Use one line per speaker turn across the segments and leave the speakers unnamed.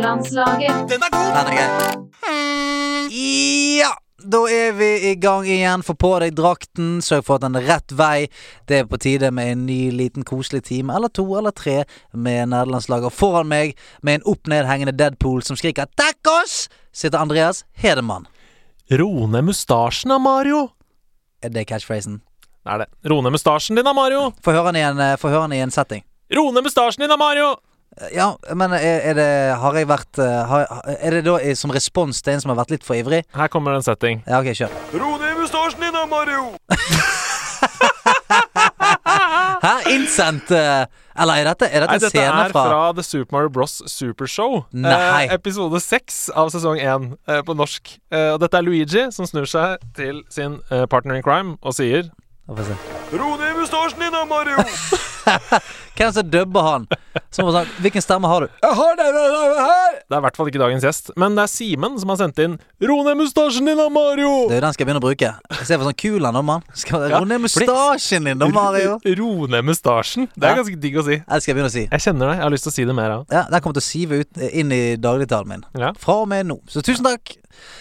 Landslaget.
Den er god! Hmm.
Den er grei. Ja, da er vi i gang igjen. Få på deg drakten, sørg for at den er rett vei. Det er på tide med en ny liten koselig time, eller to eller tre, med nederlandslaget. Og foran meg, med en opp ned hengende Deadpool som skriker 'dekk oss', sitter Andreas Hedemann.
Ro ned mustasjen da, Mario.
Er det catchphrasen?
Det er det. Ro ned mustasjen din da, Mario.
Få høre den i en, eh, få høre den i en setting. Eh,
Ro ned mustasjen din da, Mario.
Ja, men er, er det Har jeg vært eh, har, Er det da i- som respons til en som har vært litt for ivrig?
Her kommer en setting.
Ja, ok, kjør.
Ro ned mustasjen din da, Mario.
Hæ? Innsendt eh, Eller er dette, er dette
Nei,
en
dette
scene
er
fra,
fra The Super Mario Bros. Supershow.
Nei.
Eh, episode seks av sesong én eh, på norsk. Eh, og dette er Luigi som snur seg til sin eh, partner in crime og sier
Få se.
Ro ned mustasjen din da, Mario.
Hvem som dubber han? Som var sånn, Hvilken stemme har du?
Jeg har denne her! Det er i hvert fall ikke dagens gjest, men det er Simen som har sendt inn 'Ro ned mustasjen din da, Mario'!
Det er jo den skal jeg begynne å bruke. Jeg ser for sånn kul han da, mann. Skal
Ja,
Ro ned
fordi-
mustasjen din da, Mario.
Ro ned mustasjen. Det er
Ja.
ganske digg å si.
Det skal jeg begynne å si.
Jeg kjenner det. Jeg har lyst til å si det mer av.
Ja, Den kommer til å sive ut, eh, inn i dagligtalen min.
Ja.
Fra og med nå. Så tusen takk.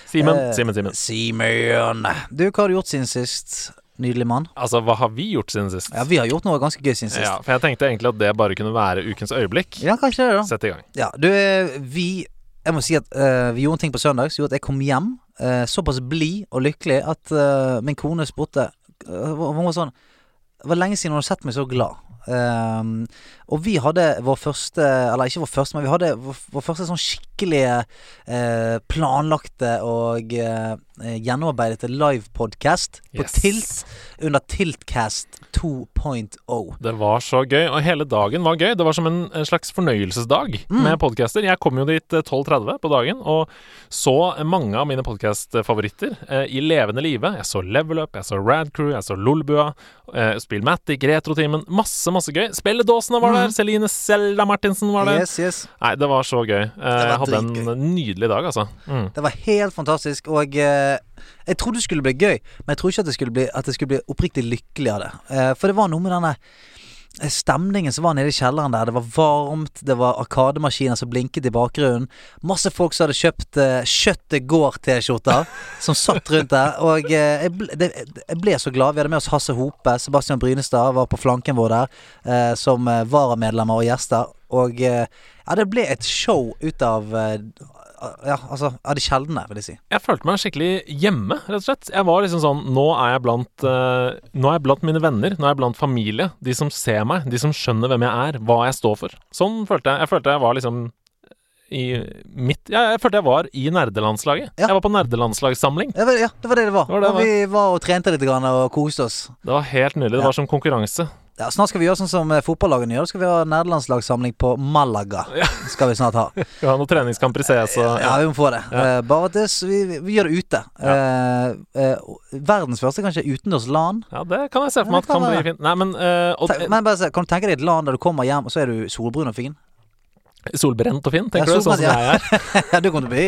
Simen,
Eh,
Simen, Simen.
Simen. Du, hva har du gjort siden sist? Nydelig mann.
Altså, hva har vi gjort siden sist?
Ja, vi har gjort noe ganske gøy siden sist.
Ja, for jeg tenkte egentlig at det bare kunne være ukens øyeblikk.
Ja, kanskje det, da.
Sett i gang.
Ja, du, eh, vi Jeg må si at eh, vi gjorde en ting på søndag som gjorde at jeg kom hjem eh, såpass blid og lykkelig at eh, min kone spurte eh, Hun var sånn Det var lenge siden hun hadde sett meg så glad. Ehm, og vi hadde vår første Eller ikke vår første, men vi hadde vår, vår første sånn skikkelige eh, planlagte og eh, eh, gjennomarbeidede livepodkast på
Yes.
Tilt under Tiltcast oh. 2.0.
Det var så gøy, og hele dagen var gøy. Det var som en, en slags fornøyelsesdag
Mm.
med podcaster. Jeg kom jo dit eh, 12.30 på dagen og så mange av mine podcastfavoritter eh, i levende live. Jeg så Level Up, jeg så Rad Crew, jeg så Lolbua, eh, Spillmatic, Retrotimen. Masse, masse gøy. Spelledåsene
Mm.
var der. Celine Selda Martinsen var der.
Yes, yes.
Nei, det var så gøy. Eh, jeg hadde en
dritgøy.
nydelig dag, altså. Mm.
Det var helt fantastisk, og eh, jeg trodde det skulle bli gøy, men jeg tror ikke at jeg skulle bli, at jeg skulle bli oppriktig lykkelig av det. Eh, for det var noe med denne eh, stemningen som var nede i kjelleren der. Det var varmt, det var arkademaskiner som blinket i bakgrunnen. Masse folk som hadde kjøpt eh, Kjøttet går-T-skjorter, som satt rundt der. Og eh, jeg, ble, det, jeg ble så glad. Vi hadde med oss Hasse Hope, Sebastian Brynestad var på flanken vår der, eh, som eh, varamedlemmer og gjester. Og eh, ja, det ble et show ut av eh, ja, altså, av de sjeldne, vil jeg si.
Jeg følte meg skikkelig hjemme, rett og slett. Jeg var liksom sånn Nå er jeg blant, eh, nå er jeg blant mine venner, nå er jeg blant familie. De som ser meg, de som skjønner hvem jeg er, hva jeg står for. Sånn følte jeg. Jeg følte jeg var liksom i mitt Ja, jeg følte jeg var i nerdelandslaget.
Ja.
Jeg var på nerdelandslagssamling.
Ja, vel, ja, det var det det var.
Det var det det
og vi var og trente litt grann og koste oss.
Det var helt nydelig. Det
Ja.
var som konkurranse.
Ja, snart skal vi gjøre sånn som eh, fotballagene gjør. Da skal vi ha nederlandslagssamling på Malaga. Skal vi snart ha.
Vi har noen treningskamper i CS og
Ja, vi må få det. Eh, bare at det, s- vi, vi gjør det ute. Eh, eh, verdens første kanskje utendørs LAN.
Ja, det kan jeg se for
Ja,
meg
det
at kan
kan
bli
være.
fint. Nei, men eh, og,
Tenk- Men bare se, Kan du tenke deg et LAN der du kommer hjem, og så er du solbrun og fin?
Solbrent og fin, tenker
Ja,
du? Sånn
solbrent,
som jeg
ja.
er.
ja, du kommer til å bli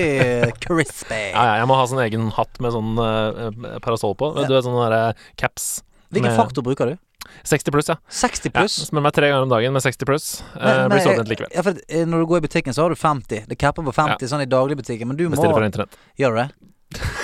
eh, crispy.
Ja, ja, jeg må ha sånn egen hatt med sånn eh, parasoll på.
Ja.
Du vet sånne der, eh, caps.
Hvilken
med-
faktor bruker du?
60 pluss, ja.
60
ja.
pluss?
Smør meg tre ganger om dagen med 60 pluss. Eh,
Men-
blir
men,
sovnet likevel.
Ja, for at, eh, når du går i butikken, så har du 50. Det capper på 50 sånn i dagligbutikken, men du må
Bestiller fra internett.
Gjør du det?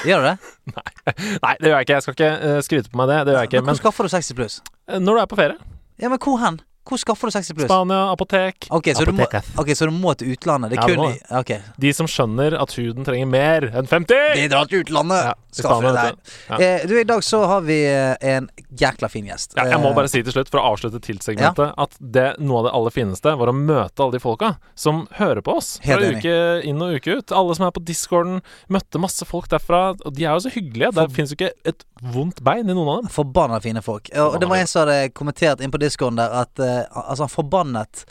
Gjør du det?
Nei, det gjør jeg ikke. Jeg skal ikke eh, skryte på meg det. Det gjør jeg ikke.
Men hvor
Men
skaffer du 60 pluss?
eh, når du er på ferie
Ja, men hvor hen? Hvor skaffer du 60 pluss?
Spania, apotek
Ok, så, du må,
Apoteket.
ok, så du må til utlandet. Det
Ja,
er
du
kun
må
i Ok.
De som skjønner at huden trenger mer enn 50!
Vi drar til utlandet!
Ja, i
skaffer
Spania,
det
vet
der.
Ja.
Eh, du, i dag så har vi eh, en jækla fin gjest.
Ja, jeg må
Eh,
bare si til slutt, for å avslutte TILT-segmentet, at det, noe av det aller fineste var å møte alle de folka som hører på oss fra
Helt enig.
uke inn og uke ut. Alle som er på discorden. Møtte masse folk derfra. Og de er jo så hyggelige. Der fins jo ikke et vondt bein i noen av dem.
Forbanna fine folk. Og det var en som hadde kommentert inn på discoen der at eh, Altså, han forbannet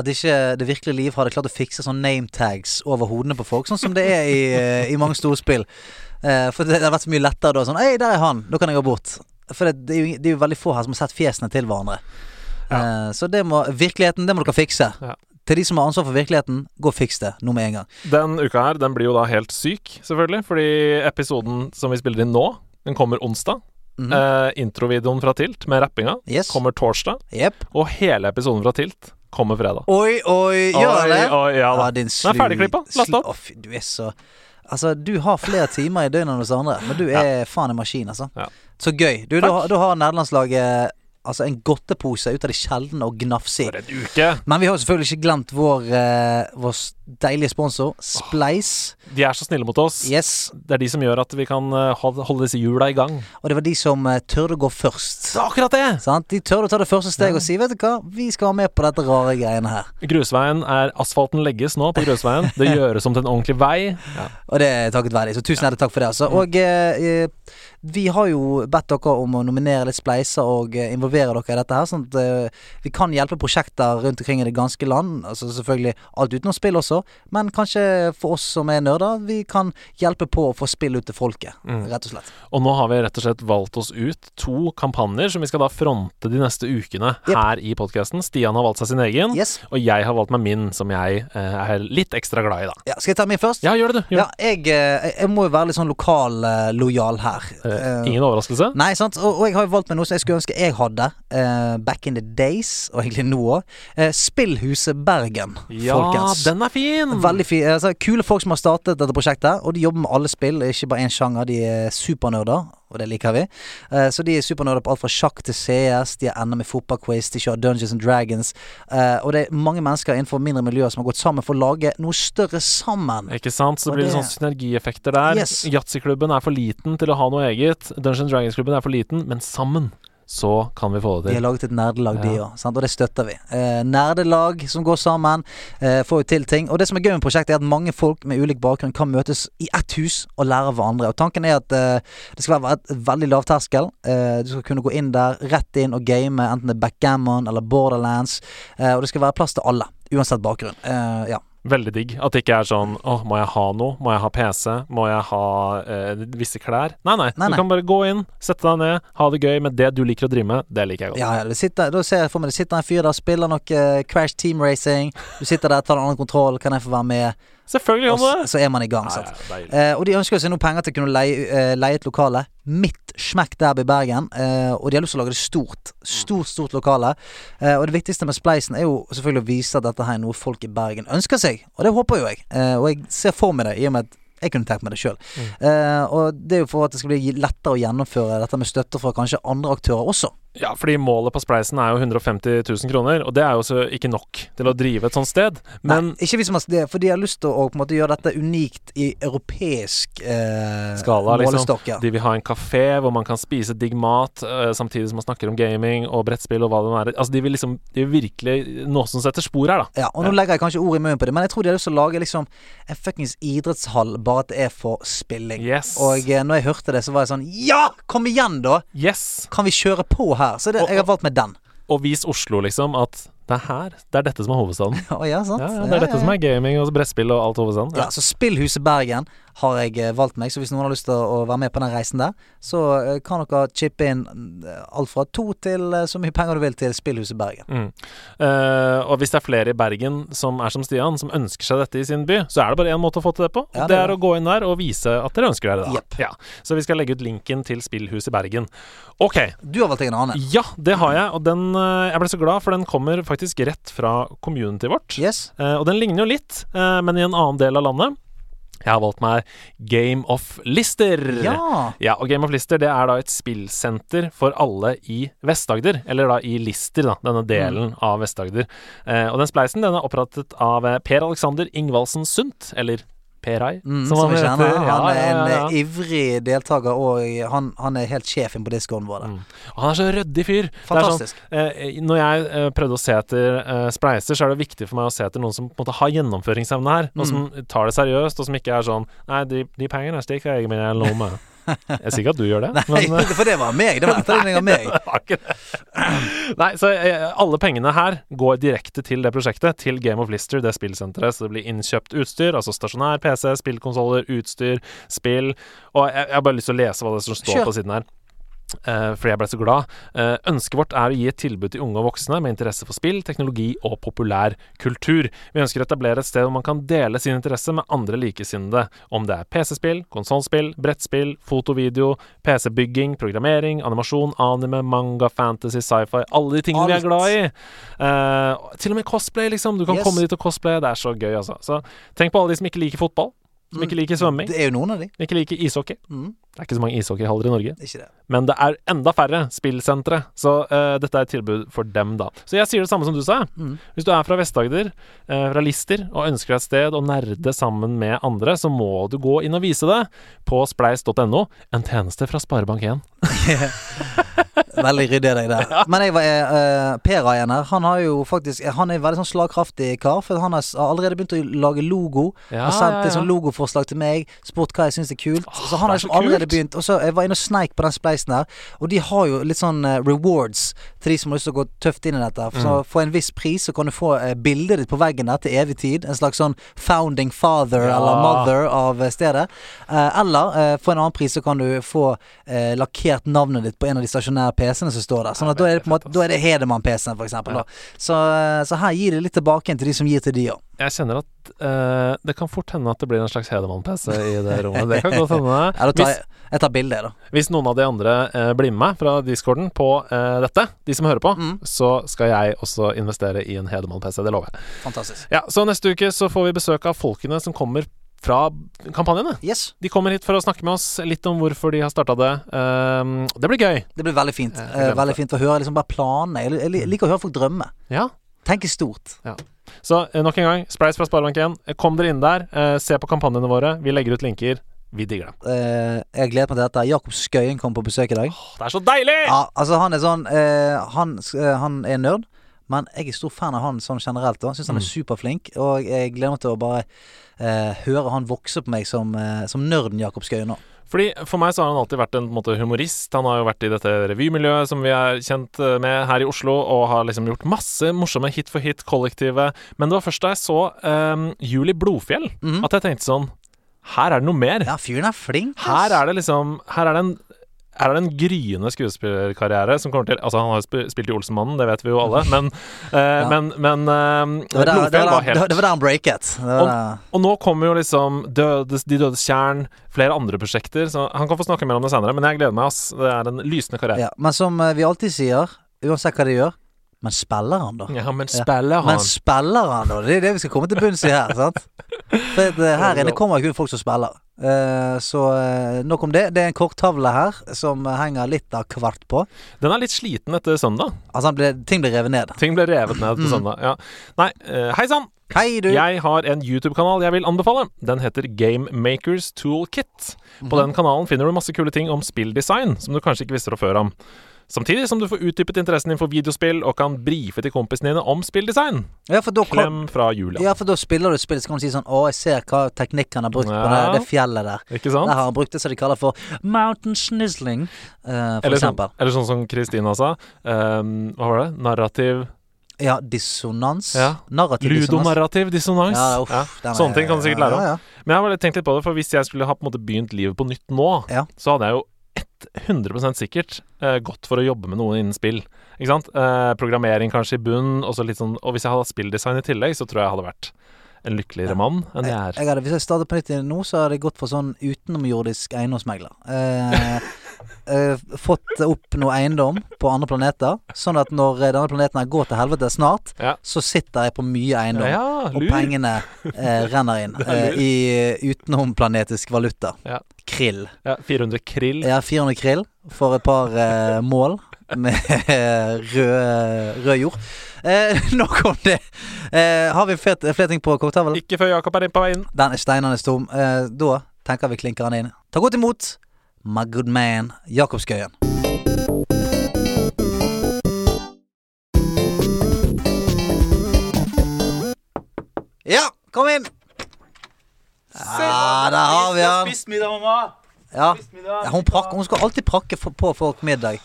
at ikke det virkelige liv hadde klart å fikse sånne nametags over hodene på folk, sånn som det er i, eh, i mange storspill. Eh, for det, det hadde vært så mye lettere da. Sånn Hei, der er han! Nå kan jeg gå bort. For det, det, er jo, det er jo veldig få her som har sett fjesene til hverandre. Eh, så det må virkeligheten, det må dere fikse.
Ja.
Til de som har ansvar for virkeligheten, gå og fiks det nå med en gang.
Den uka her, den blir jo da helt syk, selvfølgelig. Fordi episoden som vi spiller inn nå, den kommer onsdag.
Mhm.
Eh, introvideoen fra Tilt med rappinga
Yes.
kommer torsdag.
Jepp.
Og hele episoden fra Tilt kommer fredag.
Oi, oi, gjør det?
Oi, oi, ja da.
Ja, din slu...
Den er ferdigklippa. Last
slu-
opp.
Å, fy, du er så Altså, du har flere timer i døgnet enn oss andre, men du er faen en maskin, altså.
Ja.
Så gøy. Du, da,
Takk.
da har nederlandslaget altså en godtepose ut av det sjeldne å gnafse i.
For en uke!
Men vi har jo selvfølgelig ikke glemt vår, eh, vår s- deilige sponsor, Spleis.
De er så snille mot oss.
Yes.
Det er de som gjør at vi kan eh, hold- holde disse hjula i gang.
Og det var de som eh, tørde å gå først.
Det er akkurat det!
Sant? De tørde å ta det første steget og si 'Vet du hva, vi skal være med på dette rare greiene her'.
Grusveien er Asfalten legges nå på grusveien. Det gjøres om til en ordentlig vei.
Og det er takket være deg, så tusen hjertelig takk for det. altså Og eh, eh, vi har jo bedt dere om å nominere litt spleiser og eh, involvere dere i dette her, sånn at eh, vi kan hjelpe prosjekter rundt omkring i det ganske land. Altså Selvfølgelig alt utenom spill også, men kanskje for oss som er nerder, vi kan hjelpe på å få spill ut til folket,
Mm.
rett og slett.
Og nå har vi rett og slett valgt oss ut to kampanjer som vi skal da fronte de neste ukene
Jep.
her i podkasten. Stian har valgt seg sin egen,
Yes.
og jeg har valgt meg min, som jeg eh, er litt ekstra glad i, da.
Ja, skal jeg ta min først?
Ja, gjør det, du. Gjør
Ja, jeg, eh, jeg må jo være litt sånn lokal-lojal her.
det. Eh,
Eh,
ingen overraskelse.
Nei, sant. Og, og jeg har jo valgt meg noe som jeg skulle ønske jeg hadde eh, back in the days, og egentlig nå òg. Spillhuset Bergen,
Ja,
folkens.
den er fin!
Veldig fi, altså, Kule folk som har startet dette prosjektet, og de jobber med alle spill, ikke bare én sjanger. De er supernerder, og det liker vi. Eh, så de er supernerder på alt fra sjakk til CS, de er NM i fotballquiz, de kjører Dungeons and Dragons. Eh, og det er mange mennesker innenfor mindre miljøer som har gått sammen for å lage noe større sammen.
Ikke sant? Så
Og
det blir
det-
litt sånn synergieffekter der.
Yes.
Yatzy-klubben er for liten til å ha noe eget. Dungeons Dragons-klubben er for liten, men sammen så kan vi få det
De
til.
har laget et nerdelag, de
Ja.
òg, og det støtter vi. Eh, nerdelag som går sammen, eh, får jo til ting. Og det som er gøy med prosjektet, er at mange folk med ulik bakgrunn kan møtes i ett hus og lære av hverandre. Og tanken er at eh, det skal være et veldig lav terskel. Eh, du skal kunne gå inn der, rett inn og game, enten det er backgammon eller borderlands. Eh, og det skal være plass til alle, uansett bakgrunn. Eh, ja.
Veldig digg. At det ikke er sånn åh, må jeg ha noe? Må jeg ha PC? Må jeg ha eh, visse klær? Nei, nei,
Nei, nei.
Du kan bare gå inn, sette deg ned, ha det gøy med det du liker å drive med. Det liker jeg godt.
Ja, ja, det sitter, da ser jeg for meg det sitter en fyr der og spiller noe eh, Crash Team Racing. Du sitter der, tar den andre kontrollen, kan jeg få være med?
Selvfølgelig
Og
kan du
så,
det!
så er man i gang.
Ja,
sant?
ja, deilig.
Eh, og de ønsker seg nå penger til å kunne leie, eh, leie et lokale midt smekk der i Bergen. Eh, og de har lyst til å lage det stort. Stort, stort lokale. Eh, og det viktigste med Spleisen er jo selvfølgelig å vise at dette her er noe folk i Bergen ønsker seg. Og det håper jo jeg. Eh, og jeg ser for meg det, i og med at jeg kunne tenkt meg det sjøl.
Mm.
Eh, og det er jo for at det skal bli lettere å gjennomføre dette med støtte fra kanskje andre aktører også.
ja, fordi målet på Spleisen er jo 150 000 kroner, og det er jo så ikke nok til å drive et sånt sted. Men
Nei, ikke vi som har det, for de har lyst til å på en måte gjøre dette unikt i europeisk eh,
skala, liksom.
målestokk. Ja.
De vil ha en kafé hvor man kan spise digg mat, eh, samtidig som man snakker om gaming og brettspill og hva det nå er. Altså, de vil liksom De vil virkelig Noe som setter spor her, da.
Ja, og nå legger jeg kanskje ord i munnen på det, men jeg tror de har lyst til å lage liksom en fuckings idrettshall, bare at det er for spilling.
Yes.
Og eh, når jeg hørte det, så var jeg sånn Ja, kom igjen, da!
yes.
Kan vi kjøre på her? Så det,
Og-
jeg har valgt med den.
Og vis Oslo, liksom, at det er her. Det er dette som er hovedstaden.
Å ja, sant?
Ja, ja, det er dette som er gaming og brettspill og alt over sånn.
Ja,
Ja.
så Spillhuset Bergen har jeg eh, valgt meg, så hvis noen har lyst til å å være med på den reisen der, så eh, kan dere chippe inn eh, alt fra to til eh, så mye penger du vil til Spillhuset Bergen.
Mm. Eh, og hvis det er flere i Bergen som er som Stian, som ønsker seg dette i sin by, så er det bare én måte å få til det på.
Ja,
det,
det er
er å gå inn der og vise at dere ønsker dere det.
Jepp.
Ja. Så vi skal legge ut linken til Spillhuset i Bergen. Ok,
Du har valgt deg en annen.
ja, det har jeg. Og den eh, Jeg ble så glad, for den kommer faktisk rett fra communityet vårt.
Yes?
Eh, og den ligner jo litt, eh, men i en annen del av landet. Jeg har valgt meg Game of Lister.
Ja.
Ja, og Game of Lister det er da et spillsenter for alle i Vest-Agder. Eller da i Lister, da,
Mm.
denne delen av Vest-Agder. Eh, og den spleisen den er opprettet av eh, Per Alexander Ingvaldsen Sundt, eller Perai,
Mm, som vi kjenner. Han,
Ja,
er en
ja, ja, ja.
eh, ivrig deltaker, og han, han er helt sjefen på discoen vår. der.
Og Han er så ryddig fyr. Det er
Fantastisk.
Sånn, eh, når jeg eh, prøvde å se etter eh, spleiser, så er det viktig for meg å se etter noen som på en måte har gjennomføringsevne her,
Mm.
og som tar det seriøst, og som ikke er sånn Nei, de, de pengene stikker jeg i min egen lomme. Jeg sier ikke at du gjør det, men eh,
Nei, for det var meg. Det var etterdønning av meg.
det var ikke det. Nei, så eh, alle pengene her går direkte til det prosjektet, til Game of Lister, det spillsenteret. Så det blir innkjøpt utstyr, altså stasjonær PC, spillkonsoller, utstyr, spill. Og jeg, jeg har bare lyst til å lese hva det er som står
Kjør.
på siden her. eh, fordi jeg ble så glad. Eh, ønsket vårt er å gi et tilbud til unge og voksne med interesse for spill, teknologi og populær kultur. Vi ønsker å etablere et sted hvor man kan dele sin interesse med andre likesinnede, om det er PC-spill, konsollspill, brettspill, foto, video, PC-bygging, programmering, animasjon, anime, manga, fantasy, sci-fi Alle de tingene vi
Alt.
er glad i. Eh, til og med cosplay, liksom. Du kan
Yes.
komme dit og cosplaye. Det er så gøy, altså. Så tenk på alle de som ikke liker fotball, som ikke liker svømming,
Mm. Det er jo noen av de.
ikke liker ishockey.
Mm.
Det er ikke så mange ishockeyhaller i Norge,
Ikke det.
men det er enda færre spillsentre, så eh, dette er et tilbud for dem, da. Så jeg sier det samme som du sa.
Mm.
Hvis du er fra Vest-Agder, eh, fra Lister, og ønsker deg et sted å nerde sammen med andre, så må du gå inn og vise det på spleis.no, en tjeneste fra Sparebank1.
Veldig ryddig av deg der. Men jeg var, eh, Per Ayen her, han har jo faktisk Han er en veldig sånn slagkraftig kar. For han har s- har allerede begynt å lage logo.
Ja,
har sendt
ja,
et sånt
ja.
logoforslag til meg. Spurt hva jeg syns er kult.
Åh,
så han har
det er
liksom
så kult.
allerede begynt. Og så Jeg var inne og sneik på den spleisen der. Og de har jo litt sånn eh, rewards til de som har lyst til å gå tøft inn i dette. For, så for en viss pris så kan du få eh, bildet ditt på veggen der til evig tid. En slags sånn founding father
Ja.
eller mother av eh, stedet. Eh, eller eh, for en annen pris så kan du få eh, lakkert navnet ditt på en av de stasjonære PC-ene som står der. Sånn at da er det på en måte Da er det Hedemann-PC-en, for eksempel.
Ja.
da. Så, eh, så her gir det litt tilbake igjen til de som gir til de òg.
Jeg kjenner at eh, det kan fort hende at det blir en slags Hedemann-PC i det rommet. Det kan godt hende.
Jeg
Hvis-
tar, jeg tar bilde, jeg, da.
Hvis noen av de andre eh, blir med meg fra discorden på eh, dette, de som hører på,
Mm.
så skal jeg også investere i en Hedemann-PC. Det lover jeg.
Fantastisk.
Ja, så neste uke så får vi besøk av folkene som kommer fra kampanjene.
Yes,
De kommer hit for å snakke med oss litt om hvorfor de har starta det. Ehm, det blir gøy.
det blir veldig fint.
Jeg
Eh,
glemte
veldig
det.
fint å høre liksom bare planene. Jeg, jeg liker å høre folk drømme.
Ja.
Tenke stort.
Så eh, nok en gang, Spleis fra Sparebank1. Kom dere inn der. Eh, se på kampanjene våre. Vi legger ut linker. Vi digger dem.
Eh, jeg gleder meg til dette. Jakob Skøyen kommer på besøk i dag.
Åh, Det er så deilig!
Ja, altså han er sånn eh, han, s- eh, han er nerd, men jeg er stor fan av han sånn generelt. Og han syns han er superflink, og jeg gleder meg til å bare eh, høre han vokse på meg som, eh, som nerden Jakob Skøyen nå.
Fordi For meg så har han alltid vært en, på en måte, humorist. Han har jo vært i dette revymiljøet som vi er kjent eh, med her i Oslo, og har liksom gjort masse morsomme hit for hit-kollektivet. Men det var først da jeg så eh, Jul i Blodfjell,
Mhm.
at jeg tenkte sånn Her er det noe mer.
Ja, fyren er flink.
Her er det liksom Her er det en her er det en gryende skuespillerkarriere som kommer til Altså, han har jo sp- spilt i Olsenmannen, det vet vi jo alle, men, eh,
Ja.
men, men eh,
det var der, det
Blodfjell
var
var
der,
helt
det var der han breaket. Det var
Om-
der.
og nå kommer jo liksom Dødes, De dødes tjern, flere andre prosjekter. Så han kan få snakke mer om det senere, men jeg gleder meg. ass Det er en lysende karriere.
Ja, men som eh, vi alltid sier, uansett hva de gjør Men spiller han, da?
Ja, men spiller
Men
han?
spiller han, da? Det er det vi skal komme til bunns i her. sant? For at, eh, her inne kommer kun folk som spiller. Eh, så eh, nok om det. Det er en korktavle her som henger litt av hvert på.
Den er litt sliten etter søndag.
Altså, han ble, ting blir revet ned.
Ting ble revet ned på
Mm.
søndag. Ja. Nei, eh, hei sann!
Hei, du!
Jeg har en YouTube-kanal jeg vil anbefale. Den heter Gamemakers Toolkit.
Mhm.
På den kanalen finner du masse kule ting om spilldesign som du kanskje ikke visste fra før om. Samtidig som du får utdypet interessen din for videospill og kan brife til kompisene dine om spilldesign.
Ja, for da kan,
Klem fra Julia.
ja, for da spiller du et spill, så kan du si sånn Å, jeg ser hva teknikk han har brukt på det,
Ja.
det fjellet der.
Ikke
Der
sant?
har han brukt det som de kaller for mountain snizzling, eh, for
Eller sånn,
eksempel.
eller sånn som Kristina sa. ehm, hva var det? Narrativ
Ja, dissonans.
Ja.
Narrativ dissonans.
Ludonarrativ dissonans.
Ja, uff,
Ja.
den er-
Sånne ting kan du sikkert lære om.
Ja, ja.
Men jeg har bare tenkt litt på det, for hvis jeg skulle ha på en måte begynt livet på nytt nå,
Ja.
så hadde jeg jo 100 sikkert eh, gått for å jobbe med noen innen spill. Ikke sant? Eh, programmering kanskje i bunn, og, så litt sånn, og hvis jeg hadde hatt spilldesign i tillegg, så tror jeg jeg hadde vært en lykkeligere mann enn jeg
Jeg,
er.
jeg hadde, hvis jeg startet på nytt igjen nå, så hadde jeg gått for sånn utenomjordisk eiendomsmegler. Eh, eh, fått opp noe eiendom på andre planeter, sånn at når eh, denne planeten her går til helvete snart,
Ja.
så sitter jeg på mye eiendom.
Ja,
Og
lur.
pengene eh, renner inn
Det er
eh, i utenomplanetisk valuta.
Ja.
Krill.
Ja, 400 krill.
Jeg har 400 krill for et par eh, mål med rød, rød jord. Eh, nok om det. Eh, har vi fet- flere ting på korktavlen?
Ikke før Jakob er inne på veien.
Den er steinende tom. Eh, da tenker vi klinker han inn. Ta godt imot my good man Jakob Skøyen. Ja, kom inn! Ja, der har vi han.
Spist middag, mamma.
Ja.
Spist middag.
Ja, hun, prakker, hun skal alltid prakke for- på folk middag.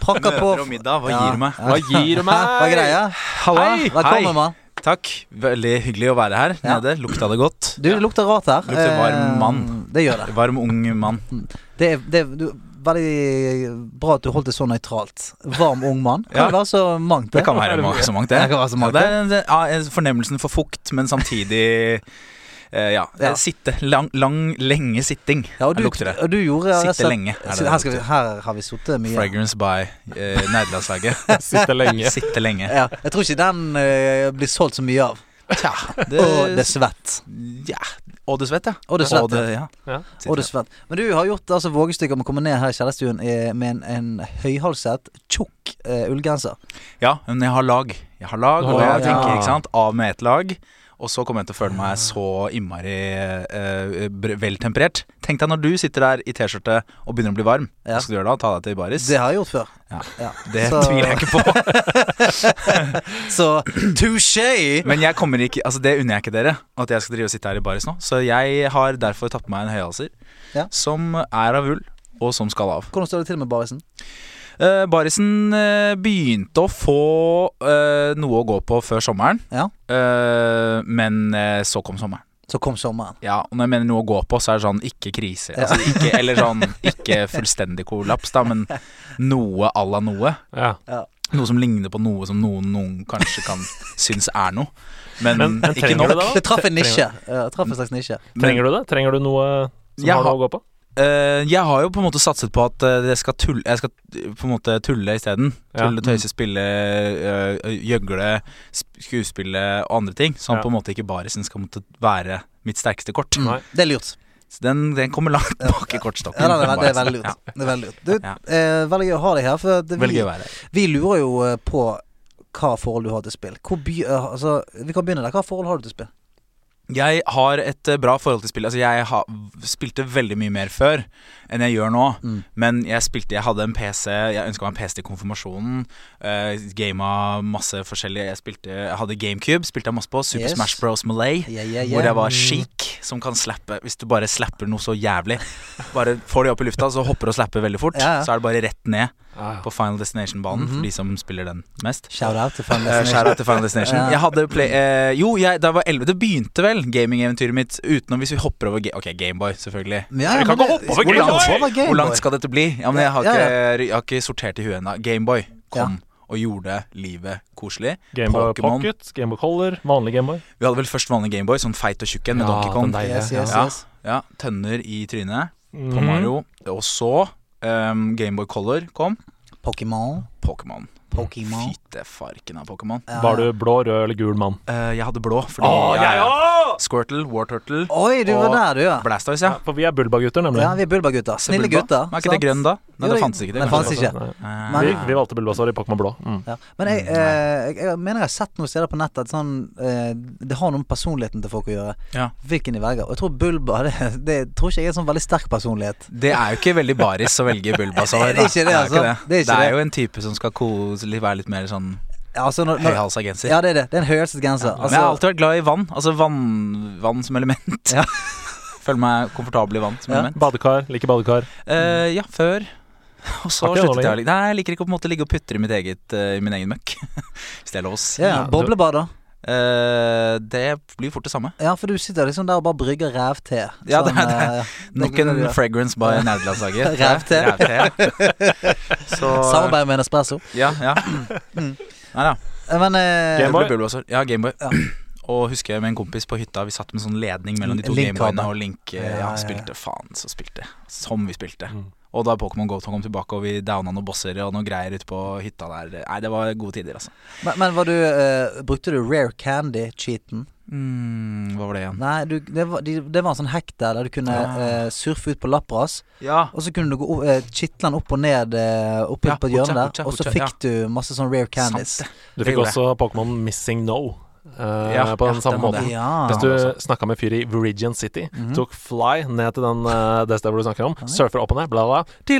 Prakker på
Møter og middag, hva gir du meg?
Hva gir du meg?
Hva er greia?
Halla.
Hei.
Velkommen, mann.
Takk. Veldig hyggelig å være her
Ja.
nede. Lukta det godt.
Du, det lukter rart her.
Lukter varm
Eh,
mann.
Det gjør det.
Varm, ung mann.
Det er, det er, du, veldig bra at du holdt det så nøytralt. Varm ung mann. Kan
Ja.
det være så mangt,
Det kan være ma- så mangt, det.
Det kan være så mangt,
ja, det er en- ja, en fornemmelsen for fukt, men samtidig eh, ja.
Ja.
Sitte. Lang, lang, lenge sitting.
Ja, og du,
Her lukter det.
Og du gjorde rett og
Sitte
slett-
lenge. Er det
her,
det
skal vi,
lukter.
her har vi sittet mye.
Fragrance by eh, nederlandslaget.
Sitte lenge.
Sitte lenge.
Ja, jeg tror ikke den eh, blir solgt så mye av.
Tja. Det,
Og det er svett.
ja. Og det svett, ja.
Og det svett,
ja.
Ja.
Sitter.
Og det er svett. Men du har gjort altså, vågestykker om å komme ned her i kjellerstuen eh, med en, en høyhalset, tjukk eh, ullgenser.
Ja, men jeg har lag. Jeg har lag,
Du har
og jeg
lag,
ja.
tenker, ikke sant, av med ett lag. Og så kommer jeg til å føle meg så innmari eh, br- veltemperert. Tenk deg når du sitter der i T-skjorte og begynner å bli varm.
Ja.
Hva skal du gjøre da? Ta deg til baris?
Det har jeg gjort før.
Ja.
Ja.
Det
så,
tviler jeg ikke på.
Så touché!
Men jeg kommer ikke, altså det unner jeg ikke dere, at jeg skal drive og sitte her i baris nå. Så jeg har derfor tatt på meg en høyhalser
Ja.
som er av ull, og som skal av.
Hvordan står det til med barisen?
Eh, Barisen eh, begynte å få eh, noe å gå på før sommeren,
Ja.
Eh, men eh, så kom sommeren.
Så kom sommeren.
Ja, og når jeg mener noe å gå på, så er det sånn ikke krise.
Ja.
Altså, ikke, eller sånn ikke fullstendig kollaps, da, men noe à la noe.
Ja.
Noe som ligner på noe som noen, noen kanskje kan synes er noe. Men,
Men- men
ikke
trenger du
nok.
det da?
Det traff en
Trenger-
nisje. Ja, det traff en slags nisje.
Trenger du det? Trenger du noe som
Jeg
har
har-
noe å gå på?
Eh, jeg har jo på en måte satset på at eh, jeg skal tulle, jeg skal eh, på en måte tulle isteden.
Ja. Mm.
Tulle, tøyse, spille, eh, gjøgle, sp- skuespille og andre ting. Sånn
Ja.
på en måte ikke barisen skal måtte være mitt sterkeste kort.
Nei.
Det er lurt.
Så den, den kommer langt bak i kortstokken.
Ja, det, er, det er veldig
Barisen.
lurt. Det er veldig lurt. Du,
Ja.
eh, veldig gøy å ha deg her. For det,
Ja, veldig
vi,
gøy å være her.
vi lurer jo eh, på hva forhold du har til spill. Hvor by, eh, altså, vi kan begynne der. Hva forhold har du til spill?
Jeg har et eh, bra forhold til spill. Altså, jeg har, spilte veldig mye mer før enn jeg gjør nå.
Mm.
Men jeg spilte, jeg hadde en PC, jeg ønska meg en PC til konfirmasjonen. eh, Gama masse forskjellige Jeg spilte, jeg hadde GameCube, spilte jeg masse på. Super
Yes.
Smash Bros. Malay.
Yeah, yeah, yeah.
Hvor jeg var chic, som kan slappe hvis du bare slapper noe så jævlig. Bare får de opp i lufta, så hopper og slapper veldig fort.
Ja, ja.
Så er det bare rett ned
Ja, ja.
på Final Destination-banen, for
Mhm.
de som spiller den mest.
Shout out til Fan
Eh, Shout out til Final Destination.
Ja.
Jeg hadde play, eh, jo, jeg, da jeg var 11 Det begynte vel gamingeventyret mitt utenom hvis vi hopper over ga Ok, Gameboy, selvfølgelig.
Ja,
Vi kan
men
ikke
det-
hoppe over
hvor langt-
Gameboy!
over Gameboy.
Hvor langt skal dette bli? Ja, men jeg har
Ja,
ikke,
ja,
Jeg har ikke sortert i huet ennå. Gameboy kom og gjorde livet koselig.
Gameboy
Pokémon.
Pocket, Gameboy Color, vanlig Gameboy.
Vi hadde vel først vanlig Gameboy, sånn feit og tjukk en med
Ja,
Donkey Kong.
den deilige.
Yes, yes,
Ja.
yes.
Ja, Tønner i trynet på
Mhm.
Mario. Og så um, Gameboy Color kom.
Pokémon.
Pokémon.
Pokémon.
Fytte farken av Pokémon.
Ja.
Mm. Var du blå, rød eller gul mann?
Eh, jeg hadde blå fordi ja, ja. Squirtle, War Turtle,
Oi, du var
Og-
der, du, ja.
Blastoise,
Ja,
ja.
for vi er Bulba-gutter, nemlig.
Ja, Vi er Bulba-gutter. Snille
Bulba.
gutter.
Var ikke det
sant?
grønn da?
Jo,
Nei, det
det-
fantes ikke det.
det
kanskje.
fantes ikke.
Nei.
Eh,
Men-
Vi, vi valgte Bulba, så var det Pokémon Blå. Mm.
Ja. Men jeg, eh, jeg, jeg mener jeg har sett noen steder på nettet at sånn, eh, det har noe med personligheten til folk å gjøre.
Ja.
Hvilken de velger. Og jeg tror Bulba det, det tror ikke jeg er en sånn veldig sterk personlighet.
Det er jo ikke veldig baris å velge Bulbasaur.
Det er ikke det,
da.
altså. Det er ikke det.
jo en type som skal kose, litt- være litt mer sånn
Ja, altså, når, når,
høyhalsa genser.
ja det er det. Det er en høyhalset genser.
Men jeg
Altså,
har alltid vært glad i vann. Altså vann, vann som element.
Ja.
Føler meg komfortabel i vann som
Ja.
element.
Badekar, liker badekar.
Eh, ja, før. Og så
Har ikke det nå
sluttet jeg å ligge Nei, jeg liker ikke å på en måte ligge og putre i, mitt eget, eh, i min egen møkk. Hvis det er lov å si.
ja, ja.
Ja, du-
Boblebad, da?
Eh, det blir fort det samme.
Ja, for du sitter liksom der og bare brygger rævte.
Ja, det er det.
eh,
Nok
det er det du
en
gjør.
fragrance by Nerdelandslaget.
Rævte.
Så
Samarbeid med en espresso.
Ja, ja. Mm. Nei da.
Eh, Men eh,
Gameboy?
Det ble Bulbasaur. Ja, Gameboy.
Ja.
Og husker jeg med en kompis på hytta, vi satt med sånn ledning mellom de to
Link-kabel.
Gameboyene og Link. eh,
Ja, ja,
Ja,
ja.
spilte faen så spilte. Som vi spilte.
Mm.
Og da Pokémon Go kom tilbake, og vi downa noen bosser og noen greier ute på hytta der. Nei, det var gode tider, altså.
Men, men var du, eh, brukte du rare candy-cheaten?
Mm, hva var det igjen?
Nei, du, det, var, de, det var en sånn hekk der der du kunne
Ah.
eh, surfe ut på lappras.
Ja.
Og så kunne du gå o- eh, kitle den opp og ned eh, opp
Ja,
på et hjørne
hotja,
der.
hotja,
Og så
hotja,
fikk du masse sånn rare candies.
Sant
Du
Det
fikk
gjorde
også Pokémon Missing No eh,
Ja,
på
ja,
den samme
den hadde
måten.
jeg.
Ja. altså. Mhm.
Hvis du snakka med en fyr i Virgin City, tok fly ned til den, eh, det stedet hvor du snakker om, surfer opp og ned, bla, bla Og det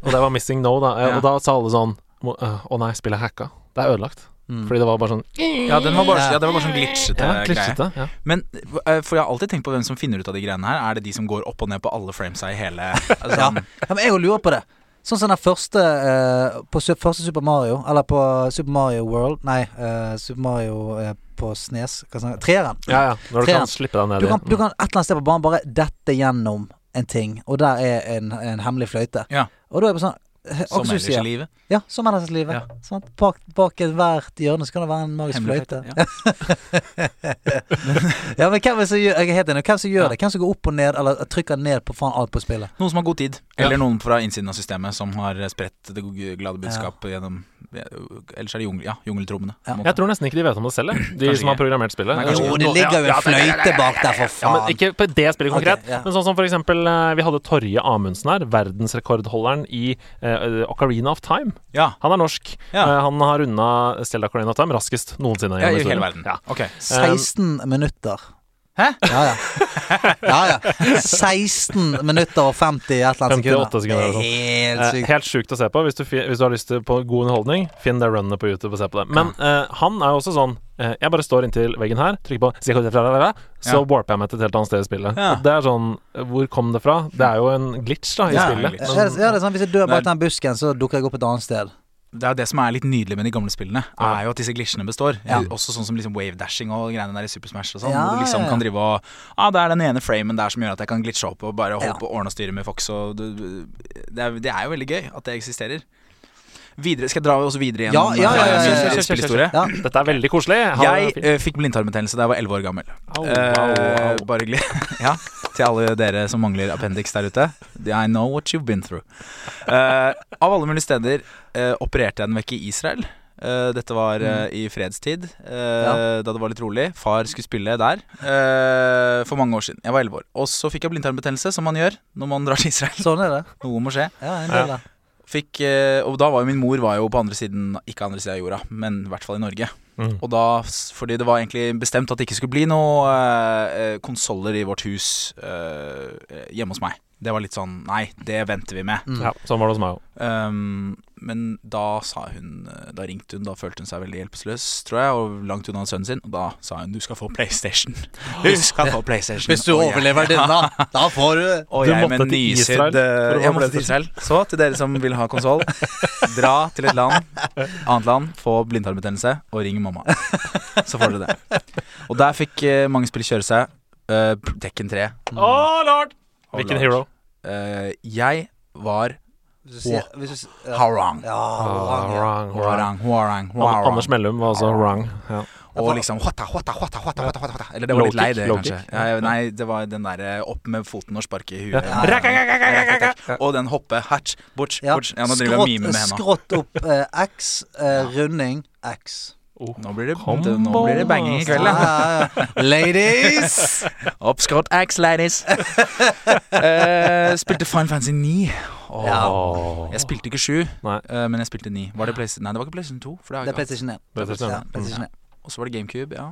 var Missing No, da. eh,
Ja.
Og da sa alle sånn "Må- eh, Å nei, spillet er hacka. Det er ødelagt.
Mm.
Mm.
Fordi det var bare sånn
Ja, den var bare,
Ja.
ja, det var bare sånn glitchete
ja,
greie.
klissete. Ja.
Men eh, for jeg har alltid tenkt på hvem som finner ut av de greiene her. Er det de som går opp og ned på alle framesa i hele altså,
Ja. ja, men jeg jo lurer på det. Sånn som den første eh, på su- første Super Mario, eller på Super Mario World Nei, eh, Super Mario eh, på Snes. Hva snakker jeg- Treeren.
Ja, ja. Når du
Treeren.
kan slippe deg ned
Du
i
kan, du
Mm.
kan et eller annet sted på banen bare dette gjennom en ting, og der er en, en hemmelig fløyte.
Ja.
Og da er det bare sånn eh,
Som
akkurat som du
ellers i
sier.
livet.
Ja, som ellers i livet.
Ja.
Sant? Bak, bak ethvert hjørne så kan det være en magisk
Hemmelig
fløyte.
fløyte,
Ja. men hvem er det som gjør, jeg er helt enig, hvem som gjør
Ja.
det? Hvem som går opp og ned, eller trykker ned på faen alt på spillet?
Noen som har god tid,
Ja.
eller noen fra innsiden av systemet som har spredt det glade budskap gjennom Ellers er det jungel, ja, jungeltrommene. på en
Ja.
måte.
Jeg tror nesten ikke de vet om det selv, jeg. de
Kanskje
som har
ikke.
programmert spillet.
Nei,
Eh,
kanskje
Jo,
ikke.
det
nå-
ligger jo
ja,
en fløyte bak der, for
Ja, men
faen!
ikke på det spillet konkret.
Ok, ja.
Men sånn som for eksempel eh, Vi hadde Torje Amundsen her, verdensrekordholderen i eh, Ocarina of Time.
Ja,
Han er norsk.
Ja.
Eh, han har runda Stella Ocarina of Time raskest noensinne.
ja,
gjennom
I hele
historien.
verden.
Ja.
Ok.
16 minutter.
Hæ?
Ja ja. ja, ja. 16 minutter og 50 et eller annet
58 sekunder eller noe sånt.
Det er
Eh,
Helt sykt.
Helt sjukt å se på. Hvis du, fi- hvis du har lyst til på god underholdning, finn det runnet på YouTube og se på det. Men eh, han er jo også sånn eh, Jeg bare står inntil veggen her, trykker på
Ja.
Så warper jeg meg til et helt annet sted i spillet.
Ja.
Og Det er sånn eh, Hvor kom det fra? Det er jo en glitch da i
Ja,
spillet.
glitch.
Ja, det, ja, det er sånn, Hvis jeg dør
Nei.
bak den busken, så dukker jeg opp et annet sted.
Det er jo det som er litt nydelig med de gamle spillene,
Ja.
er jo at disse glitchene består.
Ja.
Også sånn som liksom wave dashing og greiene der i Super Smash og sånn.
Ja,
hvor du liksom
ja, ja.
kan drive og Ja, ah, det er den ene framen der som gjør at jeg kan glitche opp og bare holde
Ja.
på å ordne og styre med Fox og du, du- det, er, det er jo veldig gøy at det eksisterer. Videre, Skal jeg dra oss videre
Ja,
gjennom
ja, ja,
eh,
ja, ja, ja.
min spillhistorie?
Ja.
Dette er veldig koselig.
Jeg eh, fikk blindtarmbetennelse da jeg var 11 år gammel.
Au, au,
Eh,
au.
Bare hyggelig. ja, til alle dere som mangler appendix der ute. I know what you've been through. Eh, av alle mulige steder eh, opererte jeg den vekk i Israel. Eh, dette var eh,
Mm.
i fredstid, eh, da det var litt rolig. Far skulle spille der eh, for mange år siden. Jeg var 11 år. Og så fikk jeg blindtarmbetennelse, som man gjør når man drar til Israel.
Sånn er det.
Noe må skje.
Ja, en del, ja.
Fikk, eh, og da var jo min mor var jo på andre siden Ikke andre siden av jorda, men i hvert fall i Norge.
Mm.
Og da, s- fordi det var egentlig bestemt at det ikke skulle bli noe eh, konsoller i vårt hus eh, hjemme hos meg. Det var litt sånn Nei, det venter vi med.
Mm.
ja, Sånn var det hos meg òg.
Um, men da sa hun eh, Da ringte hun, da følte hun seg veldig hjelpeløs, tror jeg, og langt unna sønnen sin. Og da sa hun 'du skal få PlayStation'. Du skal få PlayStation. Og jeg-
da, da får du
og
Du
jeg
måtte
med
til Israel for
nysydd
å
eh, Jeg
få
måtte til Israel. Så til dere som vil ha konsoll, dra til et land, annet land, få blindtarmbetennelse og ring mamma. Så får dere det. Og der fikk eh, mange spill kjøre seg. Eh, Tekken 3.
Å, lord!
og
Hvilken
Lars.
hero.
Eh, jeg var
Hvis du sier- hvis du s- ja.
Harang.
Ja,
Ah,
orang, ja.
wrong, wrong.
Warang, warang,
An- Anders
warang.
Mellum var altså wrong. Ja.
Og liksom hota, hota, hota, hota, hota, hota, hota. Eller det var litt lei, det,
Low kick,
kanskje.
low kick.
Ja, ja, nei, det var den derre opp med foten og sparke i
Ja.
huet.
Ja.
Rakk, rakk, rakk, rakk, rakk, rakk.
Og den hoppe, hatch, butch,
Ja.
butch. Ja, nå driver jeg og mimer med henda.
skrått opp eh, X, eh, runding X.
Nå blir det,
Combo,
det- nå blir det banging i
Vel,
Ja,
kveld, ja.
ja, ja. Ladies!
Up Scott Axe, ladies. Eh, spilte Fine Fantasy 9. Åh.
Åh.
Jeg spilte ikke 7,
Nei.
eh, men jeg spilte 9. Var det PlayStation? Nei, det var ikke PlayStation 2. For det
Det
har
er
jeg ikke hatt.
PlayStation 1.
Det er PlayStation 1.
Ja, PlayStation 1.
Og så var det GameCube, ja.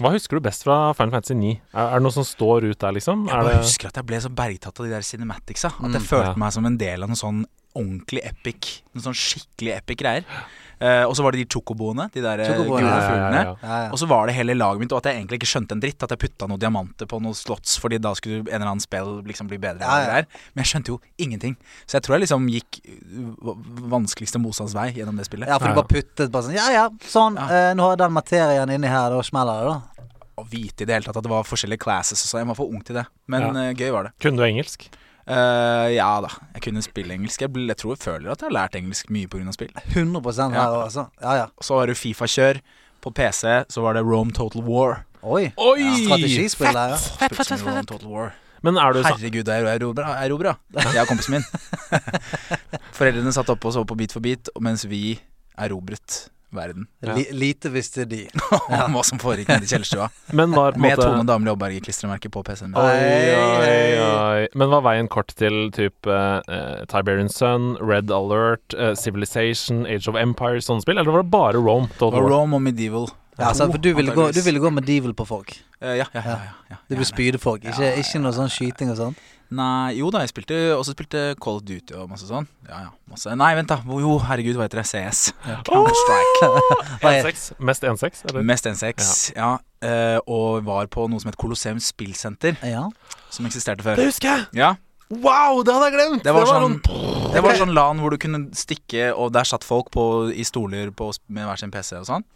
Hva husker du best fra Final Fantasy 9? Er, er det noe som står ut der, liksom?
Jeg
Er
bare
det
husker at jeg ble så bergtatt av de der cinematicsa. At jeg
Mm.
følte
Ja.
meg som en del av noe sånn ordentlig epic. Noen sånn skikkelig epic greier. Eh, og så var det de chocoboene, de der eh, gule
Chocoboene,
fuglene.
ja, Ja,
Ja.
ja.
Og så var det hele laget mitt, og at jeg egentlig ikke skjønte en dritt. At jeg putta noen diamanter på noen slotts fordi da skulle en eller annen spill liksom bli bedre.
Ja, ja.
eller Der. Men jeg skjønte jo ingenting. Så jeg tror jeg liksom gikk uh, vanskeligste motstands vei gjennom det spillet.
Ja, for du bare puttet bare sånn Ja, ja, sånn.
Ja.
Eh, nå har jeg den materien inni her, da smeller det, da.
Å vite i det hele tatt at det var forskjellige classes og sånn. Jeg var for ung til det. Men
Ja.
eh, gøy var det.
Kunne du engelsk?
Eh, ja da, jeg kunne spille engelsk. Jeg, ble, jeg tror jeg føler at jeg har lært engelsk mye pga. spill.
100 her,
Ja.
altså. Ja, ja.
Så var det Fifa-kjør. På PC så var det Rome Total War.
Oi.
Oi!
Strategispill der, ja.
Spilte så mye Rome Total War.
Men er du, sa-
Herregud, jeg erobra. erobra. Jeg og kompisen min. Foreldrene satt oppe og så på Beat for beat, mens vi erobret verden.
Ja.
Li, lite visste de.
Om hva som foregikk nede i kjellerstua.
men var på en
Med
måte
Tone Damli Aaberge-klistremerket på PC-en. min.
Oi, oi,
Hei,
oi. Men var veien kort til type eh, Tiberian Sun, Red Alert, eh, Civilization, Age of Empires, sånne spill? Eller var det bare Rome?
Det var Rome og Medieval.
Ja, altså, for du ville, gå, du
Antageligvis.
ville gå medieval på folk.
Eh, ja, ja, ja, ja, ja.
Du vil
Gjerne.
spyde folk, ikke,
Ja,
ikke noe sånn skyting og sånn.
Nei, jo da, jeg spilte også spilte Call of Duty og masse sånn. Ja, ja, masse. Nei, vent, da. Jo, herregud, hva heter det? CS. Counter-Strike.
Hva er-
1-6? Mest 1-6, eller?
Mest N6, ja. Eh, og var på noe som het Colosseum Spillsenter,
Ja.
som eksisterte før.
Det husker jeg!
Ja
Wow, det hadde jeg glemt!
Det var, sånn, det var sånn LAN hvor du kunne stikke, og der satt folk på, i stoler på, med hver sin PC og sånn.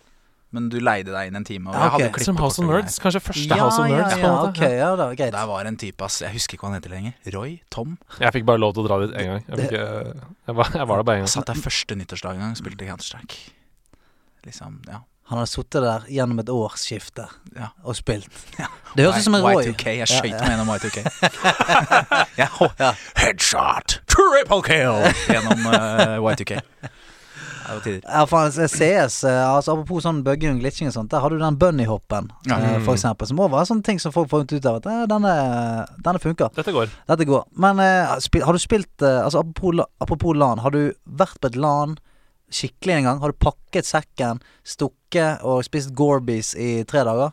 men du leide deg inn en time. Og
Ja,
jeg hadde
ok.
klippekort
Som House of
og greier.
Nerds. Kanskje første
ja,
House of
ja,
Nerds. på en
ja,
måte.
ok, ja da, greit.
Der var en type, ass. Jeg husker ikke hva han heter lenger. Roy? Tom?
Jeg fikk bare lov til å dra dit én gang. Jeg, fikk, eh, jeg, var, jeg var der bare én
Jeg
gang.
satt der første nyttårsdag en gang og spilte Counter-Strike. Liksom, ja.
Han har sittet der gjennom et årsskifte
Ja.
og spilt. Det høres ut som en Roy.
Y2K. Jeg skøyt
Ja,
meg gjennom Y2K. jeg, hå-
Ja.
Headshot! Triple kill! Gjennom eh, Y2K. Det var tider.
Ja, faen, så CS, eh, altså Apropos sånn bugging og glitching og sånt, der har du den bunnyhoppen,
Ja. Mm.
eh, for eksempel, som òg var sånne ting som folk fant ut av at eh, denne, denne funker.
Dette går.
Dette går. Men eh, spil, har du spilt eh, Altså apropos, la- apropos LAN, har du vært på et LAN skikkelig en gang? Har du pakket sekken, stukket og spist Gorbies i tre dager?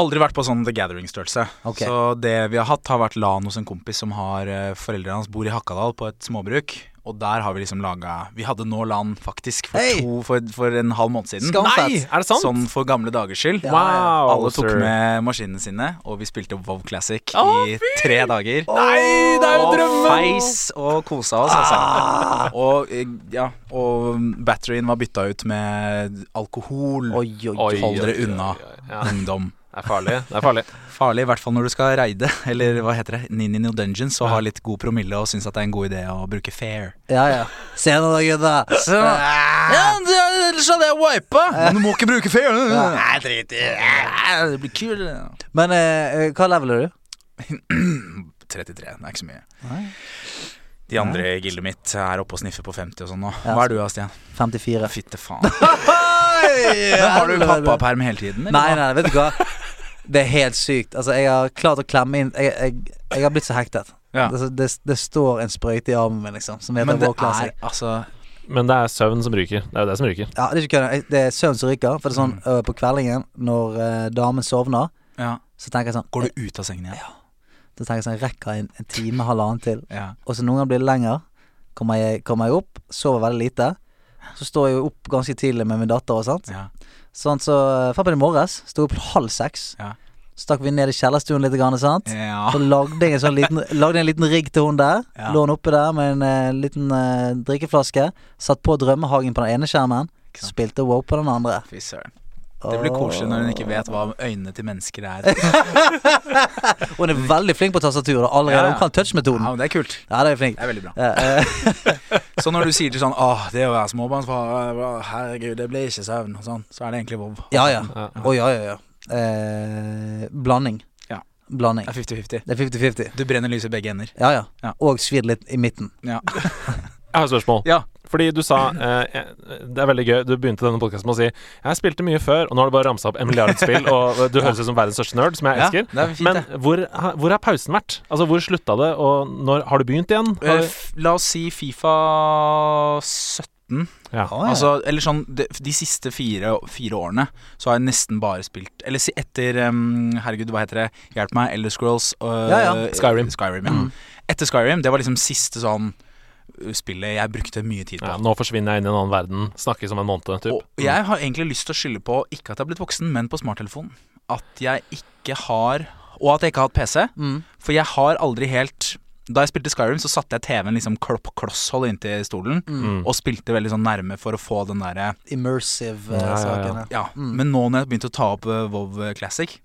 Aldri vært på sånn The Gathering-størrelse.
Ok.
Så det vi har hatt, har vært LAN hos en kompis som har eh, Foreldrene hans bor i Hakadal på et småbruk. Og der har vi liksom laga Vi hadde nå LAN faktisk for,
Hei!
to, for, for en halv måned siden.
Skam.
Nei! Er det sant?
Sånn for gamle dagers skyld.
Ja,
Wow,
Alle tok
sir.
med maskinene sine, og vi spilte WoW Classic
Å,
i tre dager.
Nei, det er jo
Og
drømmen!
feis og kosa oss,
Ah.
altså. Og, eh, ja, og batterien var bytta ut med alkohol.
Oi, oi,
Oi,
oi.
Hold dere
oi, oi,
unna.
oi, oi. Ja,
Ungdom.
det er farlig. Det er farlig.
Farlig, i hvert fall når du skal raide, eller hva heter det, Nini No Dungeons, og ha litt god promille og syns at det er en god idé å bruke fair.
Ja, ja. Senere, gutter. Eh,
Ja, det- ellers hadde jeg wipa! Men du må ikke bruke fair!
Nei,
drit i det. Det blir kult.
Men eh, eh, hva level er du?
33, det er ikke så mye.
Nei.
De andre i gildet mitt er oppe og sniffer på 50 og sånn nå.
Ja.
Hva er du da, Stian?
54.
Fitte faen. Men har du pappaperm hele tiden? eller
Nei,
hva?
nei, vet du hva? Det er helt sykt. Altså, jeg har klart å klemme inn Jeg, jeg, jeg har blitt så hektet.
Ja.
Altså, det, det står en sprøyte i armen min, liksom, som heter
Men det
Vår
er
Classic.
altså
Men det er søvn som ryker. Det er jo det som ryker.
Ja, det er ikke kødd. Jeg- Det er søvn som ryker. For det er sånn
Mm.
øh, på kveldingen, når øh, damen sovner,
ja.
så tenker jeg sånn
Går du ut av sengen igjen?
Da tenker jeg sånn Rekker jeg en, en time, halvannen til?
Ja.
Og så noen ganger blir det lenger. Kommer jeg, kommer jeg opp, sover veldig lite. Så står jeg jo opp ganske tidlig med min datter og sånt.
ja.
Sånn, så Fram i morges sto jeg opp halv seks.
Ja.
Stakk vi ned i kjellerstuen litt. Grann, sant?
ja.
Så lagde jeg en sånn liten Lagde jeg en liten rigg til hun der.
Ja.
Lå hun oppe der med en eh, liten eh, drikkeflaske. Satt på Drømmehagen på den ene skjermen.
Ikke sant.
Spilte wow på den andre.
Fy søren. Det blir koselig når hun ikke vet hva øynene til mennesker er.
Og Hun er veldig flink på tastaturet
Ja,
allerede.
ja.
Hun kan touch-metoden.
Ja, men Det er kult.
Ja, det er flink.
Det er veldig bra.
Ja, eh,
Så når du sier til sånn Åh, det å være småbarnsfar, øh, herregud, det blir ikke søvn, og sånn, så er det egentlig vov.
ja. ja.
Ja.
Å, ja, ja, ja. Eh, blanding.
Ja.
Blanding.
Det er 50-50.
Det er 50-50.
Du brenner lyset i begge ender.
Ja, ja.
Ja.
Og svidd litt i midten.
Ja.
Jeg har et spørsmål.
Ja.
Fordi du sa eh, eh, Det er veldig gøy. Du begynte denne podkasten med å si Jeg spilte mye før, og nå har du bare ramsa opp en milliard spill, og du høres ut som verdens største nerd, som jeg
Ja,
elsker.
det er fint,
Men
det.
hvor, ha- hvor har pausen vært? Altså, hvor slutta det, og når har du begynt igjen? Har du,
Eh, f- La oss si Fifa 17.
ja.
Å, ja.
Altså, eller sånn De, de siste fire, fire årene så har jeg nesten bare spilt Eller si etter em, Herregud, hva heter det? Hjelp meg. Elder Scrolls. øh,
Ja, ja.
Skyrim.
Skyrim ja. Etter Skyrim, det var liksom siste sånn øh, spillet jeg brukte mye tid på.
ja, nå forsvinner jeg inn i en annen verden. Snakkes om en måned, typ.
Og jeg har egentlig lyst til å skylde på ikke at jeg har blitt voksen, men på smarttelefonen. At jeg ikke har Og at jeg ikke har hatt PC.
Mm.
For jeg har aldri helt Da jeg spilte Skyrim, så satte jeg TV-en liksom klopp klosshold inntil stolen.
Mm.
Og spilte veldig sånn nærme for å få den derre
Immersive eh,
Ja, ja, ja.
saken. ja.
Ja.
Mm.
Men nå når jeg begynte å ta opp eh, WoW Classic,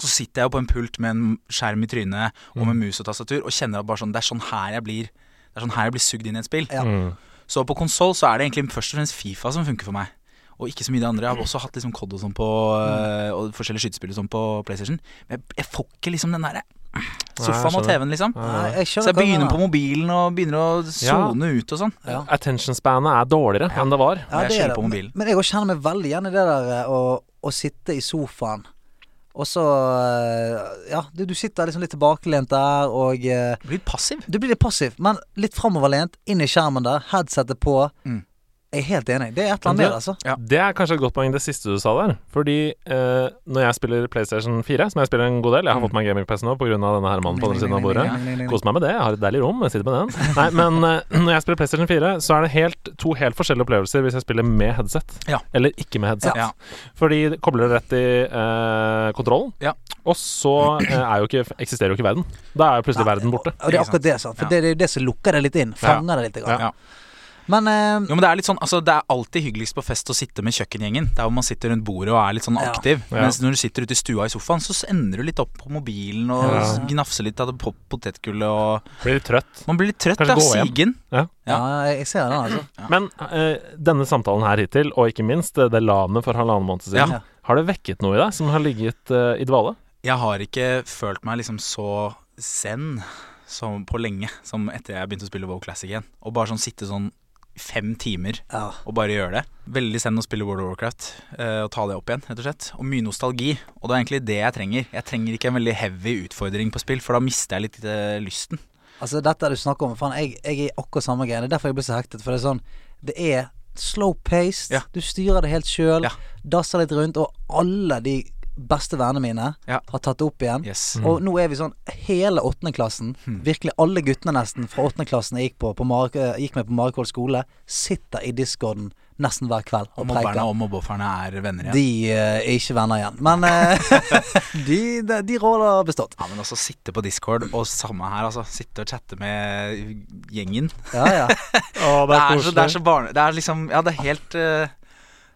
så sitter jeg jo på en pult med en skjerm i trynet og
Mm.
med mus og tastatur og kjenner at bare sånn, det er sånn her jeg blir Det er sånn her jeg blir sugd inn i et spill.
Ja.
Mm.
Så på konsoll så er det egentlig først og fremst Fifa som funker for meg. Og ikke så mye det andre. Jeg har også hatt liksom COD og sånn på øh, Og forskjellige skytespill og sånn på PlayStation. Men jeg, jeg får ikke liksom den derre sofaen
skjønner.
og TV-en, liksom.
Nei, jeg
Så
skjønner
jeg
hva du
begynner
mener.
på mobilen og begynner å sone ut og sånn.
Ja.
Attentionspannet er dårligere enn det var.
Jeg
det er
skylder
det.
på mobilen.
Men, men jeg også kjenner meg veldig igjen i det der eh, å, å sitte i sofaen. Og så eh, Ja, du, du sitter liksom litt tilbakelent der, og eh,
Jeg blir litt passiv.
Du blir litt passiv, men litt framoverlent. Inn i skjermen der, headsetet på.
Mm.
Jeg er helt enig. Det er et eller
Men
annet med
du-
det, altså.
Ja.
Det er kanskje et godt poeng, det siste du sa der. Fordi eh, når jeg spiller PlayStation 4, som jeg spiller en god del Jeg har
Mm.
fått meg gaming-PC nå pga. denne her mannen på andre siden av bordet.
Kos-
Kos meg med det. Jeg har et deilig rom. Jeg sitter med den. Nei, men eh, når jeg spiller PlayStation 4, så er det helt, to helt forskjellige opplevelser hvis jeg spiller med headset
Ja.
eller ikke med headset.
Ja.
Fordi det kobler det rett i eh, kontrollen,
Ja.
og så eh, er jo ikke, eksisterer jo ikke verden. Da er jo plutselig verden borte.
Og det er akkurat det, sant. For det,
Ja.
det er jo det som lukker det litt inn. Fanger det litt. Grann.
Ja.
Men eh,
Jo, men Det er litt sånn, altså det er alltid hyggeligst på fest å sitte med kjøkkengjengen. Der hvor man sitter rundt bordet og er litt sånn
Ja.
aktiv.
Ja.
Mens når du sitter ute i stua i sofaen, så ender du litt opp på mobilen og
Ja.
gnafser litt av det pop- potetgullet og
Blir litt trøtt.
Man blir litt trøtt,
Kanskje
da.
gå hjem.
Sigen.
ja. jeg ser den, altså.
Men eh, denne samtalen her hittil, og ikke minst eh, det lanet for halvannen måned siden,
Ja.
har det vekket noe i deg som har ligget eh, i dvale?
Jeg har ikke følt meg liksom så zen som på lenge som etter jeg begynte å spille WoW Classic igjen. Og bare sånn sitte sånn fem timer
Ja.
og bare gjøre det. Veldig zen å spille World of Warcraft eh, og ta det opp igjen, rett og slett. Og mye nostalgi. Og det er egentlig det jeg trenger. Jeg trenger ikke en veldig heavy utfordring på spill, for da mister jeg litt eh, lysten.
Altså, dette du snakker om, faen, jeg, jeg er i akkurat samme greie. Det er derfor jeg blir så hektet. For det er sånn Det er slow paced.
Ja.
Du styrer det helt sjøl.
Ja.
Dasser litt rundt. Og alle de beste vennene mine
Ja.
har tatt det opp igjen.
Yes. Hmm.
Og nå er vi sånn hele åttende klassen. Virkelig alle guttene nesten fra åttende klassen jeg gikk, på, på Mar eh, gikk med på Marekoll skole, sitter i discorden nesten hver kveld og
Mobberne
preiker.
og mobbeofrene er venner igjen.
De eh, er ikke venner igjen. Men eh, de, de, de rådene har bestått.
Ja, men også sitte på Discord, og samme her, altså. Sitte og chatte med gjengen.
Ja, ja.
Det er, så, det er så barne... Det er liksom Ja, det er helt eh,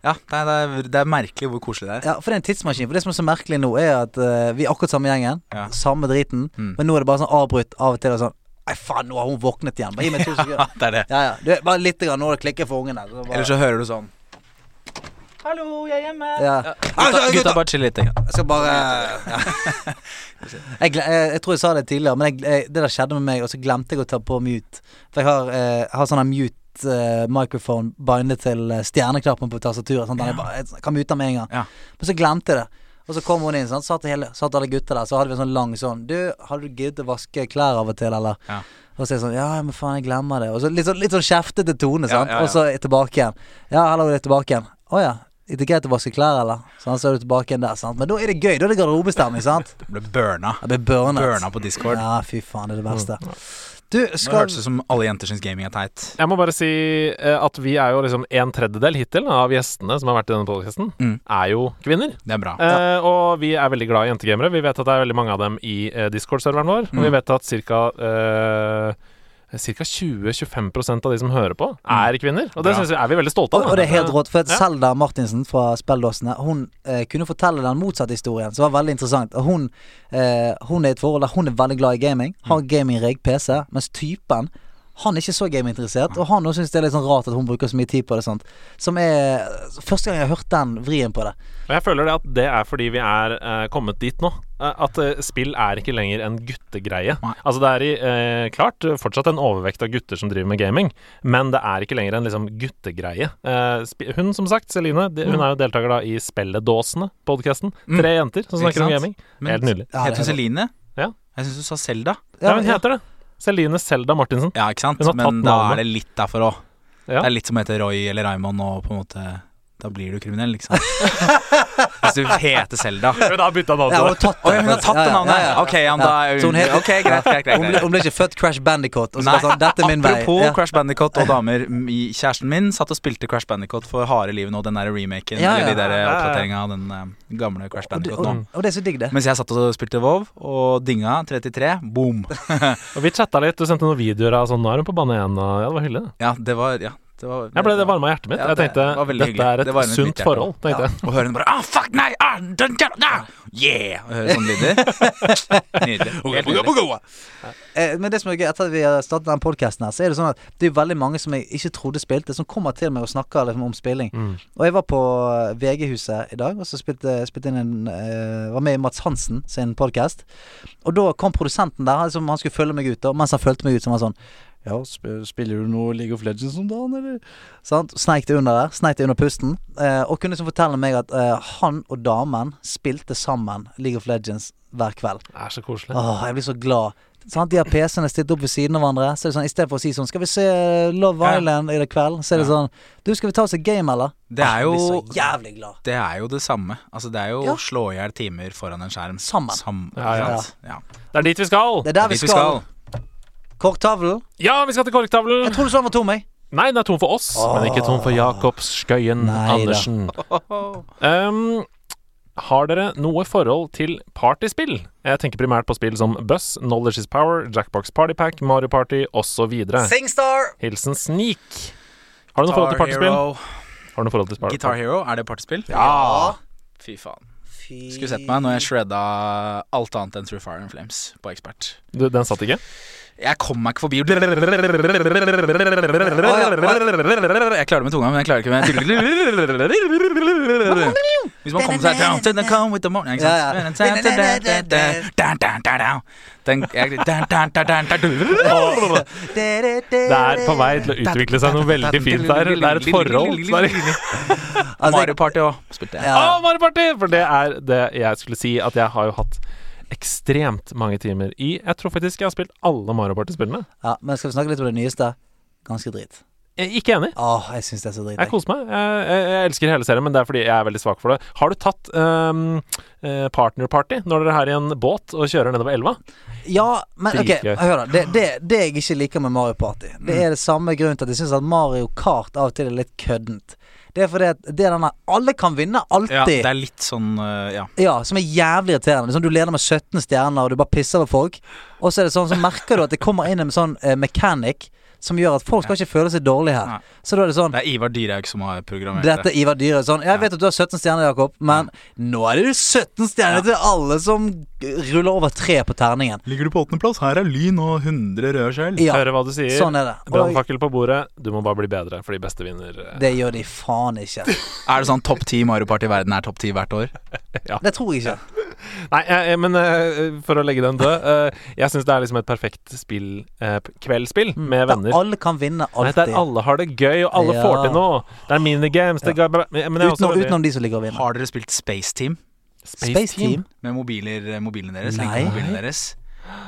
Ja, det er, det er, det er merkelig hvor koselig det er.
Ja, for det er en tidsmaskin. For det som er så merkelig nå, er at eh, vi er akkurat samme gjengen.
Ja.
Samme driten.
Mm.
Men nå er det bare sånn avbrutt av og til. Og sånn Nei, faen, nå har hun våknet igjen. Bare gi meg to sekunder.
det er det.
Ja, ja. Du, bare litt grann, nå har det klikket for ungene. Så bare,
Eller så hører du sånn Hallo, jeg er hjemme.
Ja.
Gutta, gutta bare chill litt. tenker jeg.
Jeg skal bare ja. jeg, gle- eh, jeg, jeg tror jeg sa det tidligere, men jeg, jeg, det der skjedde med meg, og så glemte jeg å ta på mute. For jeg har, eh, jeg har sånn her mute eh, microphone bindet til eh, stjerneknappen på tastaturet. Sånn, at jeg, bare, jeg kan mute den med en gang.
Ja.
Men så glemte jeg det. Og så kom hun inn, sant? Satt, hele, satt alle gutta der. Så hadde vi en sånn lang sånn Du, hadde du giddet å vaske klær av og til, eller?
Ja.
Og så er jeg sånn Ja, men faen, jeg glemmer det. Og så litt sånn, litt sånn kjeftete tone, sant.
ja, ja.
Og så er jeg tilbake igjen. Ja, hallo, det er tilbake igjen. Å ja. Er det greit å vaske klær, eller? Sånn, så er du tilbake igjen der, sant. Men da er det gøy. Da er det garderobestemning, sant.
Du ble burna.
Jeg blir burnet.
Burna på Discord.
Ja, fy faen,
Mm.
det er det verste. Du,
Det
skal
hørtes ut som alle jenter syns gaming er teit.
Jeg må bare si eh, at vi er jo liksom en tredjedel hittil av gjestene som har vært i denne podkasten,
Mm.
er jo kvinner.
Det er bra.
Eh, og vi er veldig glad i jentegamere. Vi vet at det er veldig mange av dem i eh, Discord-serveren vår.
Mm.
Og vi vet at ca. Eh, ca. 20-25 av de som hører på, er kvinner. Og det
Bra.
synes vi er vi veldig
Mm.
stolte
Og,
av. da.
og det er helt rått, for at
Ja.
Selda Martinsen fra Spelldåsene Hun eh, kunne fortelle den motsatte historien, som var veldig interessant. Og hun, eh, hun er i et forhold der hun er veldig glad i gaming,
Mm.
har gaming-rigg PC, mens typen han er ikke så gaminteressert, og han også synes det er litt sånn rart at hun bruker så mye tid på det. Sant? Som er Første gang jeg har hørt den vrien på det.
Og jeg føler det at det er fordi vi er eh, kommet dit nå. Eh, at eh, spill er ikke lenger en guttegreie.
Nei.
Altså det er i, eh, klart fortsatt en overvekt av gutter som driver med gaming, men det er ikke lenger en liksom guttegreie. Eh, spi- hun som sagt, Celine, de, hun er jo deltaker da i Spelledåsene, podkasten.
Mm.
Tre jenter som
Ikke
snakker om
sant?
gaming.
Men-
Helt nydelig.
Ja, det
Heter
er
hun Celine?
Ja.
Jeg syns du sa Selda.
Ja, hun heter det. Celine Selda Martinsen.
Ja, ikke sant?
Hun har
Men
tatt
da
navnet.
er det litt derfor òg.
Ja.
Det er litt som å hete Roy eller Raymond og på en måte Da blir du kriminell, liksom. Hvis du heter Selda.
Hun har bytta navn
Ja,
til
hun har
det.
tatt
Å, ja, hun har tatt det navnet! Ok, ja, men da er
Så hun heter-
Ok, greit, greit, greit.
Hun ble,
greit.
hun ble ikke født Crash Bandicoot, og så
Nei,
bare sånn Dette er min vei.
Apropos
Ja.
Crash Bandicoot og damer. m- i- Kjæresten min satt og spilte Crash Bandicoot for harde livet nå, den der remaken
Ja,
eller de
ja.
der
Ja, ja.
oppdateringa av den eh, gamle Crash
Og, det-
Bandicoot nå.
og, og det er så digg, det.
Mens jeg satt og spilte Vov og dinga 33, boom.
Og vi chatta litt, du sendte noen videoer av sånn Nå er hun på bane igjen, og ja, det var hyggelig. det.
Ja, det var Ja, det var
Jeg ble det varma i hjertet mitt.
Ja,
Jeg
det
tenkte
var veldig
dette
hyggelig.
er
Det
et
varmet mitt
sunt
hjerte.
forhold, tenkte jeg.
Og hører hun bare ah, fuck, nei, ah, dun, dun, dun, yeah! Og hører sånne lyder. Nydelig. Helt nydelig.
Eh, Men det som er gøy, etter at vi har startet den podcasten her, så er det sånn at det er veldig mange som jeg ikke trodde spilte, som kommer til meg og snakker liksom, om spilling. Og jeg var på eh, VG-huset i dag, og så spilte, spilte inn en eh, Var med i Mats Hansen sin podcast. Og da kom produsenten der, han liksom, han skulle følge meg ut, og mens han fulgte meg ut, så var han sånn ja, sp- spiller du noe League of Legends om dagen, eller? Sant? Sneik det under der, sneik det under pusten. Eh, og kunne liksom fortelle meg at eh, han og damen spilte sammen League of Legends hver kveld.
Det er så koselig.
Åh, jeg blir så glad. Sant? De har PC-ene stilt opp ved siden av hverandre. Så er det sånn, Istedenfor å si sånn Skal vi se Love
Ja.
Island i kveld? Så er det
Ja.
sånn Du, skal vi ta oss et game, eller?
Det er
Ah,
Jeg
jo
blir så jævlig glad.
det er jo det samme. Altså, det er jo
Ja.
å slå i hjel timer foran en skjerm.
Sammen.
Sam,
Ja,
ja.
sant? ja.
Det er dit vi skal!
Det er der vi
Dit
skal. Korktavlen.
Ja, vi skal til korktavlen!
Jeg trodde sånn var tom, jeg.
Nei, den er tom for oss, men ikke tom for Jakob Skøyen
Nei da.
Andersen. Um, har dere noe forhold til partyspill? Jeg tenker primært på spill som Buzz, Knowledge Is Power, Jackbox Party Pack, Mario Party osv.
Singstar.
Hilsen Sneak. Har du noe forhold til
Guitar
partyspill?
Hero.
Har du noe forhold til spar-
Guitar Hero, er det partyspill?
Ja.
Fy faen.
Fy
Skulle sett meg når jeg shredda alt annet enn Through Fire and Flames på ekspert.
Du, den satt ikke?
Jeg kom meg ikke forbi Jeg klarer det med tunga, men jeg klarer ikke med Hvis man kommer seg Don't come with the morning ikke sant? Den jeg-
Det er på vei til å utvikle seg noe veldig fint der. Det er et forhold. som er-
Altså,
Mario Party òg spilte jeg.
Ja.
Ah, Mario Party! For det er det jeg skulle si, at jeg har jo hatt ekstremt mange timer i Jeg tror faktisk jeg har spilt alle Mario Party-spillene.
Ja, men skal vi snakke litt om det nyeste? Ganske drit.
Jeg er Ikke enig.
Åh, jeg syns det er så drit.
Jeg koser meg. Jeg, jeg, jeg elsker hele serien, men det er fordi jeg er veldig svak for det. Har du tatt ehm, eh, partner party når dere er i en båt og kjører nedover elva?
Ja, men ok,
Dritgøy.
hør da. Det, det, det jeg ikke liker med Mario Party,
Mm.
det er det samme grunnen til at jeg syns at Mario Kart av og til er litt køddent. Det er fordi at det er denne Alle kan vinne,
Ja,
alltid.
det er litt sånn eh, Ja.
Ja, som er jævlig irriterende. Sånn, du leder med 17 stjerner, og du bare pisser på folk. Og så er det sånn, så merker du at det kommer inn en sånn eh, mechanic som gjør at folk skal ikke føle seg dårlig her.
Nei.
Så da er det sånn
Det er Ivar Dyrhaug som har programmert
dette
det.
er Ivar Dyre sånn Jeg vet at du har 17 stjerner, Jakob, men nå er det 17 stjerner til alle som ruller over tre på terningen.
Ligger du på åttendeplass? Her er lyn og 100 røde skjell.
Ja,
Hører hva du sier.
sånn er det. Og
Brannfakkel på bordet. Du må bare bli bedre, for de beste vinner. eh.
det gjør de faen ikke.
Er det sånn topp ti Mario Party i verden er topp ti hvert år?
Det tror jeg ikke.
Nei, eh, eh, men eh, for å legge den død eh, Jeg syns det er liksom et perfekt spill, eh, p- kveldsspill med
Der
venner.
alle kan vinne
Nei, der
alltid.
alle har det gøy, og alle
Ja.
får til noe. Det er minigames. Det er, ga- men jeg er også Ah,
Utenom,
veldig-
utenom de som ligger og vinner.
Har dere spilt Space Team
Space Team.
med mobiler, eh, mobilene deres?
Nei.
Lenkemobilene deres?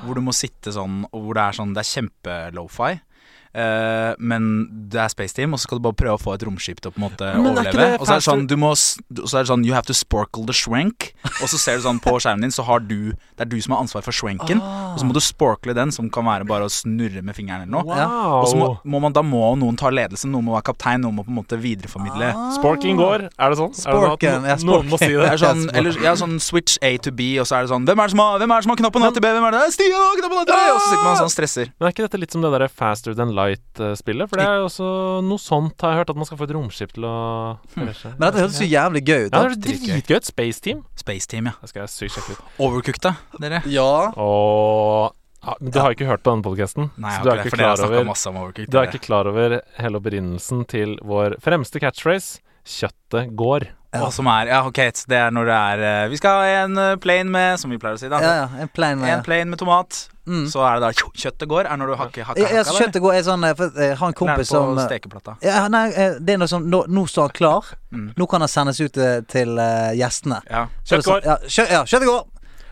Hvor du må sitte sånn, og hvor det er sånn Det er kjempe-lofi. Eh, men det er Space Team, og så skal du bare prøve å få et romskip til å på en måte
Men er ikke
overleve.
det
Og så er det
faster-
sånn, du må, s- og så er det sånn You have to sporkle the shrank. Og så ser du sånn på skjermen din, så har du Det er du som har ansvar for shranken. Og så må du sporkle den, som kan være bare å snurre med fingeren eller noe.
Wow.
Og så må, må man, da må noen ta ledelsen, noen må være kaptein, noen må på en måte
Ah.
videreformidle.
Sporking går, er det sånn?
Sporken,
er
ja,
det sånn at no- noen må si
Det
det?
er sånn, eller, ja, sånn switch A to B, og så er det sånn Hvem er det som har, hvem er det som har knappen A til B? Hvem er det? Stian har knappen A til B! Og så sitter man sånn og stresser.
Men er ikke dette litt som det der Faster Than Light-spillet? For det er jo også noe sånt har jeg hørt, at man skal få et romskip til å
Hmm.
krasje.
Men dette hørtes så jævlig gøy ut.
Ja,
da.
det er dritgøy. Et Space Team.
Space Team, ja.
Det skal jeg sykt sjekke ut.
Overcooked, da, dere?
Ja.
Og ja, men Du har ikke hørt på denne podkasten,
Nei, jeg
så
har
du
ikke
er
det,
ikke
for dere har
klar
snakka
over
masse om overcooked.
Du er
dere.
ikke klar over hele opprinnelsen til vår fremste catchphrase 'Kjøttet går'.
Og som er, ja, ok, så det er når det er eh, Vi skal ha en eh, plane med, som vi pleier å si, da.
Ja, ja, en plain
En
man.
plane med tomat.
Mm.
Så er det da tjo, kjøttet går, er når du hakker hakka
Jeg, jeg,
hakka.
kjøttet går er sånn eh, for Jeg har en kompis som
på
eh,
stekeplata.
ja, Nei, eh, det er noe sånn Nå, nå står han klar.
Mm.
Nå kan han sendes ut eh, til eh, gjestene.
Ja.
Så er det
Kjøtt går.
sånn- Ja, kjø, ja, kjøttet går!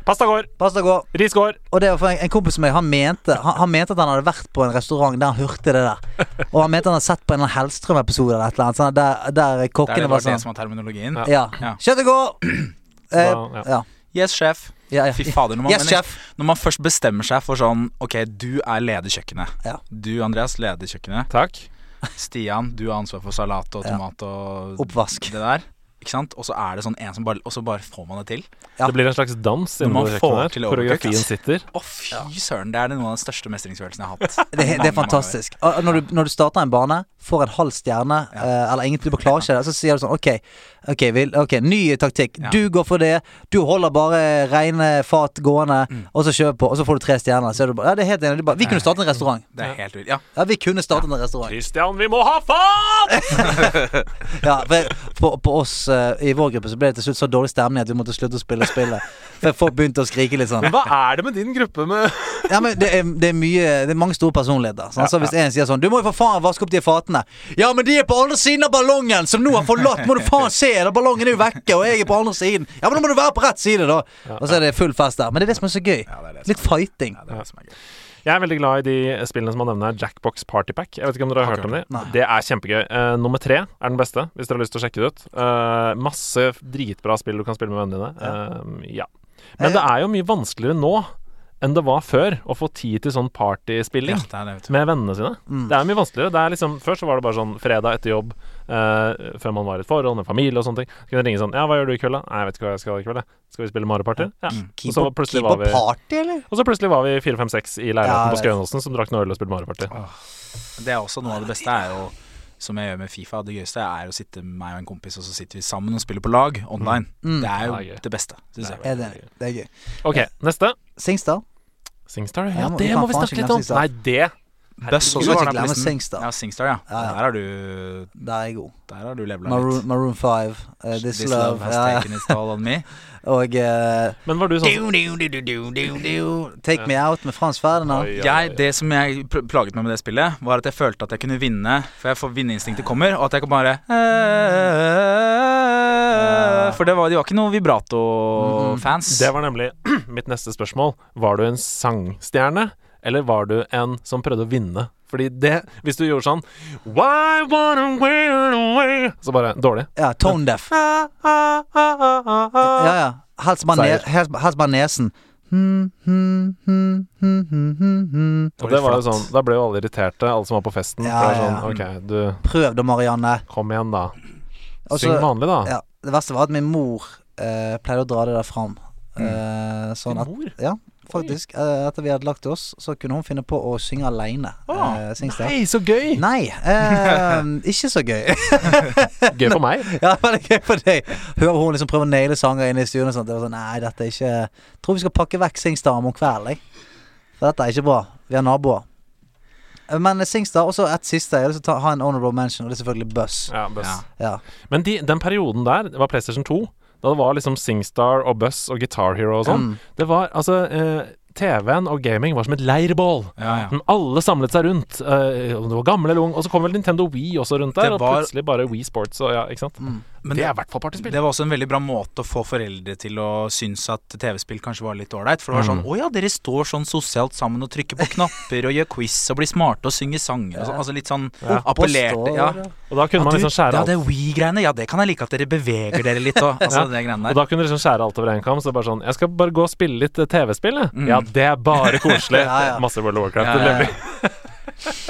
Pasta går.
Pasta går.
Ris går.
Og det var for en, en kompis som jeg, han mente han, han mente at han hadde vært på en restaurant der han hørte det der. Og han mente han hadde sett på en eller annen Hellstrøm-episode eller et eller annet. Sånn, der, der
Det er
kokkene
det
var
bare det
sånn
som er terminologien.
Ja.
Ja.
Ja.
Kjøttet går! Eh,
Da- ja.
ja.
Yes, sjef.
Ja,
Fy
ja.
fader, når man,
Yes,
men-
sjef.
når man først bestemmer seg for sånn Ok, du er leder kjøkkenet.
Ja.
Du, Andreas, leder kjøkkenet.
Takk.
Stian, du har ansvar for salat og
Ja.
tomat og
Oppvask.
det der. Ikke sant? Og så er det sånn en som bare Og så bare får man det til.
Ja.
Det blir en slags dans
Når man
innenfor
får
kjøkkenet.
til
her.
overcooked,
Koreografien
ass.
sitter.
Å, fy søren, det er det noen av den største mestringsfølelsen jeg har hatt.
Det, er- det
Mange, mange
er fantastisk. Og Når du, når du starter en bane, får en halv stjerne, eh, eller ingen du bare klarer ikke det, så sier du sånn OK, ok, vil, ok, ny taktikk.
Ja.
Du går for det. Du holder bare rene fat gående,
Mm.
og så kjøper på, og så får du tre stjerner. Så er du bare Ja, det er helt enig. Du bare Vi kunne starte en restaurant.
ganger. Det er helt vilt. Ja.
Ja, vi kunne startet en restaurant.
Christian, vi må ha fat!
Ja, for, for, på oss eh, i vår gruppe så ble det til slutt så dårlig stemning at vi måtte slutte å spille spillet. For folk begynte å skrike litt sånn.
Men hva er det med din gruppe med
Ja, men det er, det er mye Det er mange store personligheter. Sånn, så hvis en sier sånn Du må jo for faen vaske opp de fatene. Ja, men de er på andre siden av ballongen, som nå er forlatt. Må du faen se, da ballongen er jo vekke, og jeg er på andre siden. Ja, men da må du være på rett side, da. Og så er det full fest der. Men det er det som er så gøy.
Ja, det er det som
Litt fighting.
Ja, det er det som er gøy.
Jeg er veldig glad i de spillene som han nevner her. Jackbox Partypack. Jeg vet ikke om dere har
Har
hørt
ikke
om de.
hørt. Nei.
Det er kjempegøy. Eh, nummer tre er den beste, hvis dere har lyst til å sjekke det ut. Eh, masse dritbra spill du kan spille med vennene dine. Eh, ja. Men det er jo mye vanskeligere nå enn det var før å få tid til sånn
Ja,
partyspilling
det er det, vet du.
med vennene sine.
Mm.
Det er mye vanskeligere. Det er liksom, før så var det bare sånn fredag etter jobb, eh, før man var i et forhold med familie og sånne ting. Så kunne jeg ringe sånn Ja, hva gjør du i kveld, da? Nei, jeg vet ikke hva jeg skal i kveld, jeg. Skal vi spille Mario Party? Ja. Og
Mm. Keep
så
up,
plutselig
keep
var
up
vi
party, eller?
og så plutselig var vi fire, fem, seks i
Ja,
leiligheten på
jeg vet.
Skøyenåsen som drakk noe øl og spilte Mario Party.
Det er også noe av det beste, er jo som jeg gjør med Fifa. Det gøyeste er å sitte med meg og en kompis, og så sitter vi sammen og spiller på lag online.
Mm.
Det er jo
Ja, gøy.
det beste,
Det er
syns jeg.
Er det, det er gøy.
OK, neste.
Singstar.
Singstar.
Ja,
Ja,
må-
det
vi kan
må vi
faen
snakke
ikke
litt om.
glemme Singstar.
Nei, det
Buzz
Du
også
må
var
ikke
der på
glemme
listen.
Singstar.
Ja, Singstar, ja.
Ja, ja.
Der har du
Der er jeg god.
Der har du levela
Maroon,
litt.
Maroon 5, eh, This, Love.
has
ja, ja.
taken its toll on me.
Og eh,
Men var du sånn som-
Take Me Out med Frans Ferdinand.
Oi, oi,
Jeg,
oi.
det som jeg pl- plaget meg med det spillet, var at jeg følte at jeg kunne vinne, for jeg får vinneinstinktet kommer, og at jeg kan bare eh, For det var, de var ikke noe vibrato-fans.
Mm.
Det var nemlig mitt neste spørsmål. Var du en sangstjerne, eller var du en som prøvde å vinne? Fordi det Hvis du gjorde sånn Why wanna win away Så bare dårlig.
Ja, Tone Deaf. Ja, ja. Helst bare ne-
Seier.
helst- helst bare nesen. Hmm, hmm, hmm, hmm, hmm, hmm, hmm.
Og det var jo
Flatt.
sånn Da ble jo alle irriterte, alle som var på festen.
Ja,
Ja, ja,
ja,
sånn, OK, du
Prøv da, Marianne.
Kom igjen, da.
Og så-
Syng vanlig, da.
Ja, det verste var at min mor eh, pleide å dra det der fram. Eh, sånn at,
Din Mm. mor?
ja, faktisk. Eh, etter vi hadde lagt oss, så kunne hun finne på å synge aleine.
Ah,
eh, syns det.
Nei, så gøy!
Nei, eh, ikke så gøy.
Gøy for meg.
ja, men det er gøy for deg. Hører hun liksom prøve å naile sanger inne i stuen og sånt. Det var sånn, nei, dette er ikke Tror vi skal pakke vekk Singstar om kvelden, jeg. For dette er ikke bra. Vi har naboer. Eh, Men Singstar, og så et siste. Jeg har lyst til å ta- ha en honorable mention, og det er selvfølgelig Buzz.
Ja, Buzz.
Ja.
Ja.
Men de, den perioden der, det var PlayStation 2, da det var liksom Singstar og Buzz og Guitar Hero og sånn,
Mm.
det var altså eh, TV-en og gaming var som et leirbål.
Ja, ja.
Som alle samlet seg rundt. eh, om det var gammel eller ung. Og så kom vel Nintendo Wii også rundt der,
Det
og
var- Mm.
plutselig bare Wii Sports og ja, ikke sant.
Men
det
det,
er i hvert fall partyspill.
det var også en veldig bra måte å få foreldre til å synes at TV-spill kanskje var litt ålreit. For det var
Mm.
sånn Å ja, dere står sånn sosialt sammen og trykker på knapper og gjør quiz og blir smarte og synger sanger og sånn. Altså litt sånn
Ja.
appellerte. Ja.
Og da kunne man
du-
liksom skjære
ja,
alt.
det Wii-greiene, ja, det kan jeg like at dere beveger dere litt og altså,
Ja.
det greiene
Og
der.
da kunne du liksom skjære alt over en kam. Så det er bare sånn Jeg skal bare gå og spille litt eh, TV-spill, jeg. Ja, det er bare koselig.
Ja, ja.
Masse World of Warcraft.
Mm. Ja,
det
ja,
lever-
ja.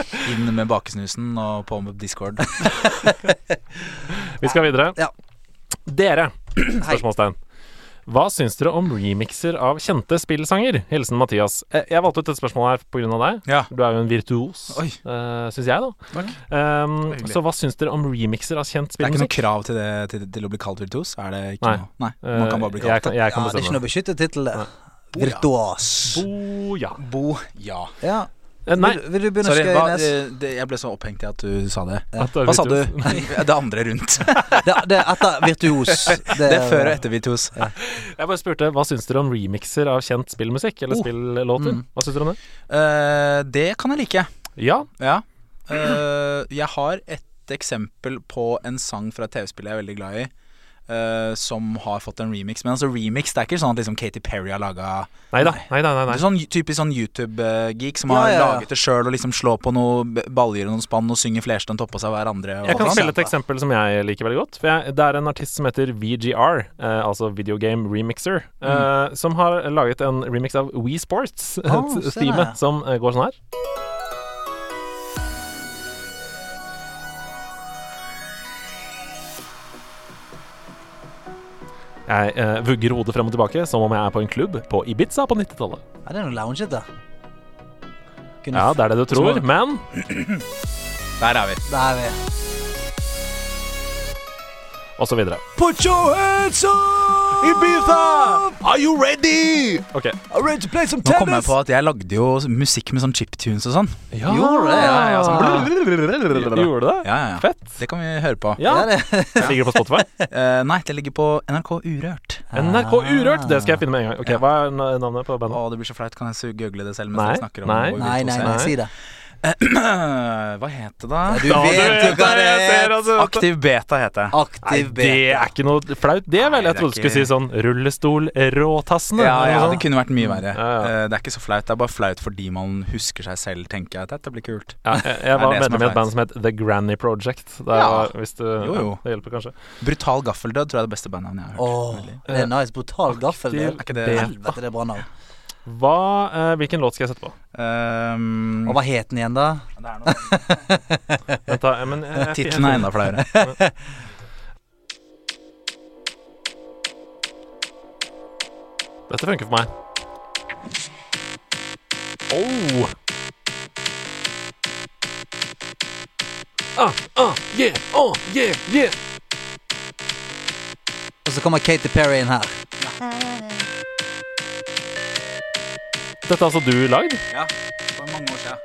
Inn med bakesnusen og på med Discord.
Vi skal videre.
Ja.
Dere, spørsmålstegn. Hva syns dere om remixer av kjente spillsanger? Hilsen Mathias. Eh, Jeg valgte ut dette spørsmålet her pga. deg.
Ja.
Du er jo en virtuos,
Oi.
uh, syns jeg, da.
Takk.
Um,
hyggelig.
så hva syns dere om remixer av kjent
Det er ikke noe
spillmusikk?
krav til, det, til, til å bli kalt virtuos? Er det ikke
Nei.
noe? Nei.
Eh,
Man kan bare bli
jeg
kalt
kan, jeg kan
ja, det er ikke
bestemme.
noe beskyttet tittel, det.
ja.
Virtuas.
Bo, ja.
Bo. Ja.
Ja.
Eh, nei.
Vil, du- vil du begynne å
Sorry, hva,
skøynes?
eh, det, jeg ble så opphengt i at du sa det.
Ja.
at du er
Hva sa du?
virtuos.
Det andre rundt.
Det, det er etter virtuos.
Det er før og etter virtuos.
Jeg bare spurte hva syns dere om remixer av kjent spillmusikk, eller
Oh.
spillåter? Hva syns dere om det?
Eh, det kan jeg like.
Ja.
Ja. Eh, jeg har et eksempel på en sang fra et TV-spill jeg er veldig glad i. eh, som har fått en remix. Men altså remix det er ikke sånn at liksom Katy Perry har laga
Nei da. Nei, nei, nei, nei.
Sånn typisk sånn YouTube-geek som
Ja,
har
ja, ja.
laget det sjøl og liksom slår på noen baljer og noen spann og synger flerstemt oppå seg hverandre. Og
Jeg kan
sånn.
spille et eksempel som jeg liker veldig godt. For jeg, Det er en artist som heter VGR, eh, altså Video Game Remixer,
Mm.
eh, som har laget en remix av Wii Sports,
Å, se der, ja.
teamet, som eh, går sånn her. Jeg eh, vugger hodet frem og tilbake som om jeg er på en klubb på Ibiza på 90-tallet.
Ja, det er noe loungete. Kunne
Ja,
f-
det er det du tror, men
Der er vi.
Der er vi.
Og så videre.
Put your hands up! Ibiza! Are you ready?
OK.
I'm ready to play some
Nå kom jeg på at jeg lagde jo musikk med sånn chiptunes og sånn.
Gjorde det?
Ja, ja, sånn.
Gjorde du det?
Ja, ja, ja.
Fett.
Det kan vi høre på.
Ja,
Ja, det
ligger det på Spotify?
Eh, nei, det ligger på NRK Urørt.
NRK Urørt, det skal jeg finne med en gang. Ok,
Ja.
Hva er na- navnet på
Å,
bandet?
det blir så flaut. Kan jeg su- google det selv?
Nei,
Mens dere snakker om
nei.
hvor vi
Nei,
to
nei,
ser?
nei, si det.
Hva het det, da?
Du vet jo hva det er.
Aktiv beta heter det.
Nei,
Aktiv B.
det er ikke noe flaut, det vel?
Nei,
Jeg
det er
trodde du skulle si
ikke-
sånn rullestol-råtassene.
Ja, ja,
eller noe
det
sånt.
kunne vært mye verre.
Ja,
Eh, det er ikke så flaut. Det er bare flaut fordi man husker seg selv, tenker jeg. at Dette blir kult.
ja, jeg, jeg
Det er
var
det som er
medlem i et
flaut.
band som het The Granny Project. Det,
Ja.
var, hvis du,
Jo, jo.
ja, det hjelper kanskje.
Brutal gaffeldød tror jeg er det beste bandnavnet jeg har hørt.
Åh, det er nice. Brutal gaffel. det.
Er ikke det
B.
Helvete, det er bra navn.
Hva, eh, hvilken låt skal jeg sette på?
Ehm,
Og hva het den igjen, da?
det er noe-
Vent da, eh, men jeg- jeg- jeg-
Tittelen er enda flauere.
Dette funker for meg. Oh. Ah, ah, yeah, oh, yeah, yeah.
Og så kommer Katy Perry inn her.
Dette har altså du lagd?
Ja, for mange år siden.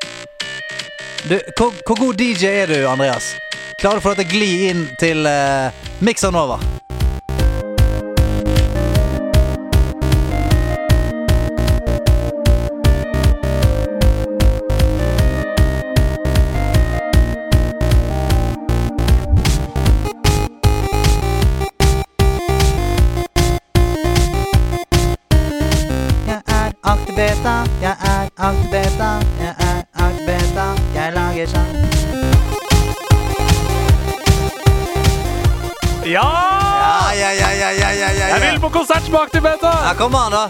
Du, hvor, hvor god DJ er du, Andreas? Klarer du å få dette gli inn til uh, Mixer Nova? Jeg er alltid beta, jeg er alltid beta, jeg er alltid beta, jeg lager sang.
Ja!
Ja, ja, ja, ja, ja, ja, ja,
Jeg vil på konsert med Aktivbeta!
Ja, kom an, da.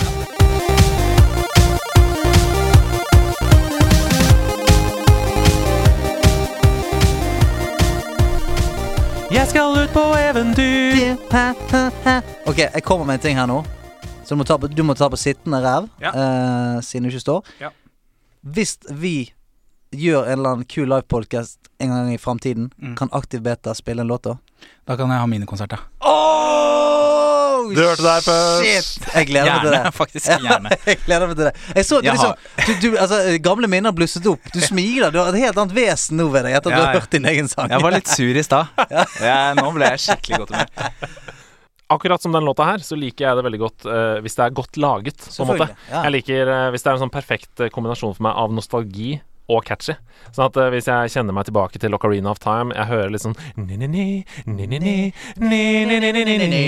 Jeg skal ut på eventyr.
Ok, jeg kommer med en ting her nå. Så du må ta på, du må ta på sittende ræv,
Ja.
eh, siden du ikke står.
Ja.
Hvis vi gjør en eller annen kul livepodcast en gang i framtiden,
Mm.
kan Aktiv Beta spille en låt da?
Da kan jeg ha minikonsert, da.
Oh,
Du hørte det her først.
Shit! Jeg gleder meg til det.
Gjerne, faktisk. Gjerne.
jeg gleder meg til det. Jeg så, du,
Jeg
liksom, du, du, altså, gamle minner blusset opp. Du smiler. Du har et helt annet vesen nå ved deg etter at
Ja,
du har
ja.
hørt din egen sang.
Jeg var litt sur i stad. Ja, nå ble jeg skikkelig godt humør.
Akkurat som den låta her, så liker jeg det veldig godt eh, hvis det er godt laget. på en måte.
Selvfølgelig, ja.
Jeg liker eh, hvis det er en sånn perfekt eh, kombinasjon for meg av nostalgi og catchy. Sånn at eh, hvis jeg kjenner meg tilbake til Ocarina of Time, jeg hører litt sånn ni-ni-ni, ni-ni-ni, ni-ni-ni-ni-ni.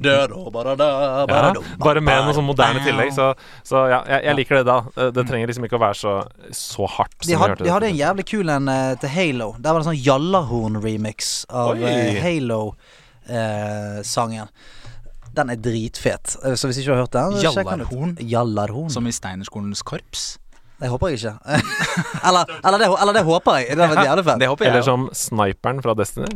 Ja, bare med noe sånn moderne tillegg, så, så ja, jeg, jeg liker det da. Eh, Det trenger liksom ikke å være så, så hardt. som
De
vi
hadde,
hørte
de hadde
det.
en jævlig kul en eh, til Halo. Der var det en sånn Jallahorn-remix av eh,
Oi.
Halo-sangen. den er dritfet. Eh, Så hvis ikke du har hørt den, så sjekk den ut.
Jallarhorn,
Jallarhorn?
som i Steinerskolens korps.
Det håper jeg ikke. eller, eller, det, eller det håper jeg. Det hadde vært jævlig fett.
Det håper
Eller
jeg.
som sniperen fra Destiny.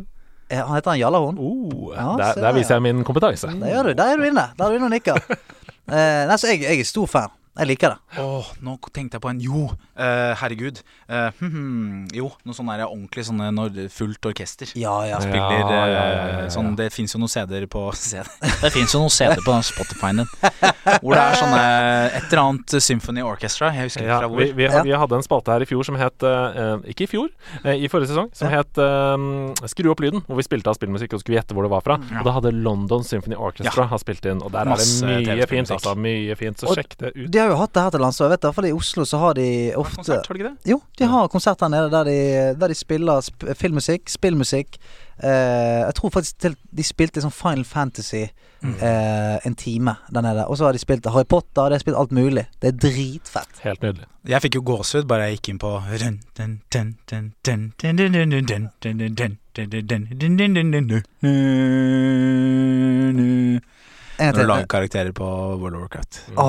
Eh, Han heter han Jallahorn?
Oh,
Ja,
der,
se
der
der,
viser jeg min kompetanse.
Der gjør du. Der er du inne. Der er du inne og nikker. Eh, nei, så jeg, jeg er stor fan. Jeg liker det.
Åh, nå tenkte jeg på en Jo, eh, herregud. Eh, hm, hm, jo, noe sånn der ordentlig sånne når fullt orkester.
Ja, ja.
Ja.
Spiller eh,
ja, ja, ja.
sånn Det fins jo noen CD-er på CD. Det fins jo noen CD-er på den Spotify-en din. Hvor det er sånne Et eller annet Symphony Orchestra. Jeg husker ikke
Ja,
fra hvor.
vi, vi,
Ja.
vi hadde en spalte her i fjor som het eh, eh, Ikke i fjor, eh, i forrige sesong, som het eh, Skru opp lyden, hvor vi spilte av spillmusikk og skulle gjette hvor det var fra. Og da hadde London Symphony Orchestra har spilt inn, og der
Mm, Masse
er det mye
TV-spillmusikk.
fint, altså. Mye fint, så
Og-
sjekk det ut.
De har jo hatt det her til lands, og jeg vet det, i hvert fall i Oslo så har de ofte
Konsert, har du ikke det?
Jo, de har konsert her nede der de, der de spiller sp filmmusikk, spillmusikk. Eh, jeg tror faktisk til, de spilte sånn Final Fantasy
Mm.
eh, en time der nede. Og så har de spilt Harry Potter, de har spilt alt mulig. Det er dritfett.
Helt nydelig.
Jeg fikk jo gåsehud bare jeg gikk inn på Run, dun, dun, dun, dun, dun, dun, dun, dun, dun, dun, dun, dun, dun, dun, dun, dun, dun, dun, dun, dun.
En
Når du
gang
lager
til.
karakterer på World of Warcraft.
Mm.
Å,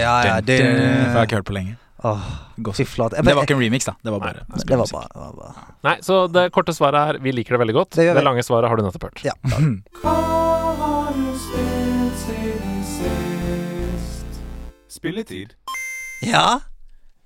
ja, Ah, ja.
Dun, dun,
Det,
For jeg har ikke hørt på lenge.
Åh, fy
Gåsehud.
flate. Jeg-
Det var ikke en remix, da. Det var
Nei,
bare
jeg- det var bra. Det var bra.
Nei, så det korte svaret er vi liker det veldig godt.
Det
Det,
gjør vi.
lange svaret har du nettopp hørt.
Ja.
Spilletid.
ja?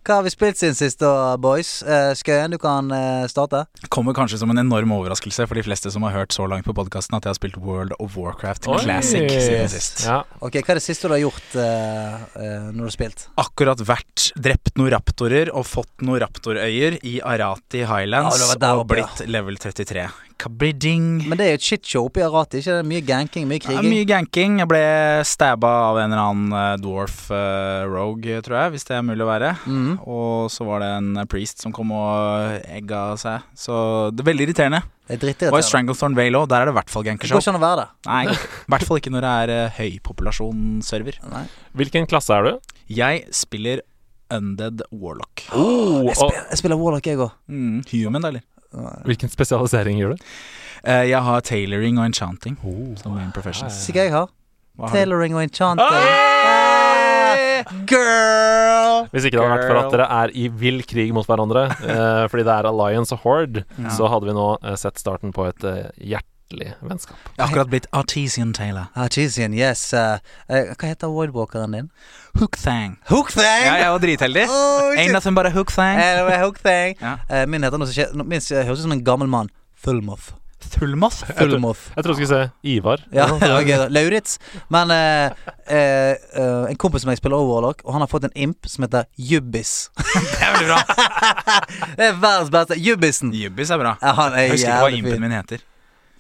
Hva har vi spilt siden sist, da, boys? Eh, Skøyen, du kan eh, starte.
Kommer kanskje som en enorm overraskelse for de fleste som har hørt så langt på podkasten at jeg har spilt World of Warcraft
Oi.
Classic siden sist.
Ja.
Ok, Hva er det siste du har gjort eh, eh, når du har spilt?
Akkurat vært drept noen raptorer og fått noen raptorøyer i Arati
Ja,
Highlands
det var der
og
oppe, ja.
blitt level 33. Kabidding.
Men det er jo et shitshow oppe i Arati. Ikke det? Mye ganking, mye
Ja,
kriging.
mye ganking. Jeg ble stabba av en eller annen eh, dwarf eh, rogue, tror jeg, hvis det er mulig å være.
Mhm.
Og så var det en eh, priest som kom og eh, egga seg. Så det er veldig irriterende.
Det er
Og i
drittirriterende.
Stranglethorn Vale òg, der er det i hvert fall
Det går
gankershow.
ikke an å være det.
Nei, i hvert fall ikke når det er eh, høypopulasjon-server.
Nei.
Hvilken klasse er du?
Jeg spiller Undead Warlock.
Oh,
Jeg, spiller, jeg spiller Warlock, jeg òg.
Mm, human, da, eller?
og hvilken spesialisering gjør du?
Eh, jeg har tailoring og enchanting.
Oh.
Som min profession.
Sikkert jeg har.
Hva har du?
Tailoring og enchanting.
Hey!
Ah, Girl!
Hvis ikke det hadde vært for at
Girl.
dere er i vill krig mot hverandre, eh, fordi det er Alliance og Horde, så hadde vi nå eh, sett starten på et eh, hjertelig vennskap.
Jeg har akkurat blitt artesian tailor.
Ah, Cheesian, yes. eh, eh, hva heter Wildwalkeren din?
Hook thang.
Hookthang!
Ja, jeg var dritheldig.
Oh,
Ain't
shit. Eh,
nothing but a hook thang.
Anyway, Hookthang.
Ja.
Eh, min heter noe som skjer Min høres ut som en gammel mann. Thulmoth.
Thulmoth.
Fullmoth.
Jeg trodde du skulle se Ivar.
Ja, ok da. Lauritz. Men eh, eh, eh, en kompis som jeg spiller Overlock, og han har fått en imp som heter Jubbis.
Det er veldig bra.
det er verdens beste. Jubbisen.
Jubbis er bra.
Ja, han er
Jeg husker ikke hva
jævlig
impen
fin.
min heter.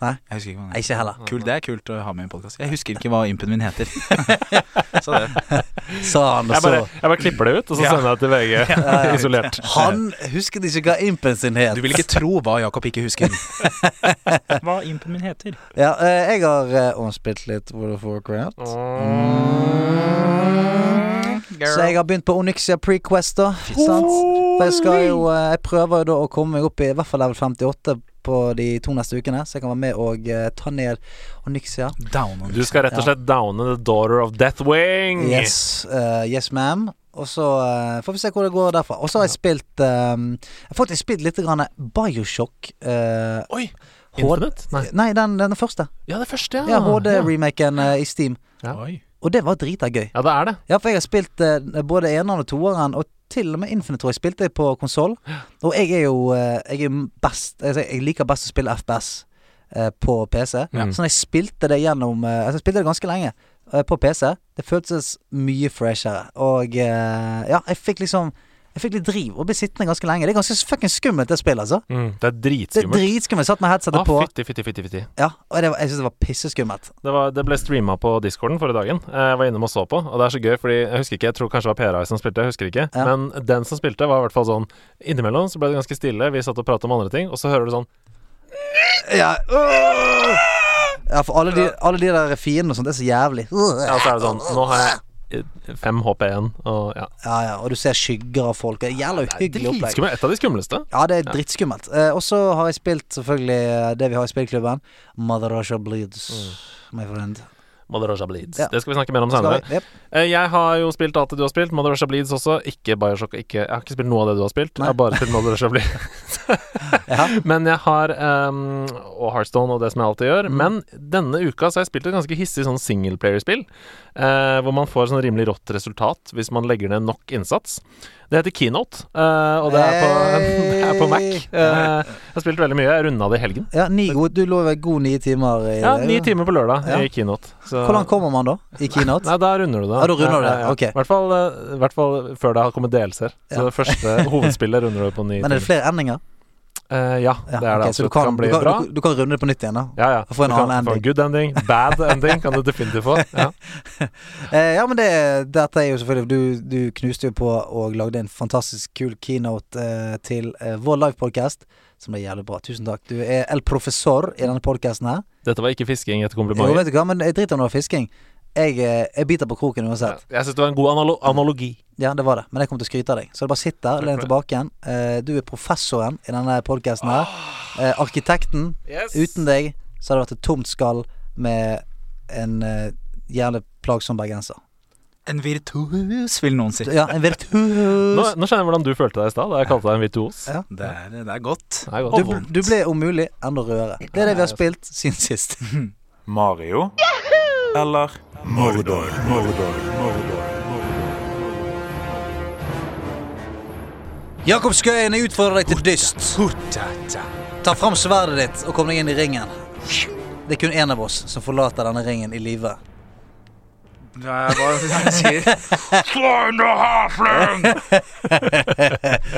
Nei.
Jeg husker ikke hva den
Nei,
heter.
ikke heller.
Kult, det er kult å ha med i en podkast. Jeg husker ikke hva impen min heter. Så det.
Sa han, og
Jeg bare,
så
jeg bare klipper det ut, og så
Ja.
sender jeg det til VG
Ja.
isolert.
Han husket ikke hva impen sin het.
Du vil ikke tro hva Jakob ikke husker. Hva impen min heter.
Ja, eh, jeg har eh, omspilt litt World of Warcraft.
Mm.
Så jeg har begynt på Onyxia Prequest, da. Sant? For jeg skal jo eh, Jeg prøver jo da å komme meg opp i i hvert fall level 58 på de to neste ukene, så jeg kan være med og eh, ta ned Onyxia.
Down on
Du skal rett og slett downe The Daughter of Deathwing.
Yes, eh, yes ma'am. Og så eh, får vi se hvor det går derfra. Og så har jeg spilt eh, Jeg har faktisk spilt litt grann Bioshock. eh,
Oi!
Hår-
Infinite? Nei.
Nei, den, den første.
Ja, det første, ja.
Ja, HD-remaken eh, i Steam.
Ja.
Oi.
Og det var drita gøy.
Ja, det er det.
Ja, for jeg har spilt eh, både eneren og toeren, og til og med Infinite tror jeg spilte jeg på konsoll. Og jeg er jo eh, jeg er best altså, Jeg liker best å spille FPS eh, på PC.
Ja.
Så når jeg spilte det gjennom eh, Altså, jeg spilte det ganske lenge eh, på PC. Det føltes mye freshere. Og eh, ja, jeg fikk liksom Jeg fikk litt driv og ble sittende ganske lenge. Det er ganske fuckings skummelt, det spillet, altså.
Mm, det
Det
er
er
dritskummelt.
dritskummelt. Satt med headsetet
Ah,
på.
fytti, fytti, fytti, fytti.
Ja, og det var, jeg syns det var pisseskummelt.
Det, var, det ble streama på discorden forrige dagen. Eh, Jeg var innom og så på, og det er så gøy, fordi jeg husker ikke, jeg tror kanskje det var PRI som spilte, jeg husker ikke.
Ja.
Men den som spilte, var i hvert fall sånn Innimellom så ble det ganske stille, vi satt og pratet om andre ting, og så hører du sånn
Ja, øh! ja for alle de, alle de der fiendene og sånt, det er så jævlig.
Ja, så er det sånn Nå har jeg eh, fem HP igjen, og ja.
Ja, ja, og du ser skygger av folk. Det er Jævla uhyggelig opplegg.
Dritskummelt. Et av de skumleste.
Ja, det er drittskummelt. Eh, og så har jeg spilt selvfølgelig eh, det vi har i spillklubben. Mother Russia Bleeds,
Mm.
my friend.
Mother Russia Bleeds.
Ja.
Det skal vi snakke mer om
Skal
senere.
vi? Jep.
Eh, Jeg har jo spilt alt det du har spilt. Mother Russia Bleeds også. Ikke Bioshock. Ikke, jeg har ikke spilt noe av det du har spilt.
Nei.
Jeg har bare spilt Mother Russia Bleeds.
Ja.
Men jeg har ehm, Og Heartstone og det som jeg alltid
Mm.
gjør. Men denne uka så har jeg spilt et ganske hissig sånn singleplayerspill. Eh, hvor man får sånn rimelig rått resultat hvis man legger ned nok innsats. Det heter Keynote, eh, og det er på, det er på Mac. Eh, jeg har spilt veldig mye. Jeg runda det i helgen.
ja ni gode, du lå vel god ni timer i
Ja,
det,
Ni timer på lørdag
Ja.
i Keynote. Så-
Hvor langt kommer man da? I keynote?
Nei, da runder du det.
Ja, da runder du det, ok.
I hvert fall, eh, i hvert fall før det har kommet DLC-er. Så
Ja.
det første hovedspillet runder du på ni
Men er det
timer.
flere endinger?
Eh, ja, det
Ja,
er
ok, så
det. absolutt.
du kan,
kan bli
du,
bra.
kan, du, du kan runde det på nytt igjen, da.
ja, ja.
og få en
Du kan
annen
få
ending.
Good ending, bad ending kan du definitivt få. Ja.
Eh, ja, men det, dette er jo selvfølgelig du, du knuste jo på og lagde en fantastisk kul keynote eh, til eh, vår livepodkast, som ble jævlig bra. Tusen takk. Du er el professor i denne podkasten her.
Dette var ikke fisking etter
Jo,
kompliment.
vet du hva, men jeg driter om det var fisking. Jeg, eh, jeg biter på kroken
Ja,
uansett.
jeg syns det var en god analo analogi.
Ja. det var det. Men jeg kommer til å skryte av deg. Så det bare sitt der, len
for det.
tilbake igjen. Eh, du er professoren i denne podkasten her.
Ah.
Eh, arkitekten. Uten deg så hadde det vært et tomt skall med en eh, jævlig plagsom bergenser.
En virtuos, vil noen si.
Ja, en
Nå,
virtuos.
nå skjønner jeg hvordan du følte deg i stad da jeg kalte deg en virtuos.
Ja.
Det er, det er godt.
Det er godt.
Du, du ble om mulig enda rødere. Det er det vi har spilt siden sist.
Mario eller Mordor. Mordor. Mordor.
Jakob Skøyen, jeg utfordrer deg til dyst.
Potata.
Ta fram sverdet ditt og kom deg inn i ringen. Det er kun én av oss som forlater denne ringen i live.
Nei, Hva er det han sier?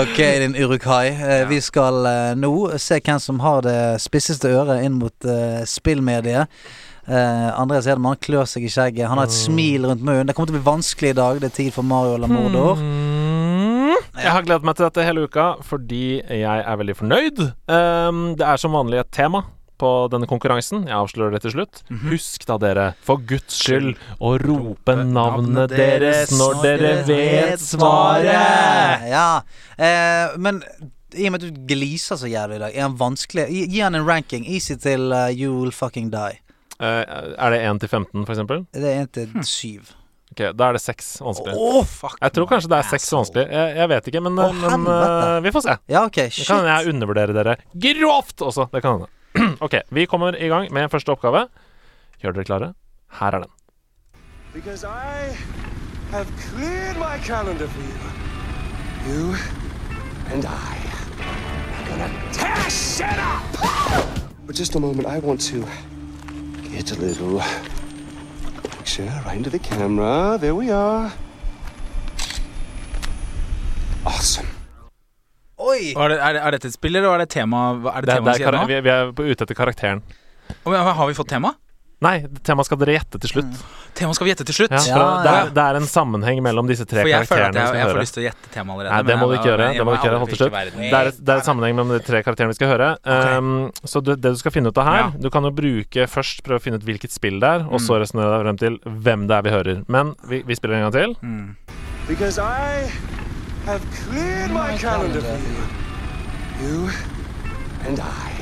Ok, din Urukai. Eh, Vi skal eh, nå se hvem som har det spisseste øret inn mot eh, spillmediet. Eh, Andreas Hedman klør seg i skjegget. Han har
Mm.
et smil rundt munnen. Det kommer til å bli vanskelig i dag. Det er tid for Mario eller
Hmm.
Mordor.
Mm. Jeg har gledet meg til dette hele uka fordi jeg er veldig fornøyd. Um, det er som vanlig et tema på denne konkurransen. Jeg avslører det til slutt. Husk da, dere, for guds Mhm. skyld å rope navnet deres når dere vet svaret!
Ja. Eh, men i og med at du gliser så jævlig i dag, er han vanskelig Gi, gi han en ranking. Easy til eh, you will fucking die.
Eh, er det 1 til 15, for eksempel?
Det er en
Hmm.
til syv.
Ok, da er det 6 vanskelig.
Åh, fuck.
Jeg tror kanskje det er 6
asshole.
vanskelig. Jeg, jeg vet ikke, men,
Å,
men
helvete.
eh, vi får se.
Ja, OK.
Det
Shit.
kan hende jeg undervurderer dere grovt også. Det kan hende. ok, vi kommer i gang med første oppgave. Gjør dere klare? Her er den.
Because I have cleared my calendar for you. You and I are gonna tear shit up! But just a moment, I want to get a little picture right into the camera. There we are. Awesome.
Oi!
Og Er, det, er, det- er dette et spill, eller er det tema? hva- Er det
Det,
tema
er-
vi
det
skal
er,
gjennom?
kar- vi, vi er på- ute etter karakteren.
Å, men Har vi fått tema?
Nei, temaet skal dere gjette til slutt.
Tema skal vi gjette til slutt.
Ja, for
Ja,
det,
ja.
er, det er en sammenheng mellom disse tre
For jeg føler
karakterene.
at jeg,
vi
jeg
skal
får
høre.
lyst til å gjette temaet allerede.
Nei, det
men
må du
jeg-
ikke gjøre.
jeg-
Det må du
jeg
ikke gjøre,
aldri
hold til slutt.
virker verden.
Det er, det er en sammenheng mellom de tre karakterene vi skal høre. Um, så du, det du skal finne ut av her
Ja. Mm.
Du kan jo bruke først prøve å finne ut hvilket spill det er, og så resonnere deg frem til hvem det er vi hører. Men vi, vi spiller en gang til.
Mm.
Because I have cleared my, calendar, for you. You and I.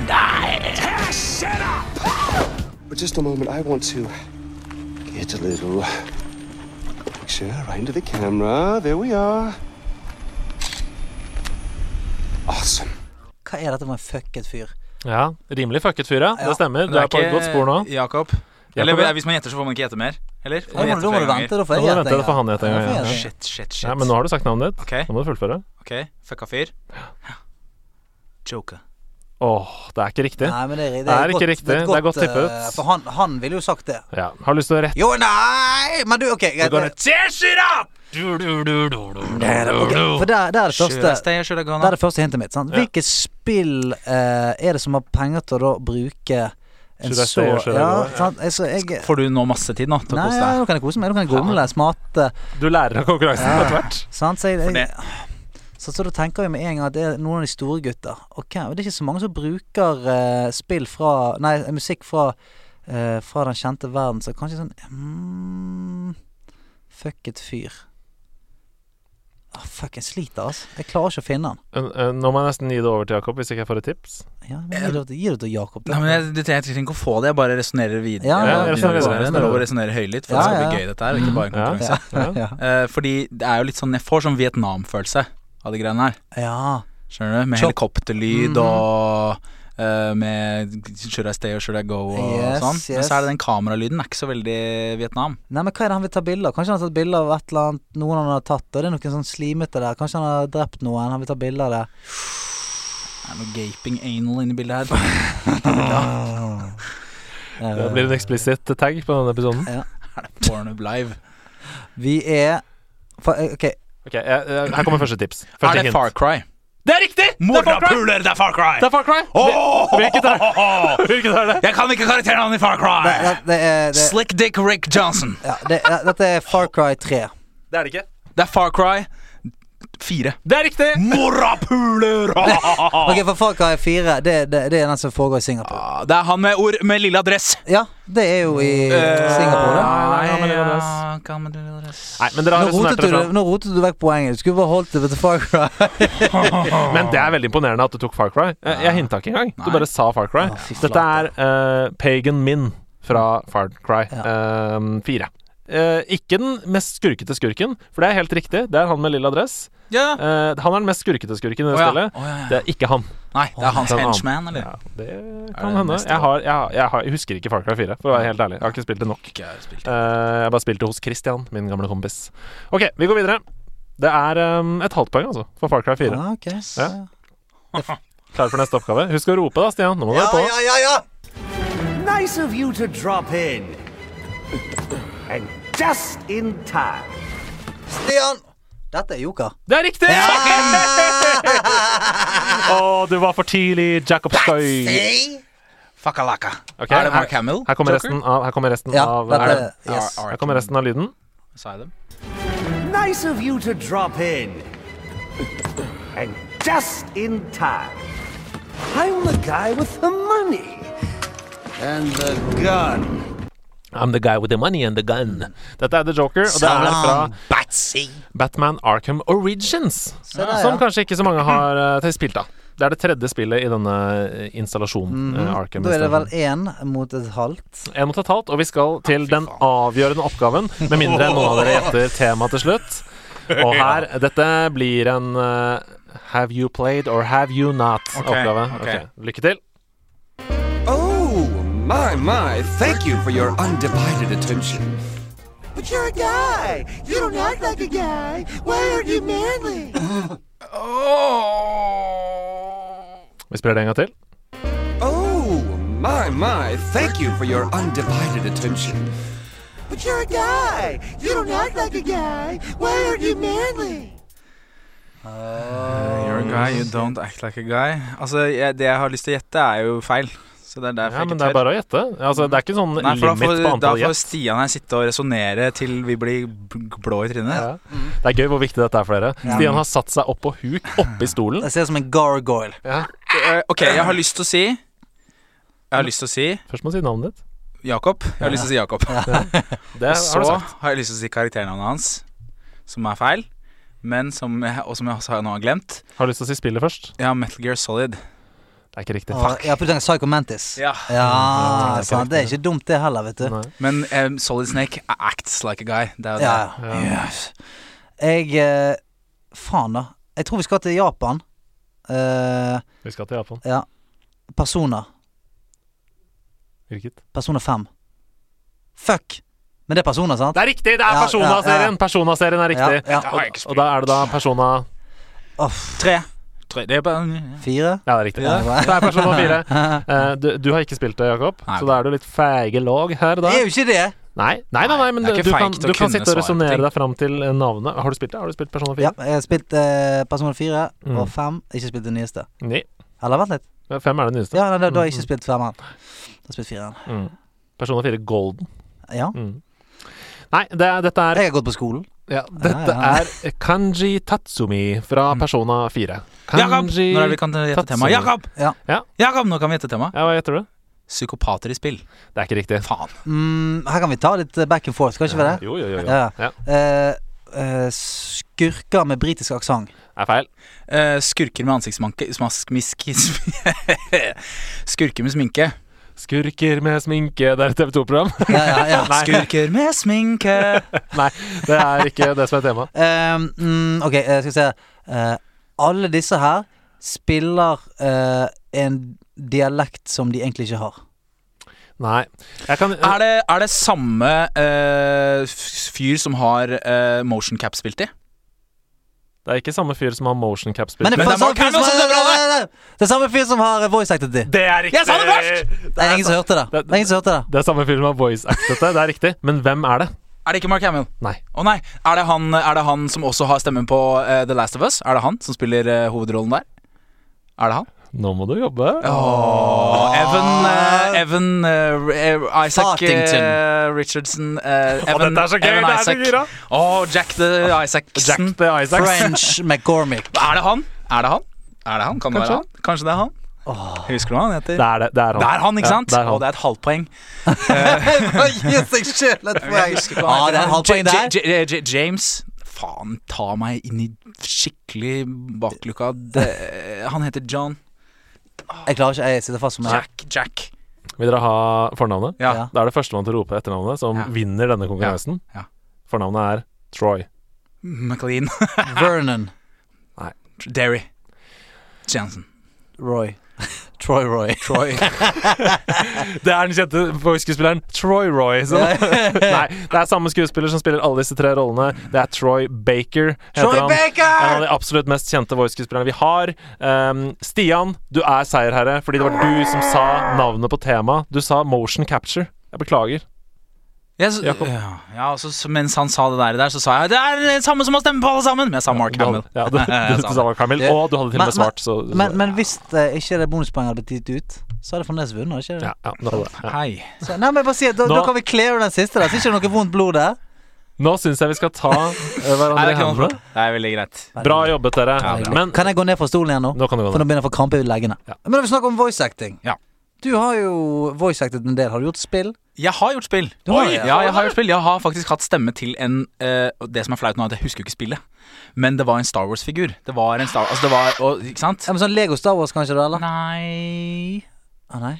And I. Shut up! But just a moment, I want to get a little picture right into the camera. There we are. Awesome.
Hva er dette for en fucket fyr?
Ja, Rimelig fucket fyr, ja.
Ja.
Det stemmer.
Men
Du er på et godt spor nå.
Jakob.
Jakob, ja.
Eller hvis man gjetter, så får man ikke gjette mer. Eller? Får
Da
man
må du-
gjette
da må
flere
du
ganger?
vente, da får
Da
jeg
må du
gjette.
vente, da får han gjette en
Ja,
gang,
får
ja.
jeg gjette.
Shit, shit, shit.
Ja, men nå har du sagt navnet ditt.
Ok.
Nå må du fullføre.
Ok, fucka fyr. Joker.
Åh, det er ikke riktig.
Nei, men det, er- det,
Det er
et
ikke
godt-
riktig.
et
Det er godt tippet.
eh, For han, han ville jo sagt det.
Ja. Har du lyst til å rette
Jo, nei Men du, OK. Greit.
gonna Oh,
det- ok, For der, der er det første
Should I should I go
Det er
now?
det første hintet mitt. Sant? Hvilket spill eh, er det som har penger til å da bruke en
Should I stay
så
or should I
ja,
go?
sant? Jeg, så jeg,
Får du nå masse tid nå til å
Nei,
kose
ja,
deg?
nå kan jeg kose meg. Nå kan jeg gomle, smate.
Du lærer av konkurransen etter hvert.
Sant? Så, jeg,
det-
jeg, så, så da tenker jeg med en gang at det er noen av de store gutta. Ok, men Det er ikke så mange som bruker eh, spill fra Nei, musikk fra eh, Fra den kjente verden, så kanskje sånn mm, Fuck et fyr. Ah, fuck, jeg sliter, altså. Jeg klarer ikke å finne han.
Eh, eh, Nå må jeg nesten gi det over til Jakob, hvis ikke jeg får et tips.
Ja, men Gi det til- gi det til Jakob. da.
Nei, men jeg, jeg trenger ikke å få det, jeg bare resonnerer videre.
Ja, ja,
jeg
resonerer videre.
Det er lov å resonnere høylytt, for
Ja,
det skal
ja.
bli gøy, dette her. og Ikke bare en
Ja.
konkurranse.
ja, ja.
Eh, fordi det er jo litt sånn Jeg får sånn Vietnam-følelse av de greiene her.
ja.
Skjønner du? Med
Chop.
helikopterlyd
Mhm.
og eh, med Should I stay or should I go og
Yes,
sånn. Men
yes.
så er det den kameralyden. Er ikke så veldig Vietnam.
Nei, men hva er det han vil ta bilder av? Kanskje han har tatt bilder av et eller annet noen han har tatt, og det er noen sånn slimete der. Kanskje han har drept noen, han vil ta bilder av det.
Det er noe gaping anal inni bildet her.
Det blir en eksplisitt tag på denne episoden.
Pornhub Live.
Vi er for, eh, Ok,
Ok, jeg, jeg, Her kommer første tips. Første
Er det
hint.
Far Cry?
Det er riktig! Det er Far Cry!
Morapuler, det er Far Cry!
Det er Far Cry.
Åh!
Hvilket er det? Hvilket er det?
Jeg kan ikke karakternavnet i Far
det,
Cry!
det, det er det,
Slick Dick Rick Johnson.
ja, det, det, Dette er Far Cry 3.
Det er det ikke.
Det er Far Cry 4.
Det er riktig!
Morapuler!
Ah.
Ok, for Far Cry 4, det, det, det er den som foregår i Singapore.
Det er han med ord med lilla dress.
Ja, det er jo i
Eh,
Singapore, det.
Nei, han med lilla dress.
Ja, han med lilla dress.
Nei, men dere
Nå
har resonert
rotet,
dere
du,
fram.
nå rotet du vekk poenget. Du skulle bare holdt det til Far Cry.
Men det er veldig imponerende at du tok Far Cry. Eh, Jeg hinta ikke engang. Du
Nei.
bare sa Far Cry.
Å, fy flate.
Dette er eh, Pagan Min fra Far Cry eh, 4. Eh, ikke den mest skurkete skurken, for det er helt riktig. Det er han med lilla dress.
Ja.
Eh, han er den mest skurkete skurken i det
Å ja.
spillet.
Å ja, ja.
Det er ikke han.
Nei, det er hans
Den annen.
henchman, eller?
Ja, det
Er
kan
det
hende.
neste
Jeg, har, jeg, har, jeg, har, jeg husker ikke Far Cry 4, for å være helt ærlig. Jeg har ikke spilt det nok.
Ikke jeg har spilt.
Eh, jeg har bare spilt det hos Christian, min gamle kompis. OK, vi går videre. Det er eh, et halvt poeng, altså, for Far Cry 4.
Ah, ok.
Ja. Klar for neste oppgave. Husk å rope, da, Stian. Nå må du være på.
ja, ja, ja!
Nice of you to drop in. And just in time.
Stian! Dette er Joker.
Det er riktig! Å, du var for tidlig, Jacob Skøy.
Fakalaka.
Ok,
er det Mark Hamill?
Her kommer
Joker?
resten av, her kommer resten
Ja,
av
dette
er
er
det,
Yes.
Ja, ja.
Her kommer resten av lyden.
Sa jeg dem?
Nice of you to drop in. And just in time. I'm the guy with the money. And the gun.
I'm the guy with the money and the gun. Dette er The Joker, og det er fra Batman Arkham Origins.
der, ja.
Som kanskje ikke så mange har eh, spilt, da. Det er det tredje spillet i denne eh, installasjonen. eh,
Mhm.
Arkham
Da er det
installasjonen.
vel én mot et halvt.
En mot et halvt, og vi skal til den avgjørende oppgaven. Med mindre noen av dere gjetter temaet til slutt. Og her Dette blir en eh, Have you played or have you
Ok,
not-oppgave.
ok.
Lykke til.
Oh, my, my. Thank you for your undivided attention.
But you're a guy. You don't act like a guy. Why are you manly?
Vi spiller det en gang til.
Oh, My, my, thank you for your undivided attention.
But you're a guy. You don't act like a guy. Why aren't you manly?
You're a guy, you don't act like a guy. Altså, jeg, Det jeg har lyst til å gjette, er jo feil. Så det er derfor
Ja,
jeg
men
ikke
det er
tør.
bare å gjette. Altså, det er ikke sånn
Nei, for da
limit på
får, da
antall
får
gjett.
Stian her sitte og resonnere til vi blir b- blå i trynet.
Ja.
Mm.
Det er gøy hvor viktig dette er for dere. Stian har satt seg opp på huk oppi stolen.
Jeg ser ut som en gargoyle.
Eh, ok, jeg har lyst til å si Jeg har lyst til å si
Først må du si navnet ditt.
Jakob. Jeg har lyst til å si Jakob.
Det
Så
har du sagt.
har jeg lyst til å si karakternavnet hans, som er feil. Men som jeg, og som jeg også har- nå har glemt.
Har du lyst til å si spillet først?
Ja, Metal Gear Solid.
Det er ikke riktig.
Og, ja, for du tenker Psycho Mantis?
Ja.
Ja, sant. Det er ikke dumt, det heller, vet du.
Nei.
Men eh, Solid Snake acts like a guy. Det er jo
Ja,
det.
ja. Yes. Jeg eh, Faen, da. Jeg tror vi skal til Japan. Eh,
Vi skal til Japan.
ja. Personer.
Hvilket?
Personer 5. Fuck! Men det er personer, sant?
Det er riktig! Det er
Ja, ja,
Persona-serien!
ja.
Persona-serien er riktig.
Ja, ja.
Og, og da er det da Persona
Åh,
Tre. Tre. Det er bare
fire?
Ja, det er riktig.
Ja.
Det er Persona 4. Eh, Du, du har ikke spilt det, Jakob,
Nei.
så da er du litt feige låg her
Det
da.
er jo ikke det!
Nei, nei, nei, nei men
Det er ikke
du kan,
feigt å
du kan
kunne
sitte og
svare på
resonnere
ting.
deg fram til eh, navnet. Har du spilt det? Har du spilt Persona 4?
Ja, jeg har spilt eh, Personer 4
Mm.
og 5. Ikke spilt det nyeste.
Nei.
Eller vent litt.
Fem er det nyeste.
Ja, nei, da, da har jeg ikke spilt 5-en. Da har jeg spilt 4-en.
Mm. Persona 4 Golden.
Ja.
Mm. Nei, det, dette er
Jeg har gått på skolen.
ja, Dette
Ja, ja.
er Kanji Tatsumi fra Persona 4.
Mm. Jakob!
Kanji
Når er det vi kan gjette
Tatsu.
tema? Jakob!
Ja.
Ja.
Jakob, nå kan vi gjette tema.
Ja, Hva gjetter du?
Psykopater i spill.
Det er ikke riktig.
Faen.
Mm, her kan vi ta litt eh, back and forth, skal ikke vi det?
Jo, jo, jo. jo.
Ja.
Ja.
Eh, eh, skurker med britisk aksent.
Er feil.
Eh, skurker med ansiktsmanke smask, misk, Skurker med sminke.
Skurker med sminke. Det er et TV2-program.
Ja, ja, ja.
Skurker med sminke.
Nei, det er ikke det som er temaet.
Eh, mm, ok, eh, skal vi se. Eh, alle disse her spiller eh, en dialekt som de egentlig ikke har.
Nei. Jeg kan
Er det, er det samme eh, f- fyr som har eh, motion cap spilt i?
Det er ikke samme fyr som har motion cap spilt.
Men det,
Men
er
det er
samme fyr
Mark
som,
Hamill som dubler
Nei, nei, nei. det er samme fyr som har eh, voice acted det.
det er riktig!
Jeg sa det først!
Det er ingen som hørte det.
det-
Det er ingen som hørte det.
Det er samme fyr som har voice actet det. Det er riktig. Men hvem er det?
Er det ikke Mark Hamill?
Nei.
Å nei, er det, han, er det han som også har stemmen på eh, The Last of Us? Er det han som spiller eh, hovedrollen der? Er det han?
Nå må du jobbe.
Åh, Evan,
Ah.
eh, Evan eh, Isaac eh,
Fartington.
Richardson eh, Evan,
dette er så gøy,
Evan
det er så
Isaac.
gira. Ah,
Åh, Jack the Isaacson.
Jack the Isaacs.
French McGormick.
Er det han? Er det han? Er det han? Kan
Kanskje.
det være han? Kanskje det er han? Husker du hva han heter?
Det er, det, det er han.
Det er han, ikke sant?
Ja, det er
Og det
han.
er et halvt poeng.
Gi seg sjøl et poeng.
Ah,
Ja, Ah, det er en halv poeng
J-
der.
J- J- J- James Faen, ta meg inn i skikkelig bakluka. Det, han heter John.
Jeg klarer ikke, jeg sitter fast som en
Jack. Jack.
Vil dere ha fornavnet?
Ja.
Ja.
Da er det førstemann til å rope etternavnet som
Ja.
vinner denne konkurransen.
Ja. Ja.
Fornavnet er Troy.
McLean.
Vernon
Derry. Jansen.
Roy. Troy Roy.
Troy.
Det er den kjente voice-skuespilleren Troy Roy. Som, nei, det er samme skuespiller som spiller alle disse tre rollene. Det er Troy Baker. heter
Troy
han.
Baker!
En av de absolutt mest kjente voice-skuespillerne vi har. Um, Stian, du er seierherre fordi det var du som sa navnet på temaet. Du sa motion capture. Jeg beklager.
Jeg s-
Jakob.
ja, ja, og så, så mens han sa det der, der, så sa jeg det er det samme som å stemme på alle sammen! Men jeg sa Mark
Du hadde-
Hamill.
Ja, du, du, du, sa Mark Hamill,
Det-
og du hadde til og med
Men- men-
svart, så, så
Men, men hvis eh, ikke det bonuspoenget hadde blitt gitt ut, så hadde Fornes vunnet. ikke det?
ja, ja, nå, ja.
Hei.
Så, nei, men jeg bare si, at da,
Nå-
da kan vi cleare den siste der, så ikke det er noe vondt blod der.
nå syns jeg vi skal ta eh,
Nei,
hverandre i
det er ikke noe
hendene.
problem. Det er veldig greit.
Bra jobbet, dere.
Ja, bra.
Men
Kan jeg gå ned fra stolen igjen nå?
nå kan du gå
For nå
ned.
begynner jeg å få krampe i leggene.
Ja.
Men når vi snakker om voice acting
Ja.
Du har jo voice acted en del. Har du gjort spill?
Jeg har gjort spill.
Du har
Oi,
det?
ja, jeg har gjort spill Jeg har faktisk hatt stemme til en eh, og Det som er flaut nå, er at jeg husker jo ikke spillet. Men det var en Star Wars-figur. Det var en Star Wars altså det var, og, Ikke sant?
Ja, men sånn Lego Star Wars, kanskje? da, eller?
Nei
Ah, nei.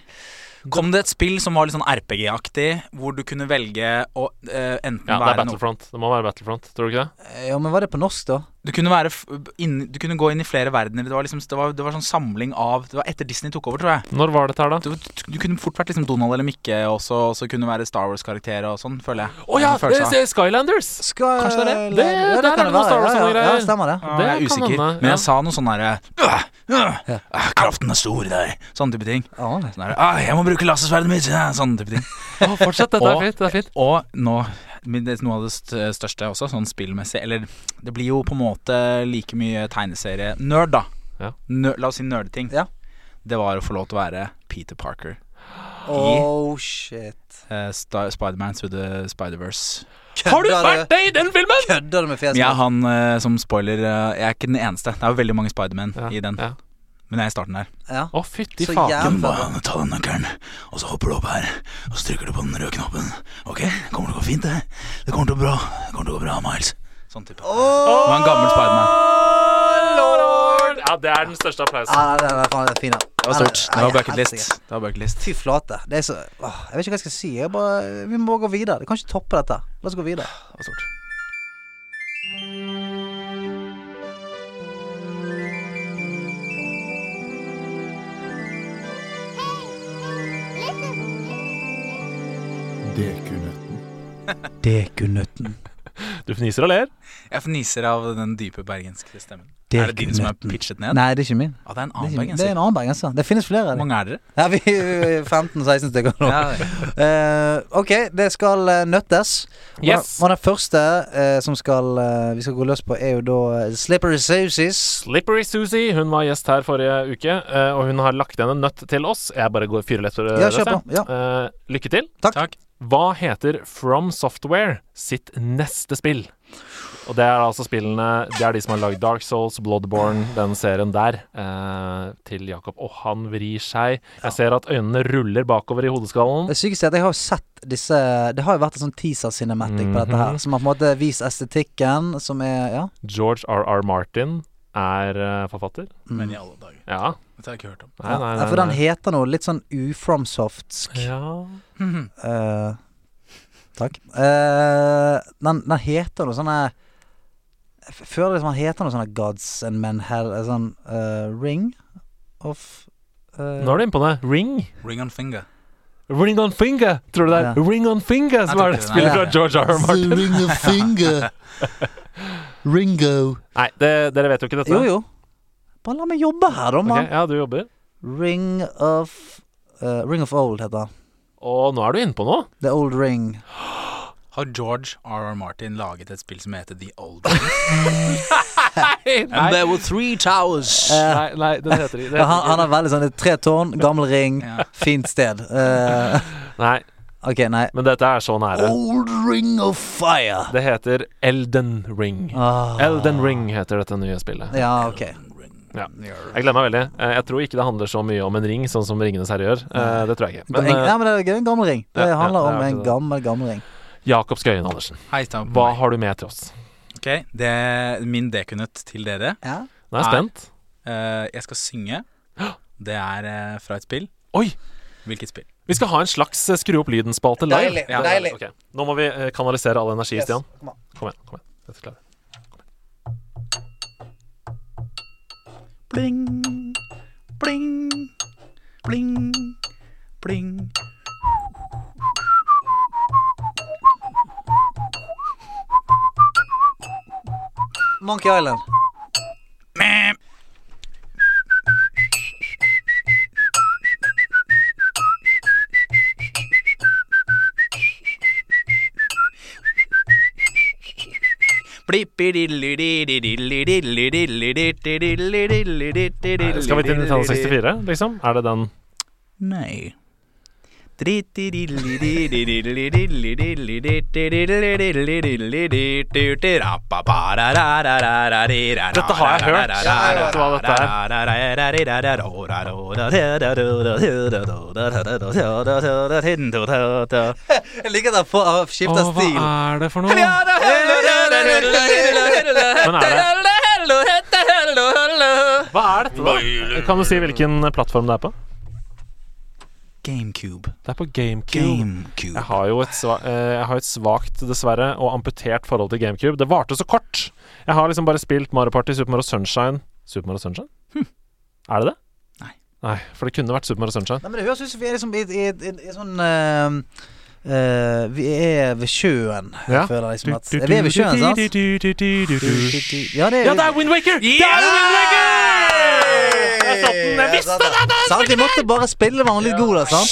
Kom det et spill som var litt sånn RPG-aktig, hvor du kunne velge å eh, enten
Ja, det er
være noe
Battlefront. Det må være Battlefront, tror du ikke det?
Ja, men var det på norsk, da?
Du kunne, være f inn, du kunne gå inn i flere verdener. Det var, liksom, det var, det var sånn samling av Det var etter Disney tok over, tror jeg.
Når var dette her, da?
Du, du kunne fort vært liksom Donald eller Mikke også, og så kunne du være Star Wars-karakterer og sånn, føler jeg.
Å ja!
Det er en følelse av.
det er Skylanders!
Skal,
Kanskje det er det?
Det-
Ja,
der
kan
er det noe Star Wars og
ja, ja,
noe greier.
ja, stemmer det.
det
Ja, Ah, jeg er
kan
usikker,
hende,
men
ja.
jeg sa noe sånn herre «Øh, øh, øh, Kraften er stor i deg. Sånn type ting.
Ja, det.
Sånn herre «Ah, Jeg må bruke lasersverdet mitt. ja, Sånn type ting.
Å, fortsett, dette
Og-
er fint. det er fint
Og nå men det er Noe av det st- største også, sånn spillmessig Eller det blir jo på en måte like mye tegneserie Nerd, da.
Ja.
Nø- la oss si nerdeting.
Ja.
Det var å få lov til å være Peter Parker.
Oh shit.
Eh, Sta- Spiderman to the Spiderverse.
Har du
Kødder
vært det i den filmen?!
Kødder du med fjeset?
Men jeg er han eh, som spoiler eh, Jeg er ikke den eneste. Det er jo veldig mange Spiderman i den.
Ja.
Men jeg er i starten der.
Ja.
Å, fytti
Så
faen.
jævlig.
Du må ta den nøkkelen, og så hopper du opp her, og så trykker du på den røde knappen. Ok, kommer til å gå fint, det. Det kommer til å gå bra. Det kommer til å gå bra, Miles. Sånn type. Det var en gammel Spiderman.
Å, lord! Ja, det er den største applausen.
Ja, den er faen fin, da.
Det var stort. Det var bucket list.
Helsike.
Det var bucket list.
Fy flate. Det er så åh, Jeg vet ikke hva jeg skal si. Jeg bare, vi må gå videre. Vi kan ikke toppe dette. La oss gå videre.
Det var stort.
Dekunøtten.
Du fniser og ler.
Jeg fniser av den dype bergenske stemmen.
Det
er det din som er
knøtten.
pitchet ned?
Nei, det er ikke min.
Ja, det er en
Det er,
annen
ikke min. det er
bergenser.
en annen bergenser. Det finnes flere av
Hvor
dem.
mange er dere?
Ja, vi er 15-16 stykker nå. Eh, ok, det skal eh, nøttes. Og den-
Yes.
Og den første eh, som skal, eh, vi skal gå løs på, er jo da eh, Slippery Sauces.
Slippery Susie hun var gjest her forrige uke, eh, og hun har lagt igjen en nøtt til oss. Jeg bare går fyrer eh, lett for
Ja, kjør på. Ja.
Eh, Lykke til.
Takk.
Hva heter From Software sitt neste spill? Og det er altså spillene Det er de som har lagd Dark Souls, Bloodborne, den serien der, eh, til Jakob. Og han vrir seg. Jeg ser at øynene ruller bakover i hodeskallen.
Det sykeste er at jeg har jo sett disse Det har jo vært en sånn teaser cinematic på dette her. Som har på en måte vist estetikken, som er Ja.
George R.R. Martin er eh, forfatter.
Men i alle dager.
Ja.
Dette har jeg ikke hørt om.
Nei, nei,
Mm. ja,
nei,
for den
nei.
heter noe litt sånn ufromsoftsk.
Ja.
Eh, takk. Eh, den, den heter noe sånne jeg f- Føler liksom den heter noe sånne Gods and Men Hell eh, Sånn eh, Ring of eh,
Nå er du inne på det. Ring.
Ring on finger.
Ring on finger, tror du det er? Ring on finger, som
Nei,
er det
det er
det.
spillet fra George R. R. Martin.
Ring a finger. Ringo.
Nei, det, dere vet jo ikke dette.
Jo, jo. Bare la meg jobbe her, da,
Ok,
mann.
ja, du jobber.
Ring of eh, Ring of Old heter den.
Og nå er du inne på noe.
The Old Ring.
Har George R.R. Martin laget et spill som heter The Old
Nei, nei,
were three towers.
nei, nei den heter ikke det.
Eh. Ja, han, han er veldig sånn det er Tre tårn, gammel ring, fint sted. Eh,
Nei,
ok, nei.
men dette er så nære.
Old ring of fire.
Det heter Elden Ring.
Ah,
Elden Ring heter dette nye spillet.
ja, ok.
Ja. Jeg gleder meg veldig. Eh, Jeg tror ikke det handler så mye om en ring, sånn som Ringenes herre gjør. Eh, Det tror jeg ikke.
Men,
Men
ja,
eh,
men det er en gammel ring. Det
ja,
handler
det er
om en
det.
gammel, gammel ring.
Jakob Skøyen Andersen,
Hei, Stampen.
hva har du med til oss?
Ok, det er min dekunøtt til dere.
Ja.
Nå er jeg
Nei.
spent.
Eh, jeg skal synge. Det er eh, fra et spill.
Oi!
Hvilket spill?
Vi skal ha en slags eh, skru opp lyden-spalte live.
Deilig,
Ja,
deilig.
ok. Nå må vi eh, kanalisere all energi, Stian.
Kom an.
Kom igjen. kom igjen Dette klarer vi.
Bling, bling, bling, bling.
Monkey Island.
Skal
Skal
vi til Nintendo 64, liksom? Er det den
Nei.
Dette
Dette
har jeg hørt. Jeg vet hva dette
dette er.
Jeg liker at han skifter
Åh,
stil.
Hva er det for noe? Men er det eh, Hva er dette, da? Kan du si hvilken plattform det er på?
GameCube.
Det er på GameCube.
GameCube.
Jeg har jo et, sva eh, jeg har et svagt, dessverre, og amputert forhold til GameCube. Det varte så kort! Jeg har liksom bare spilt Mario Party, Super Mario Sunshine Super Mario Sunshine?
Hm.
Er det det?
Nei.
Nei, For det kunne vært Super Mario Sunshine.
Nei, men Det høres ut som vi er liksom i et sånn eh, eh, Vi er ved sjøen,
Ja.
føler jeg liksom at Vi er ved sjøen, sant? Ja, det
Ja, det er Wind Waker! Det er Wind Waker! Jeg satt den, jeg visste det! det!
Sant, vi måtte bare spille var han litt god, da, sant?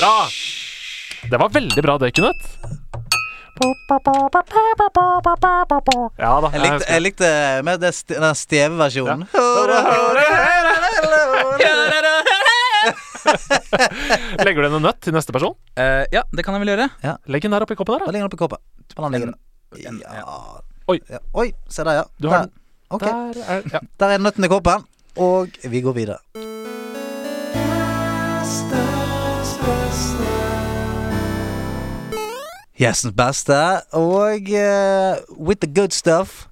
Bra! Det var veldig bra, det, Knut. Ja da.
Jeg likte, jeg likte med det st den steve versjonen.
Legger du igjen en nøtt til neste person?
Eh, ja, det kan jeg vel gjøre.
Legg den der oppi koppen
Hva
der, da.
ligger den oppi kåpa? Hvordan ligger den?
En-
Ja.
Oi.
Ja. Oi, se der, ja.
Du har
Der.
den.
Ok,
Der er, ja.
der er nøtten i kåpen. Og vi går videre. Gjestens beste. Og eh, With the Good Stuff.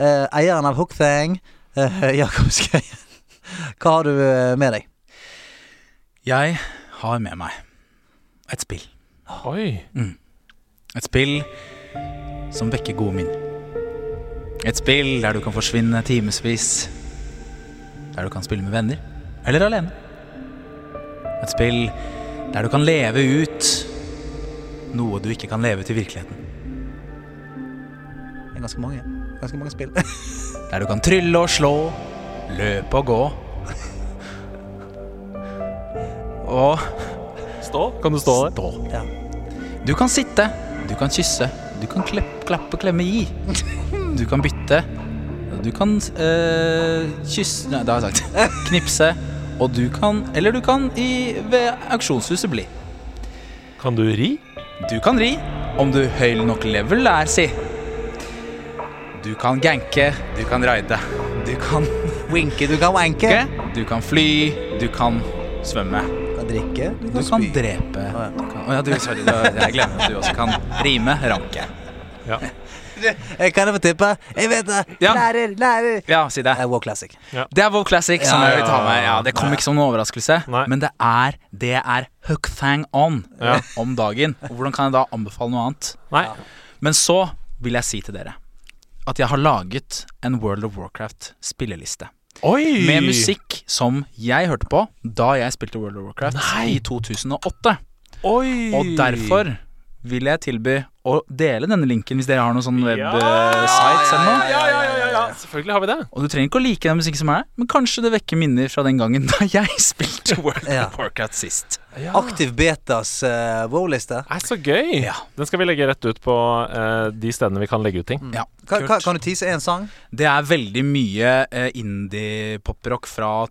eh, eieren av Hookthang, uh, Jakob Skøyen. Hva har du eh, med deg?
Jeg har med meg et spill.
Oi.
Et spill som vekker gode minner. Et spill der du kan forsvinne timevis. Der du kan spille med venner. Eller alene. Et spill der du kan leve ut noe du ikke kan leve ut i virkeligheten.
Det er ganske mange. Ganske mange spill.
Der du kan trylle og slå, løpe og gå. Og
Stå. Kan du stå der?
stå.
Ja.
Du kan sitte, du kan kysse, du kan klepp, klappe, klemme, gi. Du kan bytte, du kan eh, kysse Nei, det har jeg sagt. Knipse. Og du kan Eller du kan i, ved auksjonshuset bli.
Kan du ri?
Du kan ri om du høy nok level er, si. Du kan ganke, du kan raide. Du kan
Winke, du kan wanke.
ikke, du kan fly, du kan svømme.
Du kan drikke. Du
Du
kan
kan
spy.
drepe
Å, ja.
du kan- Å ja, du, sorry. da- Jeg glemmer at du også kan rime, ranke.
Ja.
Eh, Kan jeg få tippe? Jeg vet det!
Ja.
Lærer, lærer!
Ja, si det.
Eh, Wow Classic.
Det er Wow Classic som
Ja,
jeg vil ta
ja,
med. Ja, det kom ikke som noen overraskelse,
Nei.
men det er det er hookfang on
Ja.
om dagen. Og hvordan kan jeg da anbefale noe annet?
Nei.
Men så vil jeg si til dere at jeg har laget en World of Warcraft spilleliste.
Oi!
Med musikk som jeg hørte på da jeg spilte World of Warcraft i 2008.
Oi!
Og derfor vil jeg tilby å dele denne linken hvis dere har noen sånn
Ja.
websites eller
ja,
noe.
ja, ja, ja, ja. Selvfølgelig har vi det.
Og du trenger ikke å like den musikken som er, men kanskje det vekker minner fra den gangen da jeg spilte World
Ja.
of Warcraft sist.
Aktiv Betas eh, wow-liste.
Er så gøy!
Ja.
Den skal vi legge rett ut på eh, de stedene vi kan legge ut ting.
Mm.
Ja,
Kan, kan,
kult.
kan du tease én sang?
Det er veldig mye eh, indie-poprock fra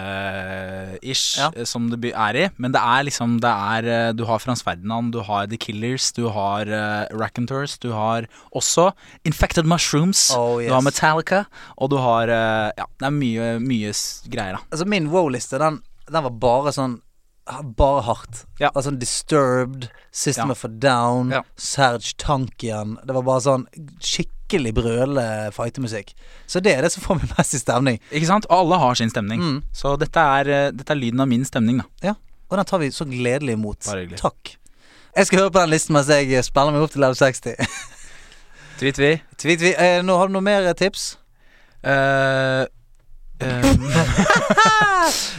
2008-ish
Ja.
eh, som det by- er i. Men det er liksom det er, eh, Du har Frans Ferdinand, du har The Killers, du har uh, Raconteurs, du har også Infected Mushrooms,
Oh,
du har
yes.
Metallica, og du har eh, Ja, det er mye, mye s- greier, da.
Altså, min wow-liste, den, den var bare sånn Bare hardt.
Ja.
Altså Disturbed, System
Ja.
of a Down,
Ja.
Serge Tankian. Det var bare sånn skikkelig brøle fightemusikk. Så det er det som får meg mest i stemning.
Ikke sant? Og alle har sin stemning.
Mm.
Så dette er, eh, dette er lyden av min stemning, da.
Ja, og den tar vi så gledelig imot.
Bare hyggelig.
Takk. Jeg skal høre på den listen mens jeg eh, spiller meg opp til level 60.
Tvi, tvi.
Tvi, tvi. Eh, nå har du noe mer eh, tips?
Eh, eh,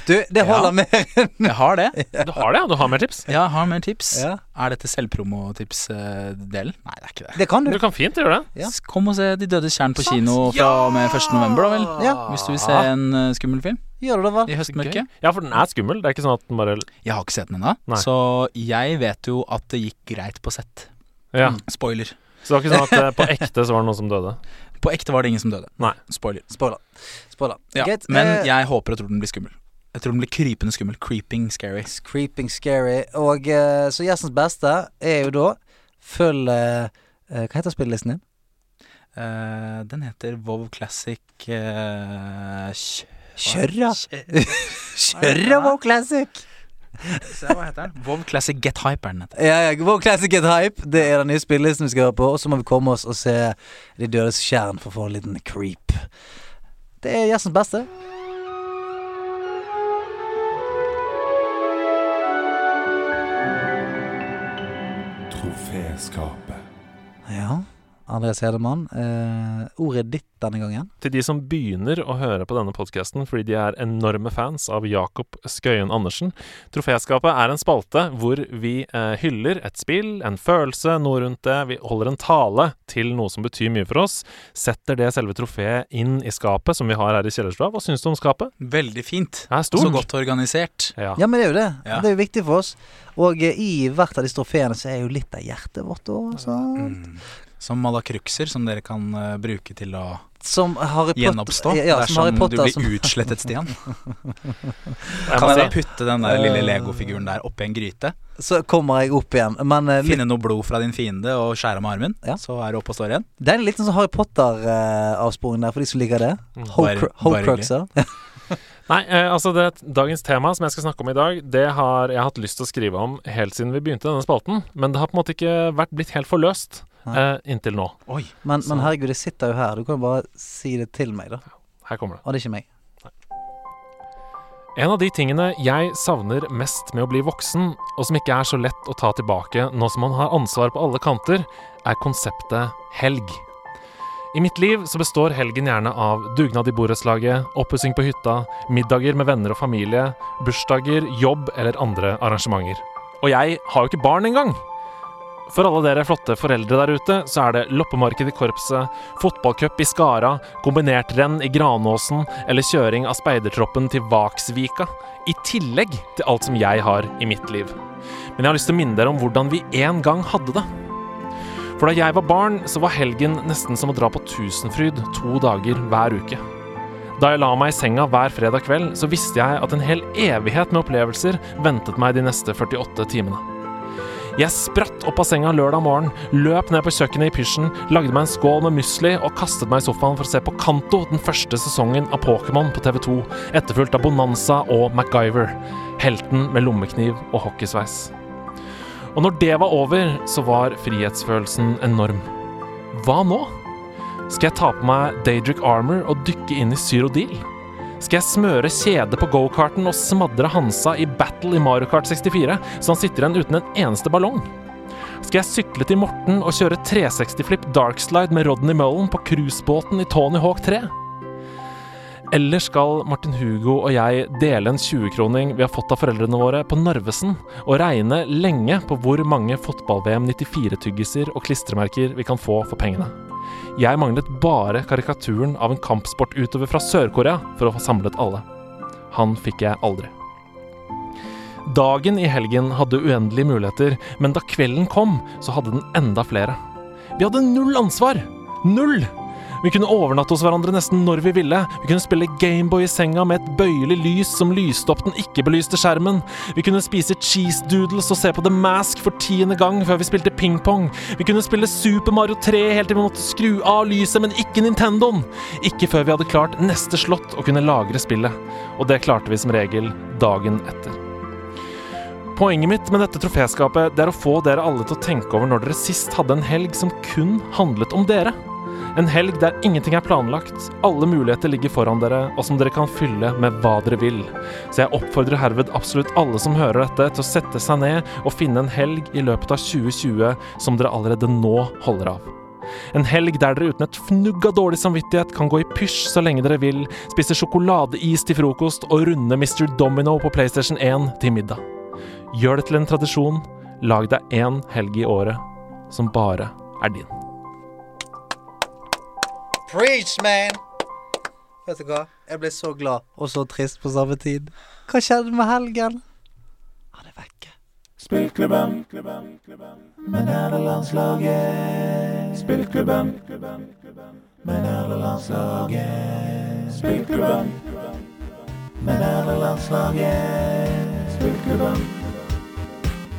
Du, det holder mer.
jeg har det.
Du har det, ja? Du har mer tips?
Ja, jeg har mer tips.
Ja.
Er dette selvpromotips-delen? Nei, det er ikke det.
Det kan du.
Du kan fint gjøre det.
Ja.
S- Kom og se De dødes tjern på kino fra og med 1. november, da vel?
Ja.
Hvis du vil se en eh, skummel film
Gjør du det, vel?
i høstmørket.
Ja, for den er skummel. Det er ikke sånn at den bare
Jeg har ikke sett den ennå,
Nei.
så jeg vet jo at det gikk greit på sett.
Ja.
Spoiler.
Så det var ikke sånn at eh, på ekte så var det noen som døde.
På ekte var det ingen som døde.
Nei.
Spoiler.
Spoiler. Spoiler.
Ja.
Greit,
Men
eh,
jeg håper og tror den blir skummel. Jeg tror den blir krypende skummel. Creeping scary.
Creeping scary. Og eh, så gjestens beste er jo da Følg eh, eh, Hva heter spillelisten din?
Eh, den heter Vov Classic eh, kj-
Kjørra.
Kjørra.
Kjørra Wow Classic!
Se, Hva heter den? Vov Classic Get Hype er den heter.
Ja, ja, Wow Classic Get Hype. Det er den nye spillelisten vi skal høre på. Og så må vi komme oss og se De dødes skjern for å få en liten creep. Det er gjestens beste.
skapet.
Ja. Andreas Hedemann, eh, ordet er ditt denne gangen.
Til de som begynner å høre på denne podkasten fordi de er enorme fans av Jakob Skøyen Andersen. Troféskapet er en spalte hvor vi eh, hyller et spill, en følelse, noe rundt det. Vi holder en tale til noe som betyr mye for oss. Setter det selve trofeet inn i skapet som vi har her i kjellerstua. Hva syns du om skapet?
Veldig fint.
Det er stort.
Så godt organisert.
Ja.
Ja, men det er jo det.
Ah. Ja.
Det er jo viktig for oss. Og eh, i hvert av disse trofeene så er jo litt av hjertet vårt altså. òg,
Mm.
sant?
Som malakrukser som dere kan eh, bruke til å
Som Harry Potter
gjenoppstå
Ja, som Harry
dersom du
Potter
blir
som
utslettet, Stian.
Jeg
Kan
må
jeg da
si-
putte den der lille
Eh.
legofiguren der oppi en gryte?
Så kommer jeg opp igjen. Men eh, litt,
Finne noe blod fra din fiende og skjære med armen?
Ja.
Så er du oppe og står igjen.
det er litt sånn som Harry Potter-avsporing der, for de som liker det.
Mm,
Bare-
Hocru-
bare
Horcruxer.
Nei, eh, altså det, dagens tema som jeg skal snakke om i dag, det har jeg hatt lyst til å skrive om helt siden vi begynte denne spalten, men det har på en måte ikke vært blitt helt forløst eh, inntil nå.
Oi.
Men,
Så-
men herregud, jeg sitter jo her. Du kan jo bare si det til meg, da.
Her kommer det.
Og det er ikke meg.
En av de tingene jeg savner mest med å bli voksen, og som ikke er så lett å ta tilbake nå som man har ansvar på alle kanter, er konseptet helg. I mitt liv så består helgen gjerne av dugnad i borettslaget, oppussing på hytta, middager med venner og familie, bursdager, jobb eller andre arrangementer. Og jeg har jo ikke barn engang! For alle dere flotte foreldre der ute, så er det loppemarked i korpset, fotballcup i Skara, kombinertrenn i Granåsen eller kjøring av speidertroppen til Vaksvika. I tillegg til alt som jeg har i mitt liv. Men jeg har lyst til å minne dere om hvordan vi en gang hadde det. For da jeg var barn, så var helgen nesten som å dra på Tusenfryd to dager hver uke. Da jeg la meg i senga hver fredag kveld, så visste jeg at en hel evighet med opplevelser ventet meg de neste 48 timene. Jeg spratt opp av senga lørdag morgen, løp ned på kjøkkenet i pysjen, lagde meg en skål med musli og kastet meg i sofaen for å se på Kanto, den første sesongen av Pokémon på TV2, etterfulgt av Bonanza og MacGyver. Helten med lommekniv og hockeysveis. Og når det var over, så var frihetsfølelsen enorm. Hva nå? Skal jeg ta på meg Daedric Armor og dykke inn i Syrodil? Skal jeg smøre kjede på gokarten og smadre Hansa i battle i Mario Kart 64, så han sitter igjen uten en eneste ballong? Skal jeg sykle til Morten og kjøre 360-flipp darkslide med Rodney Mullen på cruisebåten i Tony Hawk 3? Eller skal Martin Hugo og jeg dele en 20-kroning vi har fått av foreldrene våre på Narvesen, og regne lenge på hvor mange fotball-VM 94-tyggiser og klistremerker vi kan få for pengene? Jeg manglet bare karikaturen av en kampsportutøver fra Sør-Korea for å få samlet alle. Han fikk jeg aldri. Dagen i helgen hadde uendelige muligheter, men da kvelden kom, så hadde den enda flere. Vi hadde null ansvar! Null! Vi kunne overnatte hos hverandre nesten når vi ville. Vi kunne spille Gameboy i senga med et bøyelig lys som lyste opp den ikke-belyste skjermen. Vi kunne spise cheese doodles og se på The Mask for tiende gang før vi spilte pingpong. Vi kunne spille Super Mario 3 helt til vi måtte skru av lyset, men ikke Nintendoen. Ikke før vi hadde klart neste slott og kunne lagre spillet. Og det klarte vi som regel dagen etter. Poenget mitt med dette troféskapet det er å få dere alle til å tenke over når dere sist hadde en helg som kun handlet om dere. En helg der ingenting er planlagt, alle muligheter ligger foran dere, og som dere kan fylle med hva dere vil. Så jeg oppfordrer herved absolutt alle som hører dette, til å sette seg ned og finne en helg i løpet av 2020 som dere allerede nå holder av. En helg der dere uten et fnugg av dårlig samvittighet kan gå i pysj så lenge dere vil, spise sjokoladeis til frokost og runde Mr. Domino på PlayStation 1 til middag. Gjør det til en tradisjon. Lag deg én helg i året som bare er din.
Preach, man! Vet du hva? Jeg ble så glad og så trist på samme tid. Hva skjedde med helgen? Han er vekke.
Spillklubben med nederlandslaget. Spillklubben med nederlandslaget. Spillklubben med nederlandslaget. Spillklubben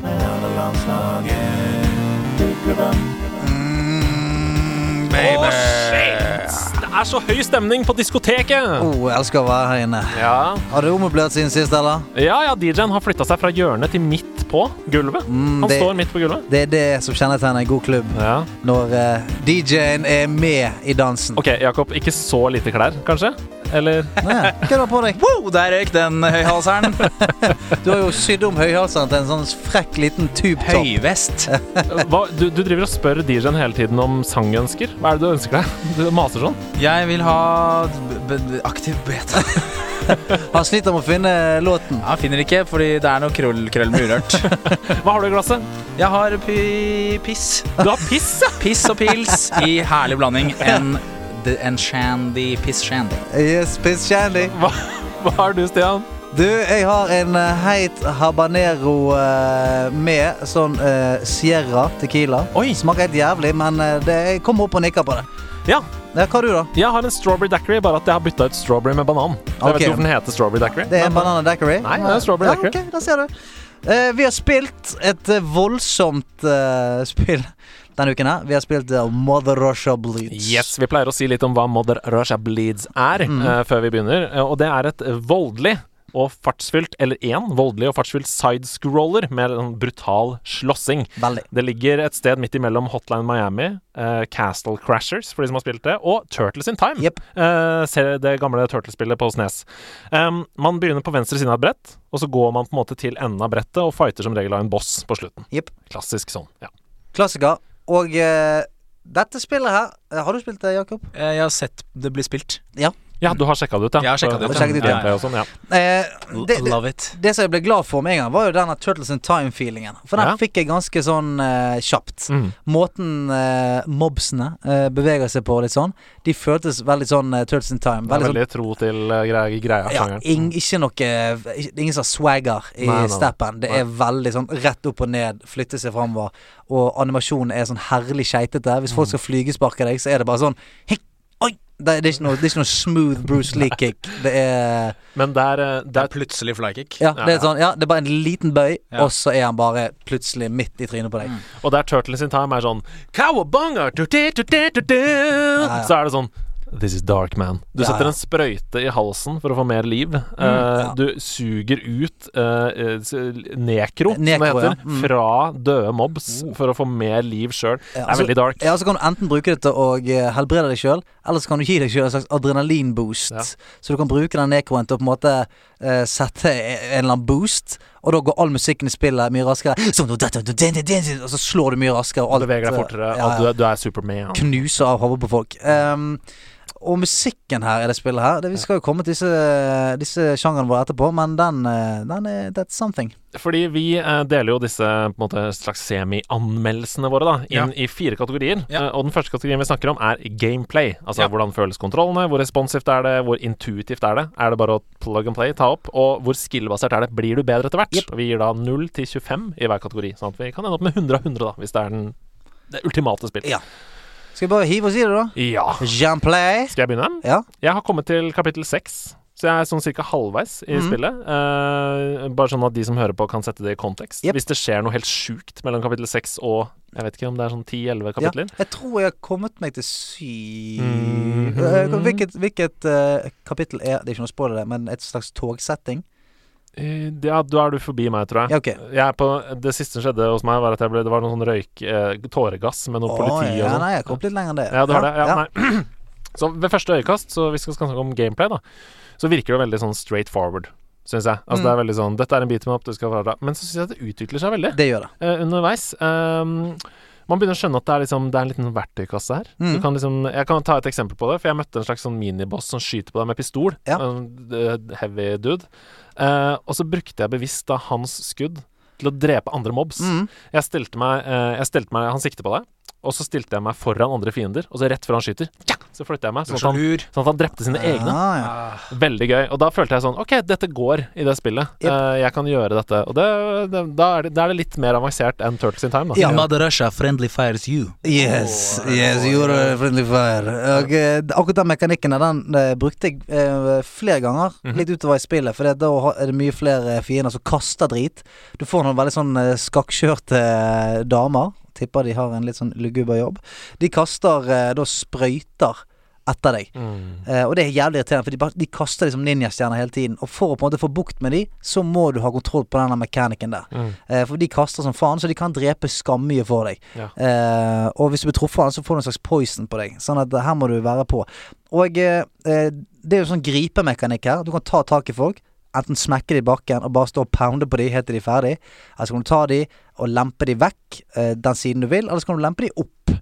med nederlandslaget. Spillklubben
Det er så høy stemning på diskoteket!
Oh, jeg elsker å være her inne.
Ja,
Har du ommøblert siden sist, eller?
ja, ja DJ-en har flytta seg fra hjørnet til midt på gulvet. Han
Mm, det-
står midt på gulvet.
Det er det som kjennetegner en god klubb.
Ja.
Når eh, DJ-en er med i dansen.
OK, Jakob. Ikke så lite klær, kanskje? eller
Nei, Hva er det du har på deg?
Wow, der røyk den eh, høyhalseren.
Du har jo sydd om høyhalseren til en sånn frekk liten tube-topp.
Høyvest.
hva, du, du driver og spør DJ-en hele tiden om sangønsker. Hva er det du ønsker deg? Du maser sånn.
Jeg vil ha b b aktiv beta.
Han sliter med å finne låten.
Jeg finner ikke, fordi det er noe krøll, krøll med urørt.
Hva har du i glasset?
Jeg har pi piss.
Du har piss, ja!
Piss og pils i herlig blanding. En, d- en shandy piss shandy.
Yes, piss shandy.
Hva, hva har du, Stian?
Du, jeg har en eh, heit habanero eh, med sånn eh, Sierra tequila.
Oi.
Smaker helt jævlig, men eh, det, jeg kommer opp og nikker på det.
Ja,
Ja, hva har du, da?
jeg har en strawberry dackery, bare at jeg har bytta ut strawberry med banan. Jeg
Ok.
vet ikke hvorfor den heter strawberry dackery.
Det er en
men-
banan og daiquiri?
Nei, det er strawberry
ja,
daiquiri.
ok, der ser du. Eh, vi har spilt et eh, voldsomt eh, spill denne uken her. Vi har spilt eh, Mother Russia Bleeds.
Yes, Vi pleier å si litt om hva Mother Russia Bleeds er, eh, før vi begynner. Eh, Og det er et voldelig og fartsfylt, eller én voldelig og fartsfylt sidescroller med en brutal slåssing.
Veldig.
Det ligger et sted midt imellom Hotline Miami, eh, Castle Crashers, for de som har spilt det, og Turtles in Time.
Jep.
Eh, ser det gamle Turtles-spillet på Snes. Um, man begynner på venstre siden av et brett, og så går man på en måte til enden av brettet og fighter som regel av en boss på slutten.
Jep.
Klassisk sånn. ja.
Klassiker. Og eh, dette spillet her eh, Har du spilt det, Jakob?
Eh, Jeg har sett det bli spilt.
Ja, du har sjekka det ut, ja?
Jeg har sjekket
På-
det ut,
på
ja.
gameplay og sånn, ja.
Eh, det, det,
Love it.
det som jeg ble glad for med en gang, var jo denne Turtles in Time-feelingen. For den
Ja.
fikk jeg ganske sånn eh, kjapt.
Mm.
Måten eh, mobsene eh, beveger seg på, og litt sånn. De føltes veldig sånn eh, Turtles in Time.
Det er
Veldig sånn
veldig tro til eh, gre- greia.
Ja,
sjangeren.
ing, ikke noe ikke- Det er ingen som har swagger i
Nei, nei, nei.
steppen. Det er veldig sånn rett opp og ned, flytte seg framover. Og animasjonen er sånn herlig skeitete. Hvis
Mm.
folk skal flygesparke deg, så er det bare sånn hikk, Oi! Det, det, er ikke noe, det er ikke noe smooth Bruce Lee-kick. Det er
Men det er, eh,
Det
det
er plutselig flykick.
Ja, det er sånn Ja, det er bare en liten bøy,
Ja.
og så er han bare plutselig midt i trynet på deg.
er, sånn- og der Turtles in Time er sånn Cowabunga! du, du, du, du, du, du.
ja.
Så er det sånn This is dark, man. Du
Ja,
setter
ja.
en sprøyte i halsen for å få mer liv. Eh,
ja.
Du suger ut eh, eh, s- nekro, som det
Nekro, ja.
heter,
Mm. Oh.
fra døde mobs for å få mer liv sjøl.
Ja,
det er
altså-
veldig dark.
Ja, så kan du enten bruke det til å eh, helbrede deg sjøl, eller så kan du gi deg sjøl en slags adrenalinboost.
Ja.
Så du kan bruke den nekroen til å på en måte eh, sette en eller annen boost, og da går all musikken i spillet mye raskere. Sånn, og så slår du mye raskere, og
Du
alt
beveger deg
eh,
fortere,
ja,
og du,
ja,
er- du er Superman.
knuser av hodet på folk. Ehm, og musikken her i det spillet her det, Vi skal jo komme til disse, disse sjangrene våre etterpå, men den, eh, den er That's something.
Fordi vi eh, deler jo disse på en måte, slags semi-anmeldelsene våre da, inn i fire kategorier.
Ja.
Eh, og den første kategorien vi snakker om, er gameplay. Altså
Ja.
hvordan føles kontrollene, hvor responsivt er det, hvor intuitivt er det. Er det bare å plug and play, ta opp, og hvor skillbasert er det? Blir du bedre etter hvert? Og Vi gir da 0 til 25 i hver kategori, sånn at vi kan ende opp med 100 av 100, da, hvis det er den, det ultimate spill.
Ja. Skal vi bare hive oss i det, da?
ja.
Jamplay.
Skal jeg begynne?
Ja.
Jeg har kommet til kapittel seks. Så jeg er sånn cirka halvveis i
Mhm.
spillet. Eh, bare sånn at de som hører på, kan sette det i kontekst.
Jep.
Hvis det skjer noe helt sjukt mellom kapittel seks og jeg vet ikke om det er sånn 10-11 kapitler.
Ja, jeg tror jeg har kommet meg til syv
Mhm.
Eh, Hvilket, hvilket eh, kapittel er Det er ikke noe spoiler, det, men et slags togsetting?
Eh, ja, da er du forbi meg, tror jeg.
Ja, ok.
Jeg er på, det siste som skjedde hos meg, var at jeg ble, det var noe sånn røyk... eh, tåregass med noe
Å,
politi og
ja,
sånn.
nei, jeg har kommet litt lenger enn det.
Ja, du har det? Ja,
Ja.
nei. Så ved første øyekast, så hvis vi skal snakke om gameplay, da, så virker det veldig sånn straight forward, syns jeg. Altså
Mm.
det er veldig sånn Dette er en bit med opp, du skal være Men så syns jeg at det utvikler seg veldig.
Det gjør det.
eh, underveis. Ehm, man begynner å skjønne at det er, liksom, det er en liten verktøykasse her.
Mm.
Du kan liksom, jeg kan ta et eksempel på det, for jeg møtte en slags sånn miniboss som skyter på deg med pistol.
Ja.
En eh, heavy dude. Eh, og så brukte jeg bevisst da hans skudd til å drepe andre mobs.
Mm.
Jeg stilte meg, eh, jeg stilte meg Han sikter på deg, og så stilte jeg meg foran andre fiender, og så rett før han skyter, tja, så flytter jeg meg. Sånn at han,
lur.
sånn at han drepte sine egne.
Ah, ja.
Veldig gøy. Og da følte jeg sånn Ok, dette går i det spillet.
Jep.
Eh, jeg kan gjøre dette. Og det, det, da, er det, da er det litt mer avansert enn Turtles in Time, da.
Ja.
Mother Russia friendly fires you.
Yes, yes, you're a friendly fire. Og, eh, akkurat den mekanikken der, den eh, brukte jeg eh, flere ganger litt utover i spillet. For det- da ha- er det mye flere fiender som kaster drit. Du får noen veldig sånn eh, skakkjørte eh, damer. Tipper de har en litt sånn luguber jobb. De kaster eh, da sprøyter etter deg. Eh, og det er jævlig irriterende, for de, bare, de kaster liksom ninjastjerner hele tiden. Og for å på en måte få bukt med de, så må du ha kontroll på den mekanikken der. Eh, for de kaster som faen, så de kan drepe skammye for deg.
Ja.
Eh, og hvis du blir truffet av den, så får du en slags poison på deg. Sånn at eh, her må du være på. Og eh, eh, det er jo sånn gripemekanikk her. Du kan ta tak i folk. Enten smekke de i bakken og bare stå og pounde på de helt til de er ferdig. Eller så kan du ta de og lempe de vekk eh, den siden du vil, eller så kan du lempe de opp.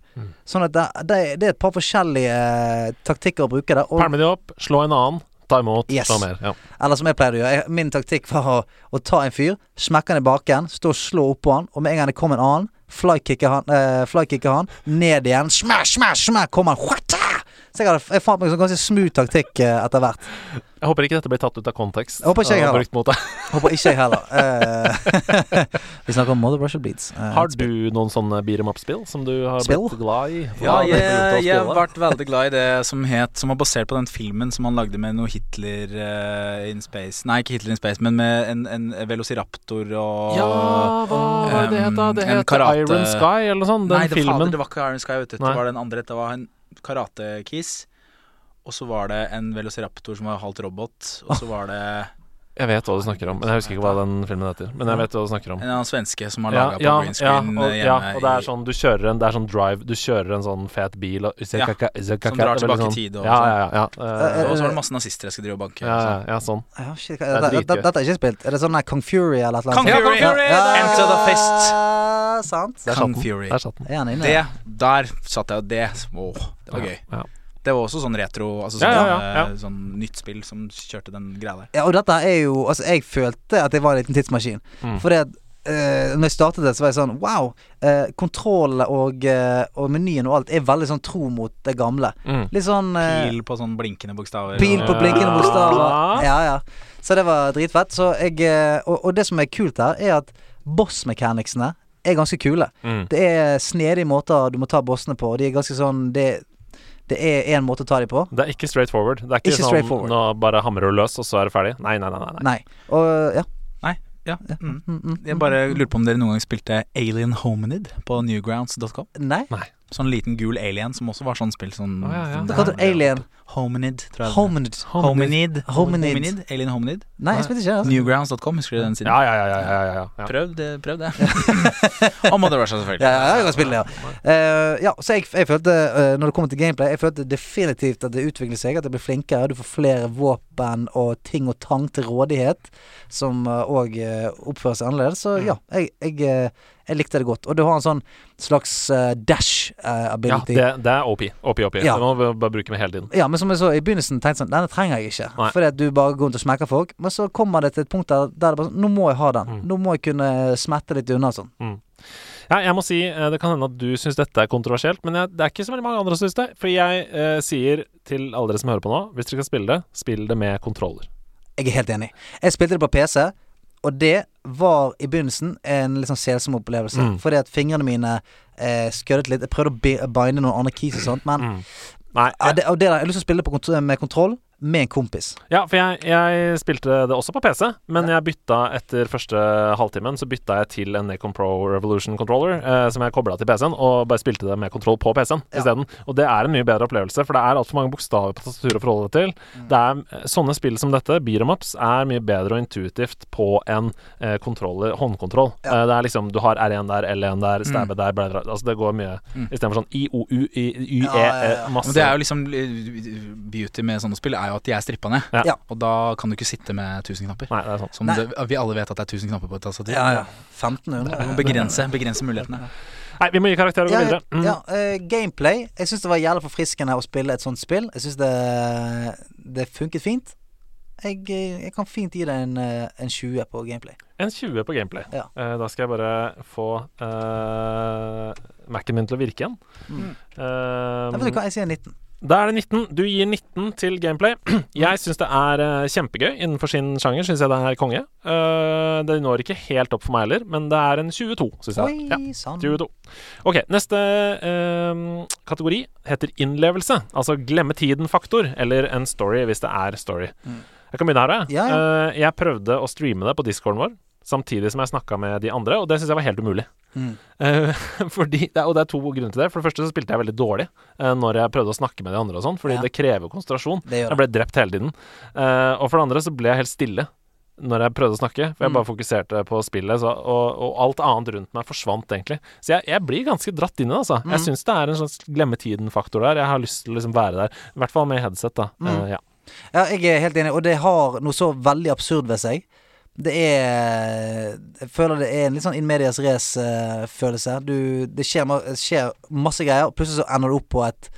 Sånn at det, det, det er et par forskjellige eh, taktikker å bruke der. Og
Pælme de opp, slå en annen, ta imot,
Yes.
slå mer. Ja.
eller som jeg pleide å gjøre. Jeg, min taktikk var å, å ta en fyr, smekke han i baken, stå og slå oppå han, og med en gang det kom en annen, flykicke han, eh, flykicke han ned igjen. Smash, smash, smash, kom han. Whatta! Så jeg, hadde, jeg fant meg en sånn ganske smooth taktikk eh, eter hvert.
Jeg håper ikke dette blir tatt ut av kontekst. eh,
Jeg håper ikke jeg
og
heller.
brukt mot deg.
Håper ikke jeg heller. Eh, vi snakker om Mother Russia Bleeds. Eh,
Har du noen sånne beat em up-spill som du har
Spill?
blitt glad i?
Ja,
Hva har du
jeg,
gjort å
jeg har
spille?
vært veldig glad i det som het Som var basert på den filmen som han lagde med noe Hitler eh, in space Nei, ikke Hitler in space, men med en, en velociraptor og
Ja, hva var det det het, da? Det
um, en
het
karate-
Iron Sky, eller noe sånt. Den
Nei, det,
filmen.
Fader, det var ikke Iron Sky, vet du.
Nei.
Det var den andre. Det var en karatekiss. Og så var det en velociraptor som var halvt robot. Og så var det
Jeg vet hva du snakker om, men jeg husker ikke hva den filmen heter. Men jeg vet hva du snakker om.
en annen svenske som har
Ja,
laga
ja,
på green screen
ja, og,
eh,
ja,
hjemme.
og det
i-
er sånn du kjører en Det er sånn drive Du kjører en sånn fet bil og,
Ja, som drar tilbake i tid
sånn-
og sånn.
Ja, ja, ja. ja.
og så var det masse nazister jeg skulle drive og banke.
Eh, ja, ja,
så.
ja sånn.
Ja, shit,
er
dette, dette,
dritgøy.
dette er ikke spilt. Er det sånn der Kong Fury eller et eller
Kong
annet?
Fury!
Ja, ja,
Enter the fist!
ja, sant.
Der
Kong
satt den.
Fury.
Der satt den.
Er han inne?
Det, der satt jeg, og det Åh, det var gøy.
Ja,
Det var også sånn retro,
Ja,
altså sånn,
ja, ja,
eh, sånn nytt spill som kjørte den greia der.
Ja, og dette er jo Altså, jeg følte at jeg var en liten tidsmaskin.
Mm.
Fordi at eh, når jeg startet det, så var jeg sånn Wow! Uh, Kontrollene og, eh, og menyen og alt er veldig sånn tro mot det gamle.
Mm.
Litt sånn eh,
Pil på sånn blinkende bokstaver.
Pil
og-
på
Ja.
blinkende
Ja.
bokstaver. Ja, ja. Så det var dritfett. Så jeg, eh, og, og det som er kult her, er at boss-mechanicsene er ganske kule.
Mm.
Det er snedige måter du må ta bossene på. De er ganske sånn Det, det er én måte å ta dem på.
Det er ikke straight forward. Det er ikke,
Ikke straight
sånn
forward.
nå bare hamrer du løs, og så er du ferdig. Nei, nei, nei. nei, nei.
Nei. Og ja.
Nei, ja. Mm. Jeg bare lurer på om dere noen gang spilte Alien Hominid på newgrounds.com.
Nei.
Sånn liten gul alien som også var sånn spill sånn,
Å, ja, ja.
sånn
Da kalte du Alien
Hominid, tror jeg.
Hominid.
Hominid.
Hominid.
Alien Hominid.
Nei, jeg spilte ikke det. Altså.
Newgrounds.com, husker du den siden?
Ja, ja, ja. ja, ja, ja, ja.
Prøv det. Prøv det. Og Mother Russia, selvfølgelig.
Ja, ja, jeg kan spille det, ja. Eh, ja så jeg, jeg følte, eh, når det kommer til gameplay, jeg følte definitivt at det utvikler seg, at jeg blir flinkere. Du får flere våpen og ting og tang til rådighet, som òg oppfører seg annerledes. Så ja, jeg, jeg, eh, jeg likte det godt. Og du har en sånn slags eh, dash eh,
ja
ability.
det, det er OP. OP, OP.
Ja.
Det må vi bare bruke med hele tiden.
Ja, men som jeg så i begynnelsen tenkte jeg sånn Denne trenger jeg ikke.
Nei.
Fordi at du bare går rundt og smekker folk. Men så kommer det til et punkt der, der det bare sånn Nå må jeg ha den.
Mm.
Nå må jeg kunne eh, smette litt unna og sånn.
Ja, jeg må si, eh, Det kan hende at du syns dette er kontroversielt, men jeg, det er ikke så veldig mange andre som syns det. For jeg eh, sier til alle dere som hører på nå, hvis dere skal spille det, spill det med kontroller.
Jeg er helt enig. Jeg spilte det på PC, og det var i begynnelsen en litt sånn selsom opplevelse. Fordi at fingrene mine eh, skødet litt. Jeg prøvde å bi- binde noen andre keys og sånt, men
Nei,
ja, det, og det der, jeg har lyst til å spille det på kont med kontroll med en kompis.
Ja, for jeg, jeg spilte det også på PC, men jeg bytta etter første halvtimen Så bytta jeg til en Nacon Pro Revolution controller, eh, som jeg kobla til PC-en, og bare spilte det med kontroll på PC-en isteden. Og det er en mye bedre opplevelse, for det er altfor mange bokstaver på tastaturet å forholde deg til. Det er, eh, sånne spill som dette, Beatemups, er mye bedre og intuitivt på en eh, kontroller, håndkontroll. Eh, det er liksom Du har R1 der, L1 der, stabbe der, bla, bla, bla. Altså det går mye Istedenfor sånn IOU, YE,
Ja, ja, ja.
Men
masse
det er jo liksom eh, Beauty med sånne spill er jo at de er strippa ned.
Ja.
Ja.
Og da kan du ikke sitte med 1000 knapper.
Nei, det er sånn.
Som
Nei.
det, vi alle vet at det er 1000 knapper på et tastatur.
Ja, ja. 1500.
Begrense, begrense mulighetene.
Nei, vi må gi karakter og gå
Ja,
videre. Mm.
ja, eh, gameplay. Jeg syns det var jævla forfriskende å spille et sånt spill. Jeg syns det, det funket fint. Jeg, eh, jeg kan fint gi det en, eh, en 20 på gameplay.
En 20 på gameplay.
Ja.
Eh, da skal jeg bare få uh, Mac-en min til å virke igjen. Eh,
Nei, vet Mm. du hva, jeg sier 19.
da er det 19. Du gir 19 til gameplay. Jeg syns det er eh, kjempegøy. Innenfor sin sjanger syns jeg det er konge. Eh, det når ikke helt opp for meg heller, men det er en 22, syns jeg. Ja.
Oi sann.
22. Ok, neste eh, kategori heter innlevelse. Altså glemme tiden-faktor, eller en story hvis det er story. Jeg kan begynne her,
Mm.
jeg.
Ja, ja.
Eh, jeg prøvde å streame det på discorden vår, samtidig som jeg snakka med de andre, og det syns jeg var helt umulig.
Mm.
Eh, fordi, det er- og det er to grunner til det. For det første så spilte jeg veldig dårlig eh, når jeg prøvde å snakke med de andre og sånn, fordi
Ja.
det krever konsentrasjon.
Det gjør
Jeg ble drept hele tiden. Eh, og for det andre så ble jeg helt stille når jeg prøvde å snakke,
Mm.
for jeg bare fokuserte på spillet, så, og, og alt annet rundt meg forsvant egentlig. Så jeg, jeg blir ganske dratt inn i det, altså.
Mm.
Jeg syns det er en slags glemmetiden-faktor der. Jeg har lyst til å liksom være der, i hvert fall med headset, da.
Mm.
Eh, ja.
Ja, jeg er helt enig, og det har noe så veldig absurd ved seg. Det er Jeg føler det er en litt sånn in medias race-følelse. Du Det skjer, ma- skjer masse greier, og plutselig så ender du opp på et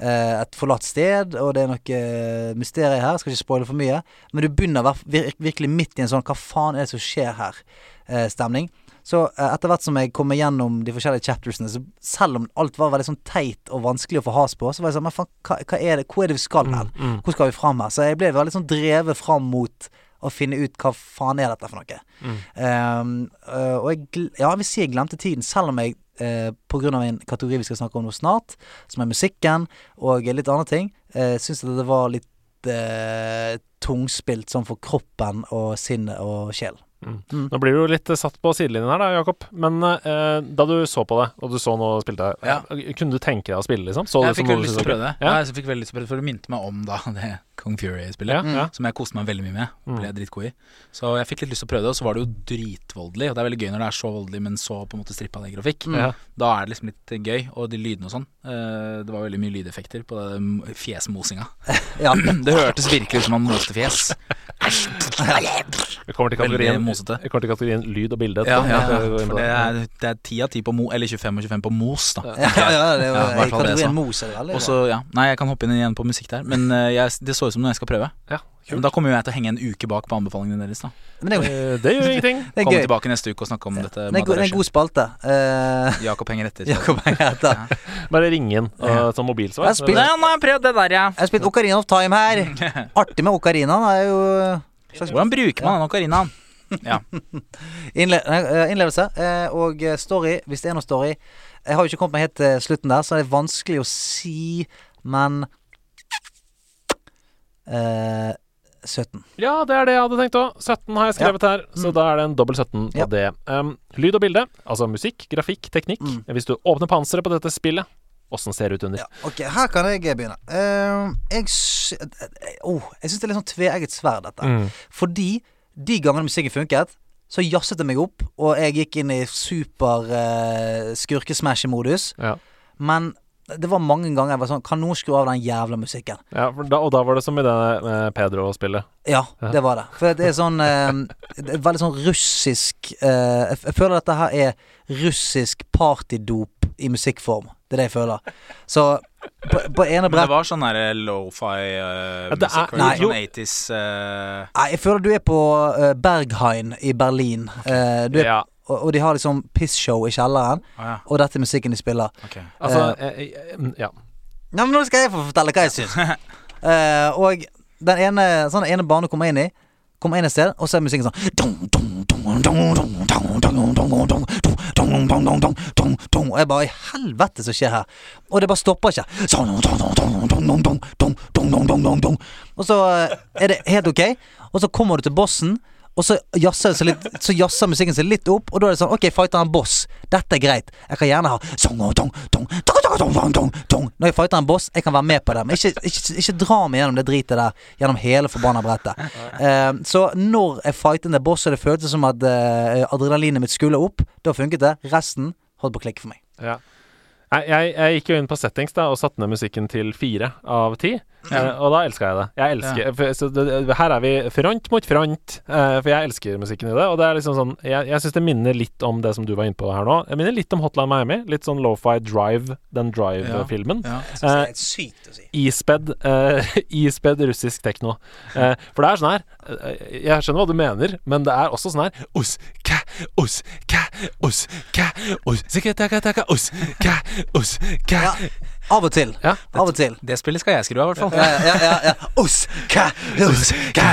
eh, et forlatt sted, og det er noe eh, mysterier her. Skal ikke spoile for mye. Men du begynner hver- vir virkelig midt i en sånn 'hva faen er det som skjer her?'-stemning. så eh, etter hvert som jeg kommer gjennom de forskjellige chaptersene, så selv om alt var veldig sånn teit og vanskelig å få has på, så var jeg sånn Men faen, hva, hva er det? Hvor er det vi skal her? Hvor skal vi fram her? Så jeg ble veldig sånn drevet fram mot å finne ut hva faen er dette for noe.
Mm.
Ehm, øh, og jeg, gl- ja, jeg vil si jeg glemte tiden, selv om jeg eh, på grunn av en kategori vi skal snakke om nå snart, som er musikken og litt andre ting, uh, syns at det var litt eh, tungspilt sånn for kroppen og sinnet og sjel.
Mm.
Nå blir du jo litt eh, satt på sidelinjen her da, Jakob. Men eh, da du så på det, og du så nå spilte
Ja.
eh, kunne du tenke deg å spille, liksom? Så det
Jeg
som
fikk
noe du
veldig lyst til å
syntes
prøve det.
var gøy?
Ja. jeg fikk veldig lyst til å prøve det, For det minte meg om da det Kong Fury-spillet.
Ja, ja, ja.
Som jeg koste meg veldig mye med.
Mm.
og Ble dritgod i. Så jeg fikk litt lyst til å prøve det, og så var det jo dritvoldelig. Og det er veldig gøy når det er så voldelig, men så på en måte strippa ned grafikk.
Ja.
Da er det liksom litt gøy. Og de lydene og sånn. eh, Det var veldig mye lydeffekter på det mm, fjesmosinga.
Ja.
Det hørtes virkelig ut som han moste fjes.
Vi kommer til
Veldig
kategorien,
mosete.
vi kommer til kategorien lyd og bilde.
Ja,
etterpå.
ja,
Vi skal gå inn
for
på
det
det.
er, det er 10 av 10 på mo, eller 25 og 25 på mos, da.
Ja, ja, det er jo
Ja, i hvert
i
fall det, så.
kategorien Mos er det veldig
Og så, ja Nei, jeg kan hoppe inn igjen på musikk der, men eh, jeg, det så ut som noe jeg skal prøve.
Ja,
Men da kommer jo jeg til å henge en uke bak på anbefalingene deres, da.
bra. Men det er jo
Eh, det gjør ingenting.
det er
Komme
gøy.
tilbake neste uke og snakke om
Det
dette.
er, go det er en god spalte. Eh,
Jakob henger etter.
Jakob henger etter.
Bare ring inn uh, som mobilsvar.
Jeg spiller-
Nei, han har prøvd det der, ja.
Jeg har spilt Ocarina of Time her. Artig med Ocarinaen er jo
Hvordan bruker man den okarinaen? Ja.
innle eh, innlevelse. eh, Og eh, story, hvis det er noe story. Jeg har jo ikke kommet meg helt til slutten der, så det er vanskelig å si, men eh, 17.
Ja, det er det jeg hadde tenkt òg. 17 har jeg skrevet her, så da er det en dobbel 17 på
Ja.
det. Um, lyd og bilde, altså musikk, grafikk, teknikk. Hvis du åpner panseret på dette spillet, åssen ser det ut under?
Ja, ok, her kan jeg begynne. Eh, jeg sy oh, jeg syns det er litt sånn tveegget sverd, dette.
Mm.
Fordi de gangene musikken funket, så jazzet det meg opp, og jeg gikk inn i super eh, skurkesmash-modus.
Ja.
Men det var mange ganger jeg var sånn Kan noen skru av den jævla musikken?
Ja, for da, og da var det som i det eh, Pedro-spillet.
Ja, det var det. For det er sånn eh, det er Veldig sånn russisk eh, jeg, f- jeg føler dette her er russisk partydop i musikkform. Det er det jeg føler. Så på, på ene
Men det
brett
var sånn derre lofi
Ja,
uh,
det er-
musikk. var
nei,
det
jo.
Sånn 80s eh,
Nei, jeg føler du er på eh, Berghain i Berlin. Eh, du er,
Ja.
og, og de har liksom pissshow i kjelleren,
Å ja.
og dette er musikken de spiller.
Ok.
Altså, eh, eh, mm, ja.
Nei, men nå skal jeg få fortelle hva jeg syns. Eh, og den ene, sånn, den ene banen du kommer inn i, kommer inn et sted, og så er musikken sånn Og jeg bare I helvete som skjer her? Og det bare stopper ikke. Sånn, Og så eh, er det helt ok, og så kommer du til bossen. Og så jazzer, det seg litt, så jazzer musikken seg litt opp, og da er det sånn OK, fighter en boss. Dette er greit. Jeg kan gjerne ha song og tong, tong, tong, tong, tong, tong, tong, tong. Når jeg fighter en boss, jeg kan være med på det. Men ikke, ikke, ikke dra meg gjennom det dritet der gjennom hele forbanna brettet. Eh, så når jeg fightet en boss og det føltes som at eh, adrenalinet mitt skulle opp, da funket det. Resten holdt på å klikke for meg.
ja. Nei, Jeg, jeg gikk jo inn på settings da og satte ned musikken til fire av ti. eh, Og da elska jeg det. Jeg elsker for, så det, det- Her er vi front mot front, eh, for jeg elsker musikken i det. Og det er liksom sånn Jeg, jeg syns det minner litt om det som du var inne på her nå. Det minner litt om Hotline Miami. Litt sånn lofi drive, den drive-filmen.
Ja.
Det
Eh,
er helt sykt å si.
Ispedd eh, ispedd russisk tekno. Eh, for det er sånn her eh, Jeg skjønner hva du mener, men det er også sånn her Os, ka, os, ka, os, ka, os, sikka, taka, taka, os, ka, os, ka.
Ja, av og til.
Ja.
Av og til.
Det spillet skal jeg skru av, i hvert fall.
Ja, ja, ja, ja. Os, ka, os, ka,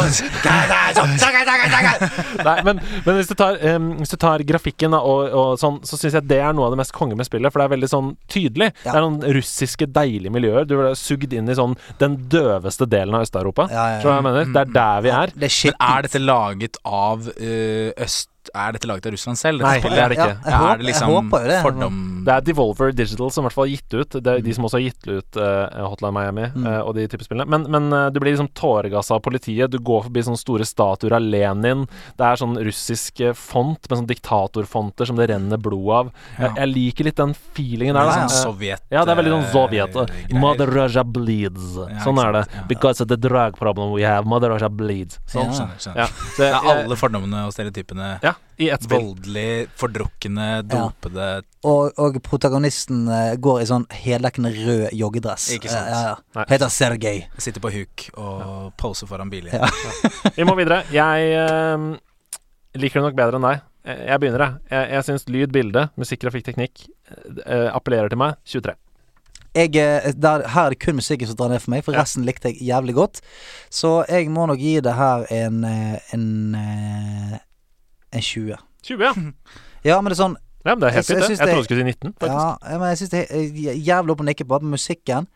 os, ka, os, ka, taka, taka.
Nei, men, men hvis, du tar, em, hvis du tar grafikken da, og, og sånn, så syns jeg det er noe av det mest konge med spillet, for det er veldig sånn tydelig.
Ja.
Det er noen russiske, deilige miljøer. Du blir sugd inn i sånn den døveste delen av Øst-Europa.
Ja, Mm, ja, ja.
Skjønner du hva jeg mener? Det er der vi er.
Det er
Men
skittent.
er dette laget av eh, øst, Er dette laget av Russland selv?
Nei,
Dette spillet?
det er det ikke.
Ja, jeg,
er
håper,
det liksom
jeg håper jo det.
fordom
Det er Devolver Digital som i hvert fall har gitt ut Det
Mm.
er jo de som også har gitt ut eh, Hotline Miami eh, og de type spillene. Men, men eh, du blir liksom tåregassa av politiet. Du går forbi sånne store statuer av Lenin. Det er sånn russisk eh, font med sånn diktatorfonter som det renner blod av. Jeg, jeg liker litt den feelingen der. da.
Litt
Eh,
sånn Sovjet
ja, det er veldig sånn
eh,
Sovjet.
greier.
Mother Russia bleeds.
Ja,
Sånn
ikke
er det.
sant. Ja.
Because of the drug problem we have, Mother Russia bleeds. Sånn.
Ja, skjønner, skjønner.
Ja. Så
Det
jeg-
er alle fordommene og stereotypene.
Ja, i ett spill.
Voldelig, fordrukne, dopede
Og, og protagonisten eh, går i sånn heldekkende rød joggedress.
Ikke
Eh,
sant.
Ja, ja.
Nei.
Heter Sergej.
Sitter på huk og poser foran biler.
Ja.
Vi må videre. Jeg eh, liker det nok bedre enn deg. Eh, Jeg begynner, jeg. Jeg, jeg syns lyd, bilde, musikk, grafikk, teknikk eh, eh, appellerer til meg. 23.
Jeg, eh, der, her er det kun musikken som drar ned for meg, for
Ja.
resten likte jeg jævlig godt. Så jeg må nok gi det her en eh, en, eh, en 20.
20, ja.
Ja, men det er sånn
ja men det er helt
Jeg- jeg
fint, det.
syns
Jeg
det-
trodde du skulle si 19. faktisk.
Ja, men jeg syns det er jeg er jævlig opp å nikke på at musikken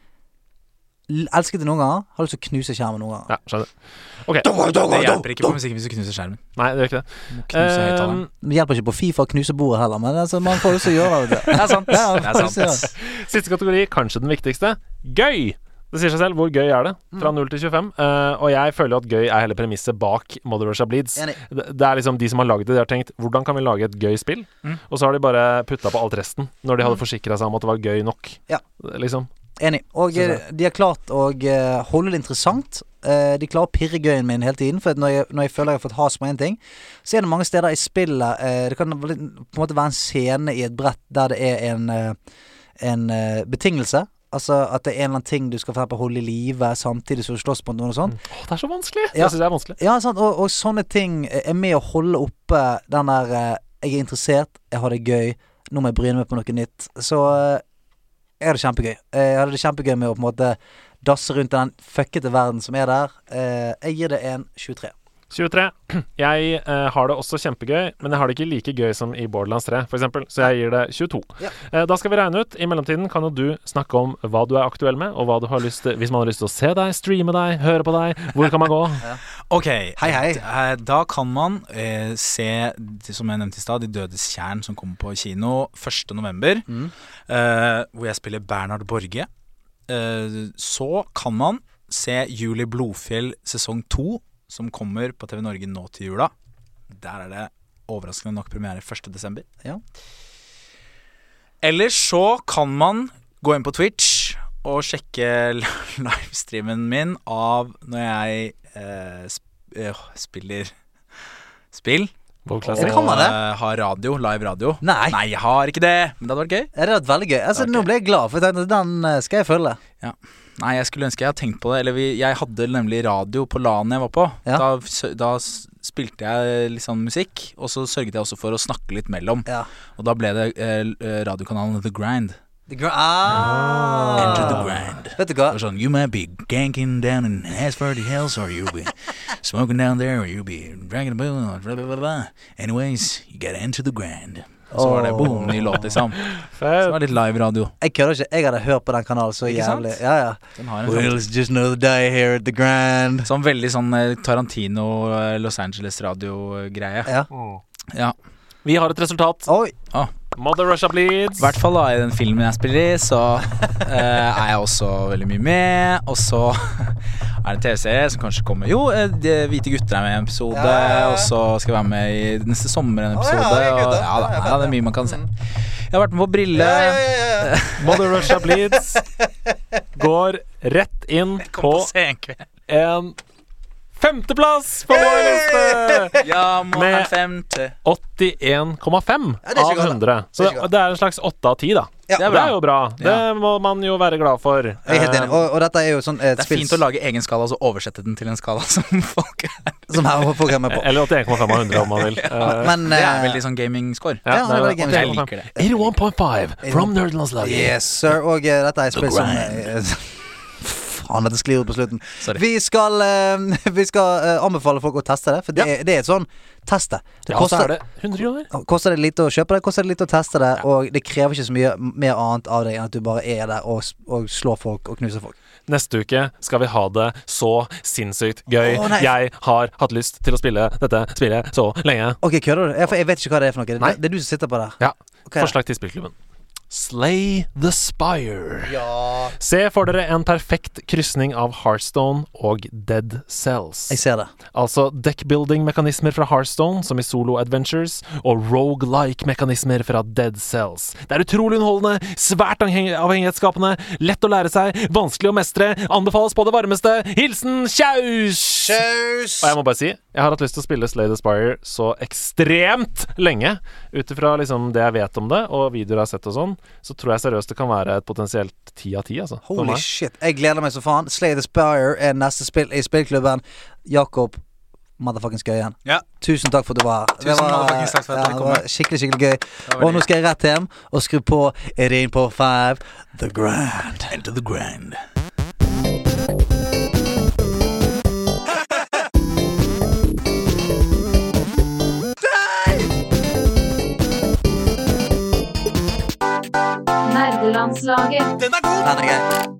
l- Elsket det noen ganger. Har lyst til å knuse skjermen noen ganger.
Ja, skjønner. OK.
Det hjelper ikke på musikken hvis du knuser skjermen.
Nei, det gjør ikke det.
Du må knuse høyttaleren.
Eh,
Det hjelper ikke på Fifa å knuse bordet heller, men altså, man får lyst til å gjøre det. vet du.
Det er sant.
Ja,
Det er sant.
sant.
Siste kategori, kanskje den viktigste. Gøy! Det sier seg selv. Hvor gøy er det? Fra
Mm.
0 til 25. Eh, og jeg føler at gøy er hele premisset bak Mother Russia Bleeds.
Enig.
Det, det er liksom de som har lagd det, de har tenkt 'hvordan kan vi lage et gøy spill?'
Mm.
Og så har de bare putta på alt resten, når de hadde forsikra seg om at det var gøy nok.
Ja.
Liksom.
Enig. Og
Synes jeg.
eh, de har klart å eh, holde det interessant. Eh, De klarer å pirre gøyen min hele tiden, for at når jeg, når jeg føler jeg har fått has på én ting, så er det mange steder i spillet eh, Det kan være litt- på en måte være en scene i et brett der det er en, eh, en eh, betingelse. Altså at det er en eller annen ting du skal for eksempel holde i live samtidig som du slåss mot noen og sånn. sånt.
Åh, det er så vanskelig!
Ja.
Jeg syns det er vanskelig.
Ja, sant, og, og sånne ting er med å holde oppe den der eh, Jeg er interessert, jeg har det gøy, nå må jeg bryne meg på noe nytt. Så eh, jeg har det kjempegøy. Eh, Jeg hadde det kjempegøy med å på en måte dasse rundt i den fuckete verden som er der. Eh, Jeg gir det en 23.
23. Jeg eh, har det også kjempegøy, men jeg har det ikke like gøy som i Borderlands 3, f.eks., så jeg gir det 22.
Ja.
Eh, da skal vi regne ut. I mellomtiden kan jo du snakke om hva du er aktuell med, og hva du har lyst til Hvis man har lyst til å se deg, streame deg, høre på deg, hvor kan man gå?
Ok,
Hei, hei.
d- eh, da kan man eh, se, d- som jeg nevnte i stad, De dødes tjern som kommer på kino 1. november.
Mm.
eh, hvor jeg spiller Bernhard Borge. Eh, så kan man se Juli Blodfjell sesong 2, som kommer på TV Norge nå til jula. Der er det overraskende nok premiere 1. desember.
Ja.
Ellers så kan man gå inn på Twitch og sjekke livestreamen min av når jeg eh, sp eh, spiller spill.
Wow,
Og
classic.
kan man det?
eh, har radio, live radio.
Nei.
Nei, jeg har ikke det, men det hadde vært gøy.
Ja, Det hadde vært veldig gøy. Altså,
Ok.
Nå ble jeg glad, for jeg tenkte at den eh, skal jeg følge.
Ja. Nei, jeg skulle ønske jeg hadde tenkt på det. Eller vi, jeg hadde nemlig radio på LAN jeg var på.
Ja.
Da, s- da s- spilte jeg litt sånn musikk, og så sørget jeg også for å snakke litt mellom.
Ja.
Og da ble det eh, l- eh, radiokanalen The Grind.
The gr- ah.
Enter The Grind.
Vet du hva?
Det var sånn You might be ganking down in Hasford Hills, or you'll be smoking down there, or you'll be drinking a boo, or blah, blah, blah, blah. Anyways, you gotta enter the grind. Og så var det boom, ny låt, liksom. Så det var litt live radio.
Jeg kødder ikke. Jeg hadde hørt på den kanalen så
Ikke sant?
jævlig. Ja, ja.
Den har en
Well,
sånn,
it's just another day here at the grand.
sånn veldig sånn eh, Tarantino, eh, Los Angeles-radio-greie.
Ja.
Ja.
Vi har et resultat.
Oi.
Mother Russia Bleeds.
I hvert fall da i den filmen jeg spiller i, så eh, er jeg også veldig mye med. Og så er det en TV-serie som kanskje kommer Jo, eh, de Hvite gutter er med i en episode.
Ja, ja, ja.
Og så skal jeg være med i neste sommer en
Å, ja,
episode.
det er gøy,
og,
da.
ja, da,
Ja, ja,
ja, det er mye man kan se. Jeg har vært med på Brille.
ja,
Mother Russia Bleeds går rett inn på
Senkveld.
en femteplass på vår liste!
Ja, må
Med-
ha en femte.
81,5
det er ikke
av
galt, da.
100. Så
Det
det
er ikke
er, en slags 8 av 10, da.
Ja.
det, er jo bra. Det
Ja.
må man jo være glad for.
Jeg er helt enig.
Eh,
Og, og dette er jo sånn et
Det er fint å lage egen skala og så oversette den til en skala som folk er.
som her folk er med på.
Eh, Eller 81,5 av 100, om man vil. Eh,
Men
Det er
eh,
veldig sånn gaming-score.
ja,
ja, det er veldig gaming.
Jeg liker det.
81,5 from Nerdelandslaget.
Yes, sir. Og eh, dette er et spill som eh, Faen, dette sklir ut på slutten.
Sorry.
Vi skal, eh, vi skal eh, anbefale folk å teste det, for det, er- det er et sånn test det. Det
Ja, så er
koster,
det 100 kroner.
koster det lite å kjøpe det, koster det lite å teste det, og det krever ikke så mye mer annet av deg enn at du bare er der og, s- og slår folk og knuser folk.
Neste uke skal vi ha det så sinnssykt gøy.
Å, nei.
jeg har hatt lyst til å spille dette spillet så lenge.
Ok, kødder du? Ja, for jeg vet ikke hva det er for noe.
Nei.
Det, det er du som sitter på det.
Ja.
Ok, da.
Forslag til spillklubben. Slay the Spire. Se for dere en perfekt krysning av Heartstone og Dead Cells.
Jeg ser det.
Altså deckbuilding-mekanismer fra Hearthstone, som i Solo Adventures, og roguelike-mekanismer fra Dead Cells. Det er utrolig underholdende, svært avheng- avhengighetsskapende, lett å lære seg, vanskelig å mestre, anbefales på det varmeste. Hilsen Kjaus! Og jeg må bare si, jeg har hatt lyst til å spille Slay the Spire så ekstremt lenge, ut ifra liksom det jeg vet om det, og videoer jeg har sett og sånn, så tror jeg seriøst det kan være et potensielt ti av ti, altså. for
Holy
meg.
shit. Jeg gleder meg så faen. Slay the Spire er neste spill i spillklubben. Jakob motherfuckings Gøyen.
Ja.
Tusen takk for at du var her.
Tusen motherfuckings takk for at jeg
det
kom.
var skikkelig, skikkelig gøy. Og nå skal jeg rett hjem og skru på It In På Five The Grand.
Into the grind.
Nerdelandslaget.
Den er grei.